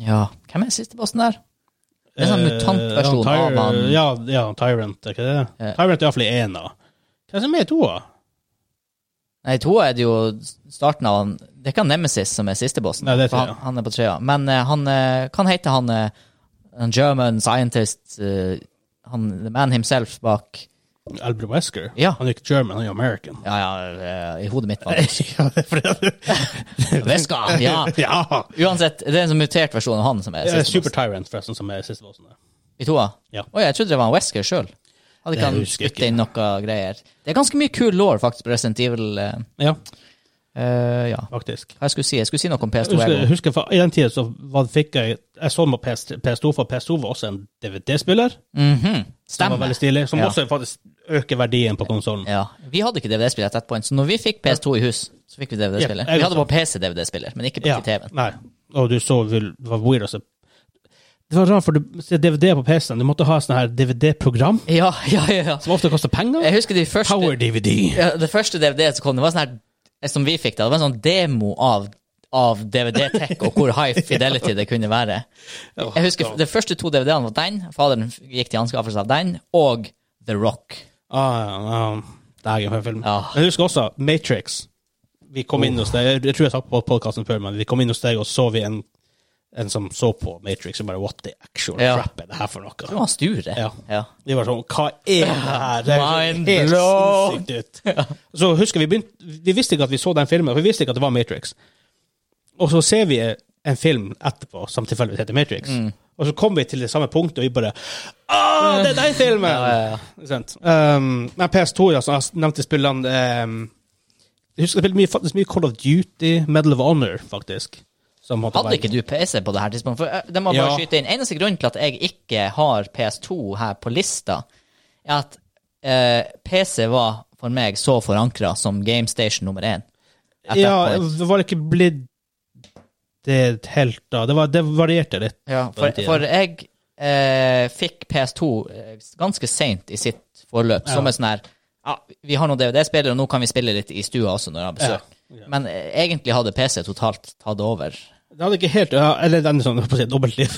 Ja. Hvem er siste bossen der? Det er sånn Eh, mutantversjon ja, av han. Tyr- Ja, ja, Tyrant, er ikke det? Ja. Tyrant er iallfall i én av. Hva er det som er i toa? Nei, toa er det jo starten av han. Det er ikke han Nemesis som er siste bossen. Nei, det er for han, trea. han er på trea. Men eh, han eh, kan hete han eh, en German scientist eh, han, The man himself bak Albert Wesker? Ja. Han er ikke German, han er American. Ja, ja, eh, i hodet mitt var det ja, det er fordi Veska! Ja. Ja! Uansett, det er en sånn mutert versjon av han som er Det er siste Super boss. Tyrant, forresten, som er siste bossen. der. I toa? Ja. Å, jeg trodde det var en Wesker sjøl. Hadde Det ikke han husker jeg ikke. bytta inn noe greier. Det er ganske mye kul law, faktisk, på Resident Evil. eh, Ja, eh, ja. faktisk. Hva jeg skulle si? Jeg skulle si noe om Jeg PS2. husker, jeg Ego. husker for, I den tida så var, fikk jeg Jeg så den på PS, PS2, for PS2 var også en DVD-spiller. Mhm, Som var Stemmer. veldig stilig. Som Ja. også faktisk øker verdien på konsollen. Ja. Vi hadde ikke DVD-spillet etter point, så når vi fikk PS2 i hus, så fikk vi DVD-spillet. Ja, jeg Vi hadde på PC DVD-spiller, men ikke på TV-en. Nei. Og du så vel Det var weird, altså. Det var rart, for du ser DVD på PC-en. Du måtte ha sånn her DVD-program, Ja, ja, ja, ja. som ofte koster penger. Jeg husker de første Power-DVD. ja, Det første DVD som kom, det var sånn her Som vi fikk da, det var en sånn demo av av DVD-tech og hvor high fidelity det kunne være. Jeg husker De første to DVD-ene var den. Faderen gikk til anskaffelse av den. Og The Rock. Ah, ja, ja. Det er en film. Ja. Men jeg husker også Matrix. Vi kom inn hos deg, jeg- jeg tror jeg har sagt på podcasten før, men vi kom inn hos deg og så vi en, en som så på Matrix, og bare what the actual Ja. crap er det her for Det noe? var Sture. Ja. Ja. Vi var sånn, hva er det her? Det er Mind helt blown. sinnssykt ut. Så husker vi begynte, vi visste ikke at vi så den filmen, for vi visste ikke at det var Matrix. Og så ser vi en film etterpå som tilfeldigvis heter Matrix. Mm. Og så kom vi til det samme punktet, og vi bare Ah, det er den filmen! Ikke sant? Um, men PS2, altså, jeg nevnte spillene um, Jeg husker jeg spilte mye, faktisk mye Call of Duty, Medal of Honor, faktisk. Som måtte Hadde være- ikke du PC på det her tidspunktet? For eh, det må jeg Ja. bare skyte inn. Eneste grunn til at jeg ikke har PS2 her på lista, er at eh, PC var for meg så forankra som GameStation nummer én. At jeg Ja, altså, får- det var ikke blitt det helt da. Det, var, det varierte litt. ja på den for, tiden. for jeg eh, fikk PS2 eh, ganske seint i sitt forløp, som en sånn her ja, Vi har noen DVD-spillere, og nå kan vi spille litt i stua også når jeg har besøk. Men eh, egentlig hadde PC totalt tatt over. Det hadde ikke helt ja, Eller den er sånn, på å si, dobbeltliv.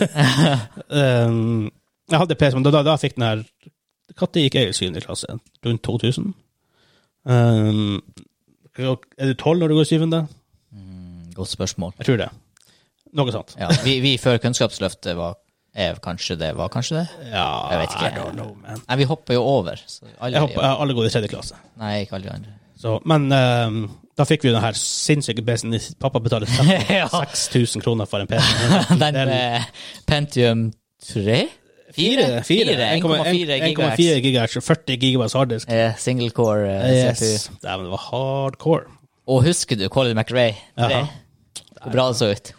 um, jeg hadde PS, men da, da, da fikk den her Når gikk jeg i syvende klasse? Rundt 2000? Um, er du tolv når du går i syvende? Godt spørsmål. Jeg tror det. Noe sånt. Ja, vi, vi før Kunnskapsløftet var er kanskje det var kanskje det? Ja, Jeg vet ikke. I don't know, man. Nei, vi hopper jo over. Så aldri, Jeg håper jeg har alle går i tredje klasse. Nei, ikke alle andre. Så, men ehm, da fikk vi den her sinnssyke PC-en. Pappa betaler Ja. 6000 kroner for en PC. Den eh, Pentium 3? 4? 1,4 gigahertz. 1,4 gigahertz og 40 gigabytes harddisk. Eh, Single core eh, CPU. Yes. Dæven, det var hardcore. Og husker du Colin McRae? Jaha. 3? Hvor bra det så ut.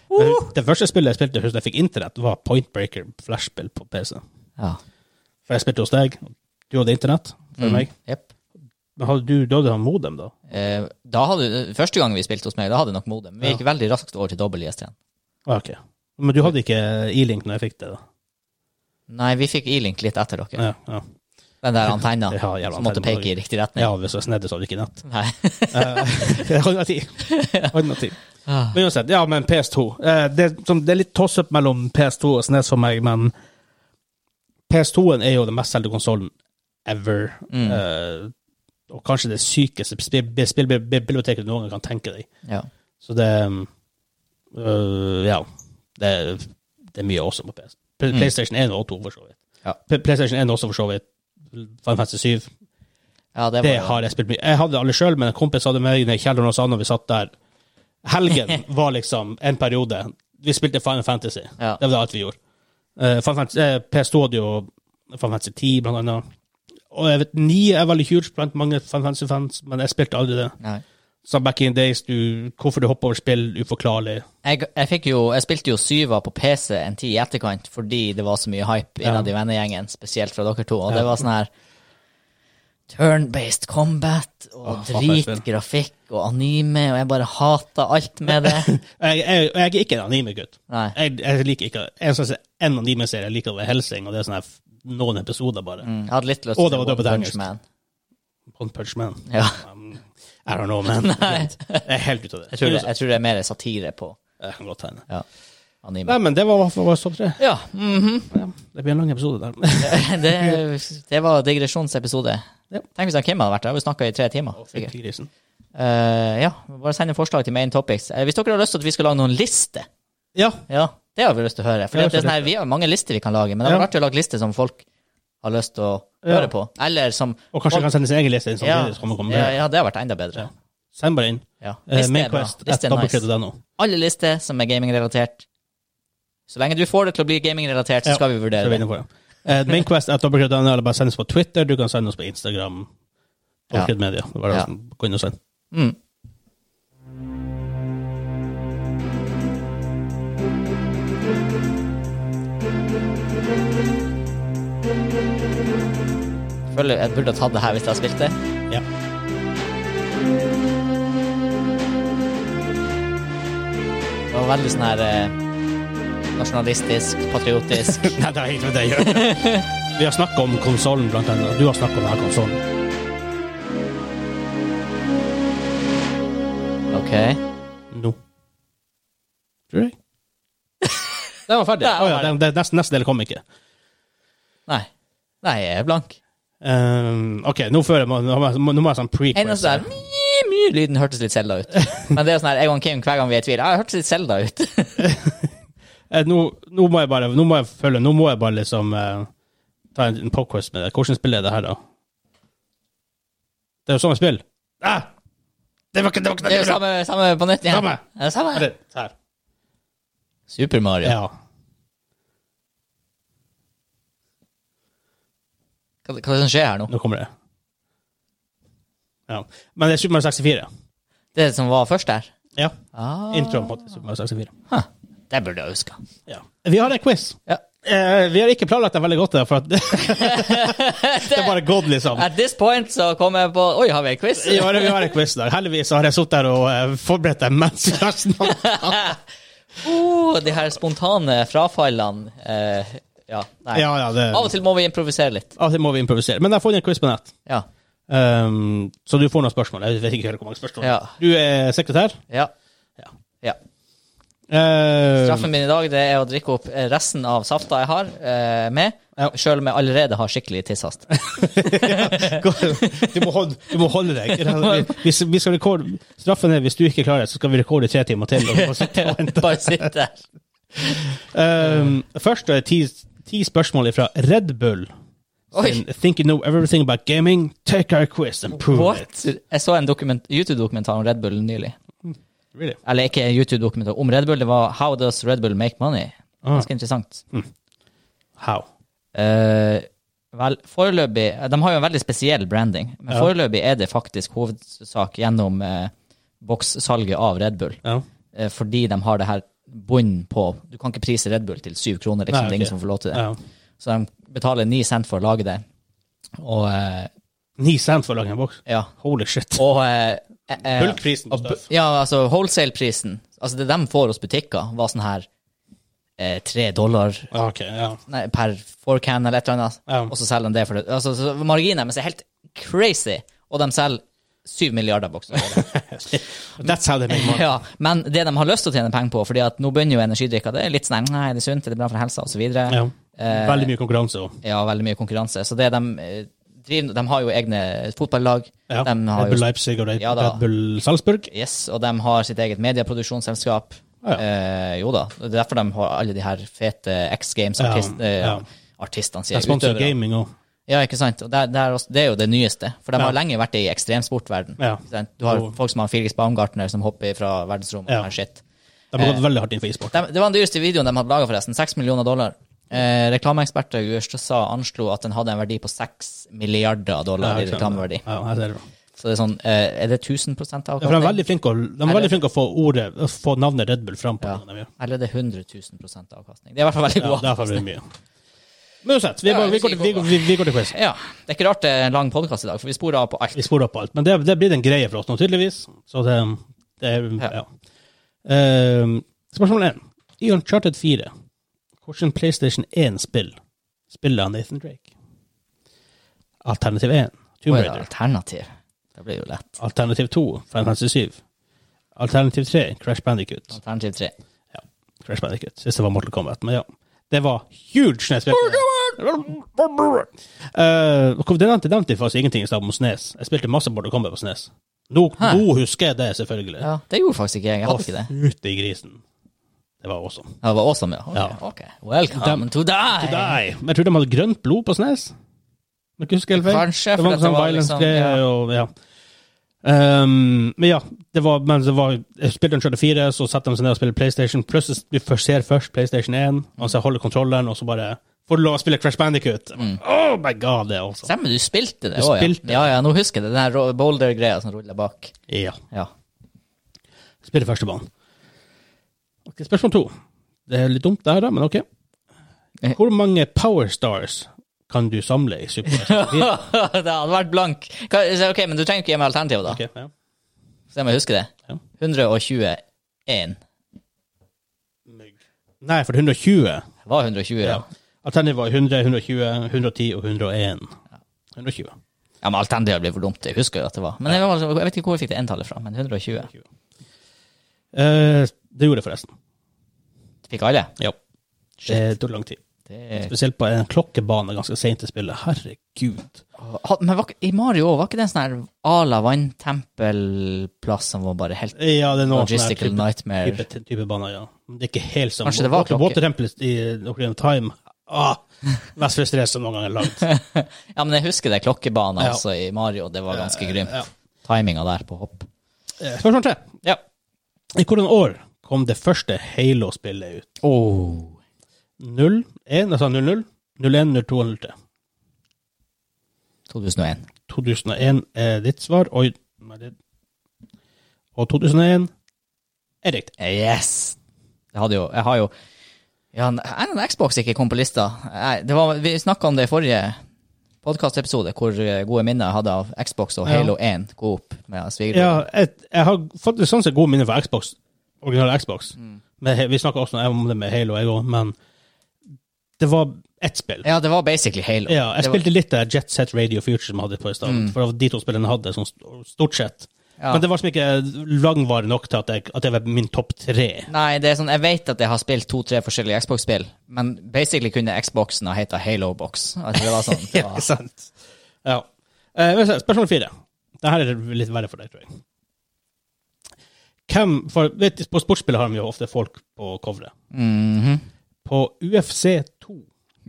Det første spillet jeg spilte husker jeg fikk internett, var Point Breaker flashspill på PC. Ja. For jeg spilte hos deg, og du hadde internett for meg. Mm. Jep. Men hadde du, du hadde han modem, da? Eh, da hadde, første gang vi spilte hos meg, da hadde jeg nok modem. Vi Ja. gikk veldig raskt over til dobbel IST. Ah, ok. Men du hadde ikke E-link når jeg fikk det, da? Nei, vi fikk E-link litt etter dere. Ja, ja. Den der antenna Ja, jævla som måtte antenne. peke i riktig retning. ja hvis jeg var snedig, så hadde du ikke nett. Nei. Eh, Alternativ. Alternativ. Men uansett, ja, men PS2. Eh, Det, er som, det er litt toss-up mellom PS2 og SNES for meg, men PS2-en er jo den mest selgte konsollen ever. Eh, og kanskje det sykeste spillbiblioteket spill, spill, biblioteket du noen gang kan tenke deg. Ja. Så det um, øh, Ja. Det, er- det er mye også på PS. Pl- PlayStation 1 og 2, for så vidt. Ja. Pl- PlayStation 1 også, for så vidt. Final Fantasy 7. ja, det var Det har jeg spilt mye. Jeg hadde det alle sjøl, men en kompis hadde meg ned i kjelleren hos han, og vi satt der. Helgen var liksom en periode. Vi spilte Final Fantasy. Ja. Det var alt vi gjorde. Eh, Final Fantasy, eh, PS2 hadde jo Final Fantasy 10, blant annet. Og jeg vet, 9 er veldig huge blant mange Final Fantasy-fans, men jeg spilte aldri det. Nei. Så back in days, du, hvorfor du hopper over spill, uforklarlig. Jeg, jeg, fikk jo, jeg spilte jo syva på PC en tid i etterkant fordi det var så mye hype innad i vennegjengen, spesielt fra dere to. Og det var sånn her turn-based combat og Åh, faen, for et dritgrafikk og anime, og jeg bare hater alt med det. Jeg, jeg, jeg er ikke en anime-gutt. Nei. Jeg, jeg liker ikke En sånn en anime-serie jeg liker, det er Helsing, og det er sånn her f- noen episoder bare. Mm, Jeg hadde litt lyst Og det til var One dubbet Punch engelsk. Man. One Punch Man. Ja. Um, I don't know, man. Jeg er helt ute av det. Jeg, tror det, jeg tror det er mer satire på Jeg kan godt tegne. ja, anime. Nei, men det var i hvert fall vår topp tre. Ja, mhm. Ja, det blir en lang episode der. det, det var digresjonsepisode. Ja. Tenk hvis han Kim hadde vært der. Vi snakka i tre timer. sikkert. Grisen. Eh, ja, bare send inn forslag til main topics. Eh, hvis dere har lyst til at vi skal lage noen lister, Ja. ja, det har vi lyst til å høre. For Ja, det er for sånn her, vi har mange lister vi kan lage, men det har Ja. vært å lage lister som folk har lyst til å Ja. høre på. Eller som Og kanskje jeg kan sende sin egen liste inn ja, samtidig, så kan man komme ja, med. ja, det har vært enda bedre. Ja. Send bare inn. Ja. Eh, Liste er bra. Mainquest at Liste er nice. dobbeltkredit.no. Alle lister som er gamingrelatert. Så lenge du får det til å bli gamingrelatert, så Ja, skal vi Så er vi vurdere det. inne på det. Eh, Mainquest at dobbeltkredit.no, eller bare send oss på Twitter. Du kan sende oss på Instagram. Ja. Dobbeltkredit Media. Det var det Ja. som gå inn og send. Mm. Føler jeg burde ha tatt det her hvis jeg spilte. Ja. Det var veldig sånn her eh, nasjonalistisk, patriotisk. Nei, det er egentlig det jeg gjør. Vi har snakket om konsollen, blant annet. Du har snakket om denne konsollen. OK. Nå. Tror jeg. Den var ferdig. Ja, Å ja, den, den, neste, neste del kom ikke. Nei. Nei, jeg er blank. Um, OK, nå fører jeg må- Nå må jeg- nå må jeg sånn prequel. Eneste der mye-lyden hørtes litt Zelda ut. Men det er sånn her, jeg og Kim hver gang vi er i tvil Ja, det hørtes litt Zelda ut. Eh, nå, nå må jeg bare Nå må jeg følge Nå må jeg bare liksom eh, ta en, en pop-quiz med det. Hvordan spiller jeg det her, da? Det er jo samme spill. Ah! Det var ikke Det var ikke Det er jo samme, samme på nytt igjen. Samme. Ja, Er samme. det Her. Super Mario. Ja. Hva, hva er det som skjer her nå? Nå kommer det. Ja. Men det er Super Mario 64. Det som var først der? Ja. Ah, Introen på Super Mario 64. det burde jeg huska. Ja. Vi har en quiz. Ja. Eh, vi har ikke planlagt det veldig godt, der, for at det er bare gått, liksom. At this point så kom jeg på Oi, har vi en quiz? Vi har, vi har en quiz i dag. Heldigvis har jeg sittet her og eh, forberedt deg mens vi har snakket. Oh, de her spontane frafallene. Eh, ja, nei. Ja, ja, det, Av og til må vi improvisere litt. av og til må vi improvisere. Men jeg har funnet en quiz på nett, Ja. um, så du får noen spørsmål. Jeg vet ikke helt hvor mange spørsmål. Ja. Du er sekretær. ja. Ja. ja. Eh, Straffen min i dag det er å drikke opp eh, resten av safta jeg har, eh, med. Ja. Sjøl om jeg allerede har skikkelig tisshast. du, må holde, du må holde deg. Hvis, vi skal rekord, straffen er hvis du ikke klarer det, så skal vi rekorde tre timer til. Og så sitte og vente. Bare sitt der. Um, først er det ti, ti spørsmål fra Red Bull. Oi. Sin Think you know everything about gaming? Take our quiz and prove it. What? Jeg så en dokument- YouTube-dokumentar om Red Bull nylig. Really? Eller ikke en YouTube-dokumentar om Red Bull, det var How Does Red Bull Make Money? Ah, Ganske interessant. how? Eh, vel, foreløpig eh, De har jo en veldig spesiell branding, men Ja. foreløpig er det faktisk hovedsak gjennom eh, bokssalget av Red Bull. Ja. Eh, fordi de har det her bunnen på Du kan ikke prise Red Bull til syv kroner, Nei, liksom. Det ok. er ingen som får lov til det. Ja. Så de betaler ni cent for å lage det. Og eh, Ni cent for å lage en boks? ja. Holy shit. Og eh, eh, eh, Bulkprisen på og bu- stuff. Ja, altså wholesale-prisen. Altså det de får hos butikker, var sånn her eh, tre dollar Ja, Ok, Ah, ja. nei, per four can eller et eller annet, Ja. og så selger de det for det. Altså, så marginen deres er helt crazy, og de selger syv milliarder bokser. That's how they make money. ja, men det de har lyst til å tjene penger på, fordi at nå begynner jo energidrikker, det er litt sånn nei, det er sunt, det er bra for helsa, og så videre. Ja. Eh. Veldig mye konkurranse òg. Ja, veldig mye konkurranse. Så det de eh, driver, de har jo egne fotballag, Ja. de har Red jo Bull Leipzig og Red, Ja da. Red Bull Salzburg. Yes, og de har sitt eget medieproduksjonsselskap. Ah, Ja, ja. Eh, jo da, det er derfor de har alle de her fete X Games-artistene, Ja, ja. artistene De sier sponser utøvere. gaming òg. Ja, ikke sant? Og der, der også, det er jo det nyeste, for de Ja. har lenge vært i ekstremsportverden. Ja. Ikke sant? Du har Jo. folk som har Felix Baumgartner som hopper fra verdensrommet. Ja. og her shit. De Eh. har gått veldig hardt inn for e-sport. De, det var den dyreste videoen de hadde laga, forresten. 6 millioner dollar. Eh, reklameeksperter i USA anslo at den hadde en verdi på 6 milliarder dollar i ikke sant. reklameverdi. Ja, jeg ser det. Så det er sånn, eh, er det 1000 av Ja, for de er avkastning? veldig flinke å, de er veldig flinke å få, ordet, å få navnet Red Bull fram på. Ja. tingene de gjør. Eller er det 100 000 avkastning? Det er i hvert fall veldig Ja, god derfor blir det mye. Men uansett, vi, Ja, går- vi, går vi skal til- vi, gå, da. vi, vi går til quiz. Ja. Det er ikke rart det er en lang podkast i dag, for vi sporer av på alt. Vi sporer opp alt. Men det, det blir en greie for oss nå, tydeligvis. Så det, det er Ja. Ja. Ehm, spørsmål én. I Uncharted 4, hvordan PlayStation 1-spill spiller han Nathan Drake? Alternativ 1, Tomb Hva er det Raider. alternativ? Det blir jo lett. Alternativ 2, Final Fantasy 7. Alternativ 3, Crash Bandicoot. Alternativ tre. Crash Bandicoot. Siste var Mortal Kombat, men ja. Det var huge E SNES. Uh, det nevnte, nevnte jeg faktisk ingenting i stad om SNES. Jeg spilte masse Mortal Kombat på SNES. Nå, Hæ? nå husker jeg det, selvfølgelig. Ja, det gjorde faktisk ikke jeg. Jeg Å, hadde ikke det. fytti grisen. Det var awesome. Ja, Det var awesome, ja. Ja. Ok. ok. Welcome Dem- to die! Nei, men jeg tror de hadde grønt blod på SNES. Men ikke husker helt feil. Kanskje, Det for var at en sånn violence-greie ja. og ja. Ehm, men ja, det var, men det var jeg spilte Uncharted 4, så satte de seg ned og spilte PlayStation. Plutselig du først ser først PlayStation 1, og så holder kontrolleren, og så bare får du lov å spille Crash Bandicoot. Mm. Oh my god, det er awesome. Stemmer, du spilte det Du også, spilte det. ja. Ja, ja, nå husker jeg det. Den her ro- boulder-greia som ruller bak. Ja. Ja. Spiller første banen. Ok, Spørsmål to. Det er litt dumt, det her, da, men ok. Eh. Hvor mange Power Stars kan du samle i Super Mario 64? det hadde vært blank. Hva- så, Ok, men du trenger ikke gi meg alternativet, da. Ok, ja. Så jeg må huske det. Ja. 121. Nei, for 120 Det var 120, ja. ja. Alternativet var 100, 120, 110 og 101. 120. Ja, men alternativet blir for dumt. Jeg husker jo at det var. Men jeg, var- jeg vet ikke hvor jeg fikk det entallet fra, men 120. Eh, det gjorde det forresten. Fikk alle? Ja. Det Shit. tok lang tid. Det... Spesielt på en klokkebane ganske seint i spillet. Herregud. Ha- Men var, ikke- i Mario også, var ikke det en sånn her à la vanntempelplass som var bare helt Ja, det er noe sånn her logistical type, nightmare? type, type baner, ja. Men Det er ikke helt som Kanskje det var Water- klokke? Watertempelet i Ocarina of Time. Ah, mest frustrerende som noen gang er lagd. Ja, men jeg husker det klokkebanen Ja. altså, i Mario. Det var ganske grymt. ja. Timinga der på hopp. Eh, Spørsmål tre. Ja. I hvilket år kom det første Halo-spillet ut? Oh. 0, 1, altså 00, 01, 02 og 03. 2001. 2001 er ditt svar, og, nei, det- og 2001 er riktig. Yes! Jeg, hadde jo, jeg har jo ja, Er den Xbox ikke kom på lista? Nei, det var, vi snakka om det i forrige podkastepisode, hvor eh, gode minner jeg hadde av Xbox og Ja. Halo 1 gå opp med svigerbror. Ja, jeg, jeg har fått sånn sett gode minner fra Xbox, originale Xbox. Mm. Men he- vi snakka også om det med Halo, jeg òg, men det var ett spill. Ja. det var basically Halo. Ja, jeg Det var- Mm. spilte litt av Jet Set Radio Future som jeg hadde på i stad, for de to spillene hadde sånn st- stort sett. Ja. Men det var som ikke langvarig nok til at, jeg, at det var min topp tre. Nei, det er sånn, jeg vet at jeg har spilt to-tre forskjellige Xbox-spill, men basically kunne Xboxen ha heta Halo-box. Altså, det var sånn. Det var, sant. Ja. Eh, men så, spørsmål fire. Dette er litt verre for deg, tror jeg. Hvem, for, vet, du, på sportsspill har de jo ofte folk på coveret. Mhm. På UFC2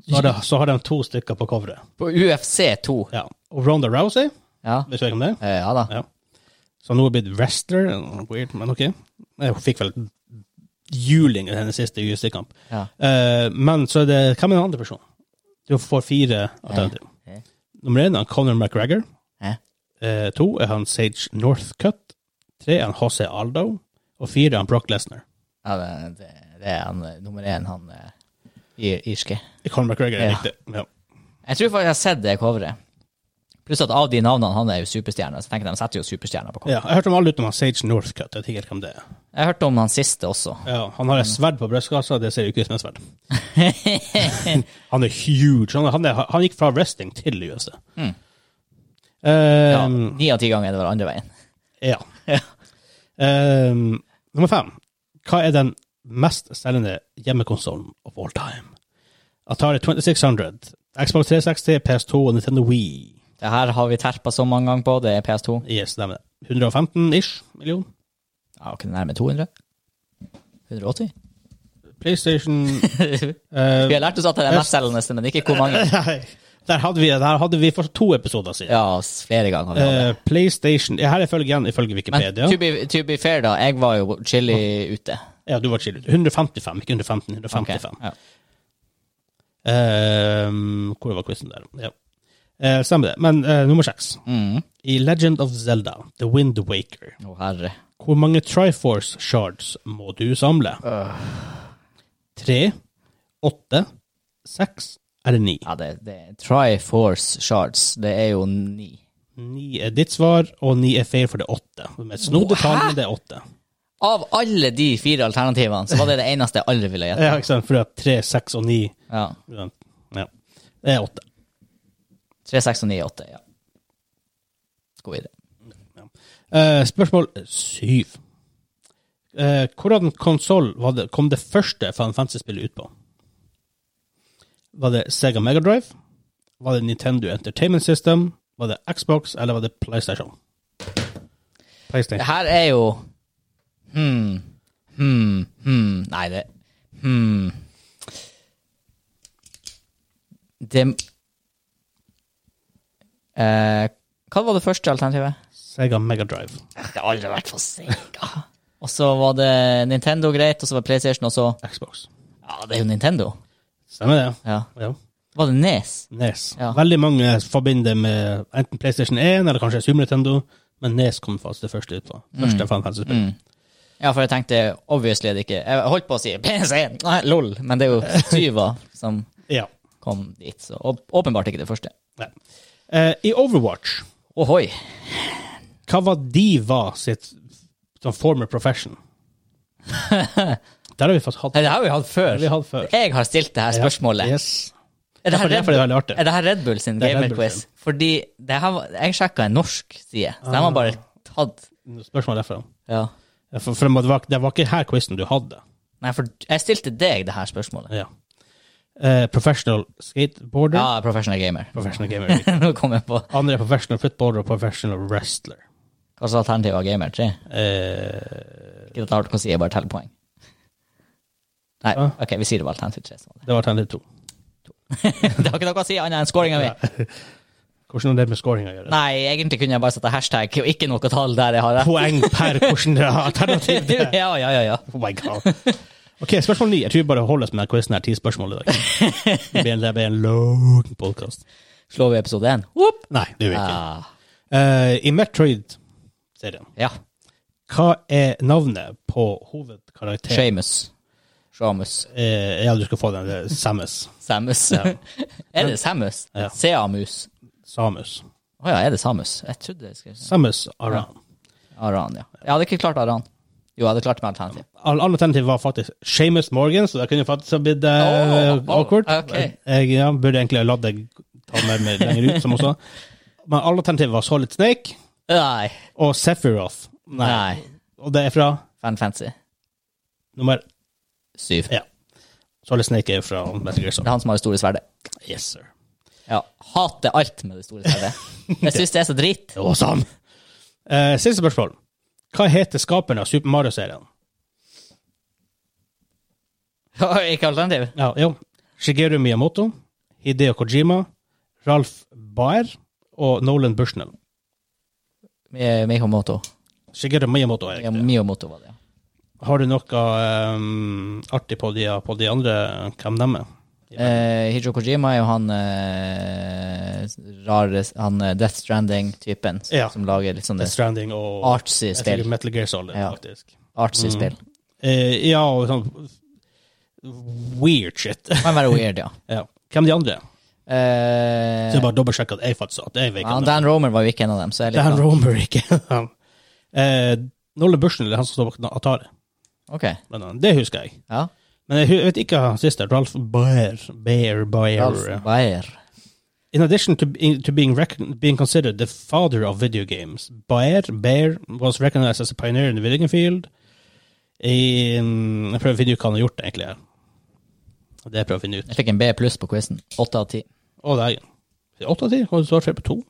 så har, de, så har de to stykker på coveret. På UFC2. Ja. Og Ronda Rousey, Ja. vet du ikke om det? er? Eh, ja da. Ja. Så nå er det blitt wrestler. Weird, men ok. Jeg fikk vel juling i hennes siste UFC-kamp. Ja. Eh, men så er det Hvem er den andre personen? Du får fire alternativer. Ja. Nummer én er Conor McGregor. Ja. Eh, to er han Sage Northcutt. Tre er han José Aldo. Og fire er han Brock Lesnar. Ja, det, det, det er han eh, nummer én, han eh, ir- irske. Eh, Conor McGregor er Ja. riktig. Ja. Jeg tror faktisk jeg har sett det coveret. Pluss at av de navnene han er jo superstjerner. Så tenker jeg de setter jo superstjerner på ja, coveret. jeg hørte om alle utenom han Sage Northcutt. Jeg vet ikke helt hvem det er. Jeg hørte om han siste også. Ja, han har et sverd på brystkassa, det ser jo ikke ut som et sverd. han er huge. Han, han, er, han gikk fra wrestling til UFC. Mm. Ja, Ehm, Ni av ti ganger er det var andre veien. ja. Ja. Ehm, nummer fem. Hva er den mest selgende hjemmekonsollen of all time? Atari 2600, Xbox 360, PS2 og Nintendo Wii. Det her har vi terpa så mange ganger på. Det er PS2. Yes, stemmer det. 115-ish million. Ja, ok, nærmere 200. 180? PlayStation eh, Vi har lært oss at det er den mestselgende, men ikke hvor mange. Nei. Der hadde vi, der hadde vi for to episoder siden. Ja, s- flere ganger. har vi hatt det. Eh, PlayStation ja, Her er følge igjen ifølge Men Wikipedia. to be, to be fair, da. Jeg var jo chili ute. Ja, du var chill. 155, ikke 115. Ok, 155. ja. Ehm, hvor var quizen der? Ja. Eh, stemmer det. Men eh, nummer seks. Mm. I Legend of Zelda, The Wind Waker, Å, herre. hvor mange Triforce shards må Øh. du samle? Tre, åtte, seks Er det ni? Ja, det, det er Triforce Shards. Det er jo ni. Ni er ditt svar, og ni er feil, for det er åtte. Med et snodig tall, Hæ? men det er åtte. Av alle de fire alternativene, så var det det eneste jeg aldri ville gjette. Ja, ikke sant? For det er tre, seks og ni. Ja. Ja. Det er åtte. Tre, seks og ni er åtte. Ja. God idé. Eh, spørsmål syv. Eh, hvordan konsoll kom det første Final Fantasy-spillet ut på? Var det Sega Megadrive? Var det Nintendo Entertainment System? Var det Xbox, eller var det PlayStation? Det PlayStation. her er jo hmm, hmm, hmm. Nei, det hmm. Det eh, Hva var det første alternativet? Sega Megadrive. Det har aldri vært for Sega. Og så var det Nintendo greit, og så var det PlayStation, og så Xbox. Ja, det er jo Nintendo. Stemmer det? Ja. Ja. Var det E Nes? Nes. Ja. Veldig mange forbinder det med enten PlayStation 1 eller kanskje Super Nintendo, men Nes kom faktisk det første ut på. Første Mm. Final Fantasy-spillet. Ja, for jeg tenkte obviously er det ikke Jeg holdt på å si PC, Nei, lol, men det er jo Syva som Ja. kom dit, så å- åpenbart ikke det første. Nei. Eh, I Overwatch Ohoi. Hva var de var sitt sånn former profession? Der har vi faktisk hatt Nei, det har vi hatt før. Vi har hatt før. Jeg har stilt det her spørsmålet. Yes. Er, det her Derfor- derfor er det veldig Red, artig. er det her Red Bull sin Det er Red Bull gamerquiz? sin. Fordi det her, var- jeg sjekka en norsk side, så de har bare tatt Spørsmål derfra. ja. Ah. Ja, For, for det, var, det var ikke her quizen du hadde. Nei, for jeg stilte deg det her spørsmålet. Ja. Eh, professional skateboarder. Ja, professional gamer. Professional gamer. Nå kom jeg på Andre er professional footballer og professional wrestler. hva som er alternativet av gamer. Tre. Eh, Ikke at jeg har noe å si, jeg bare teller poeng. Nei, Ja. ok, vi sier det var alternativ tre. så var det var alternativ to. Det Det har ikke noe å si annet enn scoringa mi. Hvordan har det med scoring å gjøre? Nei, egentlig kunne jeg bare sette hashtag og ikke noe tall der jeg har rett. Poeng per hvordan det er alternativ. det er. Ja, ja, ja, ja. Oh my god. Ok, spørsmål ni. Jeg tror vi bare holder oss med denne quizen her. Ti spørsmål i dag. Det blir en, det blir en lang podcast. Slår vi episode én? Nei, det gjør vi ikke. Ah, Eh, I Metroid-serien, ja. hva er navnet på hovedkarakteren? Seamus. Seamus. Eh, ja, du skal få den. det er Samus. Samus. er det Samus? Ja. Seamus. Samus. Å ja, er det Samus? Jeg trodde jeg skulle si Samus Aran. Aran, ja. Jeg hadde ikke klart Aran. Jo, jeg hadde klart med alternativ. Alle alternativ var faktisk Seamus Morgan, så det kunne faktisk ha blitt eh, Oh, oh, awkward. ok. Jeg ja, burde egentlig ha latt deg ta med meg lenger ut, som også. Men alle alternativ var Solid Snake Nei. og Sephiroth. Nei. Og det er fra Fan Fancy. nummer Syv. Ja. Solid Snake er fra Metal Gear Det Solid. er han som har det store sverdet. Yes, sir. Ja. Hater alt med det store sverdet. Jeg syns det er så drit. Det var sånn. Eh, siste spørsmål. Hva heter skaperen av Super Mario-serien? ikke alternativ. Ja, jo. Shigeru Miyamoto, Hideo Kojima, Ralph Baer og Nolan Bushnell. Mi- Miyamoto. Shigeru Miyamoto er Ja, riktig. Miyamoto var det, ja. Har du noe ehm, artig på de, på de andre, hvem de er? Eh, Hijo Kojima er jo han eh, rare Han eh, Death Stranding-typen s- Ja. som lager litt sånne Death Stranding og artsy jeg Mm. spill. tror Metal Gear Solid, Ja. faktisk. Artsy spill. Eh, ja, og sånn weird shit. Kan være weird, ja. ja. Hvem de andre er? Eh, Så jeg bare dobbeltsjekk at jeg faktisk at jeg vet ja, hvem de Dan Romer var jo ikke en av dem, så jeg er litt sånn, Dan Romer, ikke han. Eh, Nolan Bushnell er han som står bak Atari. Ok, blant annet. Det husker jeg. ja. Men jeg hu- vet ikke hva han siste er. Ralph Baer. Baer, Baer. Ralph Bayer. In addition to, be- to being, recon- being considered the father of video games, Baer, Baer was recognized as a pioneer in the video game field. I, mm, jeg prøver å finne ut hva han har gjort, egentlig. her. Det jeg prøver å finne ut. Jeg fikk en B pluss på quizen. Åtte av ti. Å, det er jeg. Åtte av ti? Kan du svare feil på to?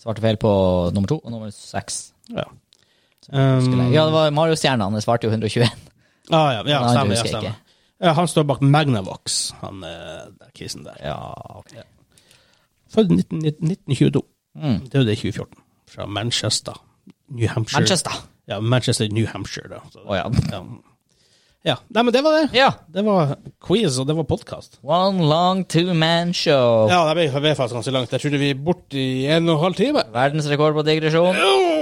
Svarte feil på nummer to og nummer seks. Ja. Skulle Um, jeg- Ja, det var Mario-stjerna. Han svarte jo 121. Ah, ja, ja, Nei, stemmer. det Ja, husker jeg stemmer. Ja, han står bak Magnavox, han uh, kisen der. Ja. Født 19, 1922. Mm. Det er jo det i 2014. Fra Manchester. New Hampshire. Manchester. Ja, Manchester, New Hampshire, da. Så, Å ja. ja. ja. Nei, men det var det. Ja. Det var quiz, og det var podkast. One long two-man show. Ja, det ble faktisk ganske langt. Jeg trodde vi er borte i en og en halv time. Verdensrekord på digresjon. Åh!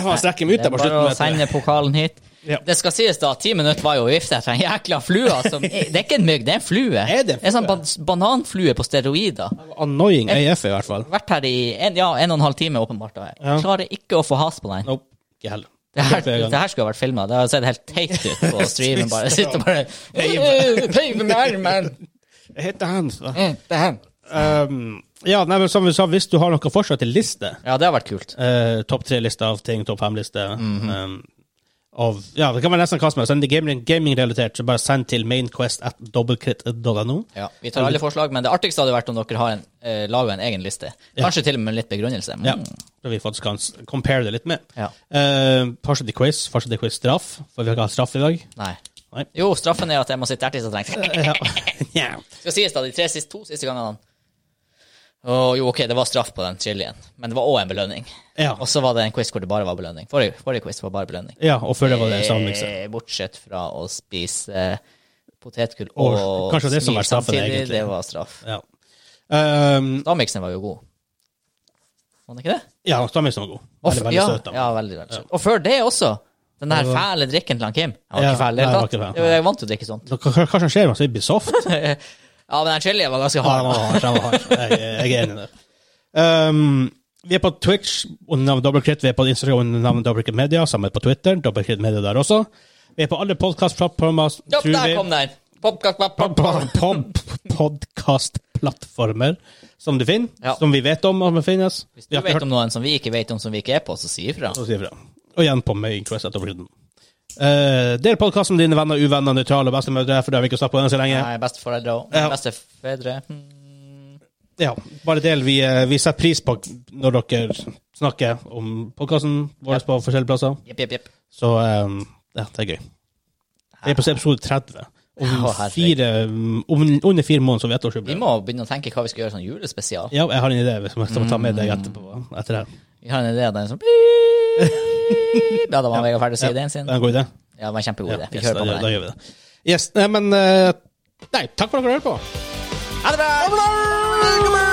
Åh, jeg strekker meg ut Det der er på bare å slutten. vet du. sende pokalen hit. Ja. Det skal sies da, ti minutter var jo å vifte etter en jækla flue. Som, det er ikke en mygg, det er en flue. Er det en en sånn ban bananflue på steroider. Annoying AF, i hvert fall. Vært her i en, ja, en og en halv time, åpenbart. Da. Jeg Ja. Klarer ikke å få has på den. Nope. Ikke heller. Det her, Flere ganger. det her skulle ha vært filma. Det har sett helt teit ut på streamen. Bare sitter og bare Peiv med armen! Jeg heter Hans. da. Mm, det her. Um, ja, nei, men som vi sa, hvis du har noe forslag til liste, Ja, det har vært kult. eh, topp tre-liste av ting, topp fem-liste Mhm. um, av, ja, Det kan være nesten hva som helst. Send det gaming- gaming-relatert, så bare send til mainquest at dobbeltkritt.no. Ja, vi tar alle forslag, men det artigste hadde vært om dere har en, eh, laga en egen liste. Kanskje til og med med litt begrunnelse. Mm. Ja, så vi faktisk kan s- compare det litt med. Ja. Eh, Farsa til quiz, farsa til quiz straff, for vi har ikke hatt straff i dag. Nei. Nei. Jo, straffen er at jeg må sitte der til så trengs. Ja. ja. Skal sies da, de tre siste, to siste gangene Å, Jo, ok, det var straff på den chilien, men det var òg en belønning. Ja. Og så var det en quiz hvor det bare var belønning. Forrige, forrige quiz var bare belønning. ja, og før det var det sånn samlingse. Eh, Bortsett fra å spise eh, potetgull og, Og kanskje det som var straffen, egentlig. Det var straff. Ja. Um, Stamiksen var jo god. Var den ikke det? ja, Stamisen var god. Og Veldig, f- veldig ja, søt. da. Ja, veldig, veldig søt. Og før det også. Den der fæle drikken til han Kim. Jeg var Ja, ikke fæl. nei, Jeg, jeg var jeg, ikke fæl. jeg er vant til å drikke sånn. Hva, hva hva som skjer med oss? Vi blir soft. Ja, men den chilien var ganske Ja, hard. den var hard. den var hard. Jeg, jeg er enig i det. Um, vi er på Twitch under navnet Dobbeltkritt. Vi er på Instagram under navnet Dobbeltkritt Media, sammen på Twitter. Dobbeltkritt Media der også. Vi er på alle podkastplattformer. Ja, der kom den! Pop, pop, pop, pop, pop. Podkastplattformer som du finner, Ja. som vi vet om om det finnes. Hvis Vi du har ikke vet om noen som vi ikke vet om, som vi ikke er på, så si ifra. Så sier vi det. Og igjen på Mainquest-etterflytten. Uh, del podkasten med dine venner, uvenner, nøytrale og bestemødre, for det har vi ikke snakket på den så lenge. Nei, besteforeldre og Ja. bestefedre. Hmm. Ja, bare del. Vi, eh, vi setter pris på når dere snakker om podkasten vår på forskjellige plasser. Jepp, jepp, jepp. Så eh, ja, det er gøy. Vi er på episode 30. Om, Å, herregud. fire, om under fire måneder så vet vi Vi ettårsjubileum. må begynne å tenke hva vi skal gjøre sånn julespesial. Ja, jeg har en idé hvis jeg skal ta med deg etterpå. Etter det. her. Vi har en idé den som Beep. Ja, da var Vegard ferdig å si ideen Det sin. er en god idé. Ja, det var en kjempegod idé. Vi Yes, kjører da, på gjør- med da den. gjør vi det. Yes, nei, men eh, Nei, takk for at dere hørte på. Ha det bra!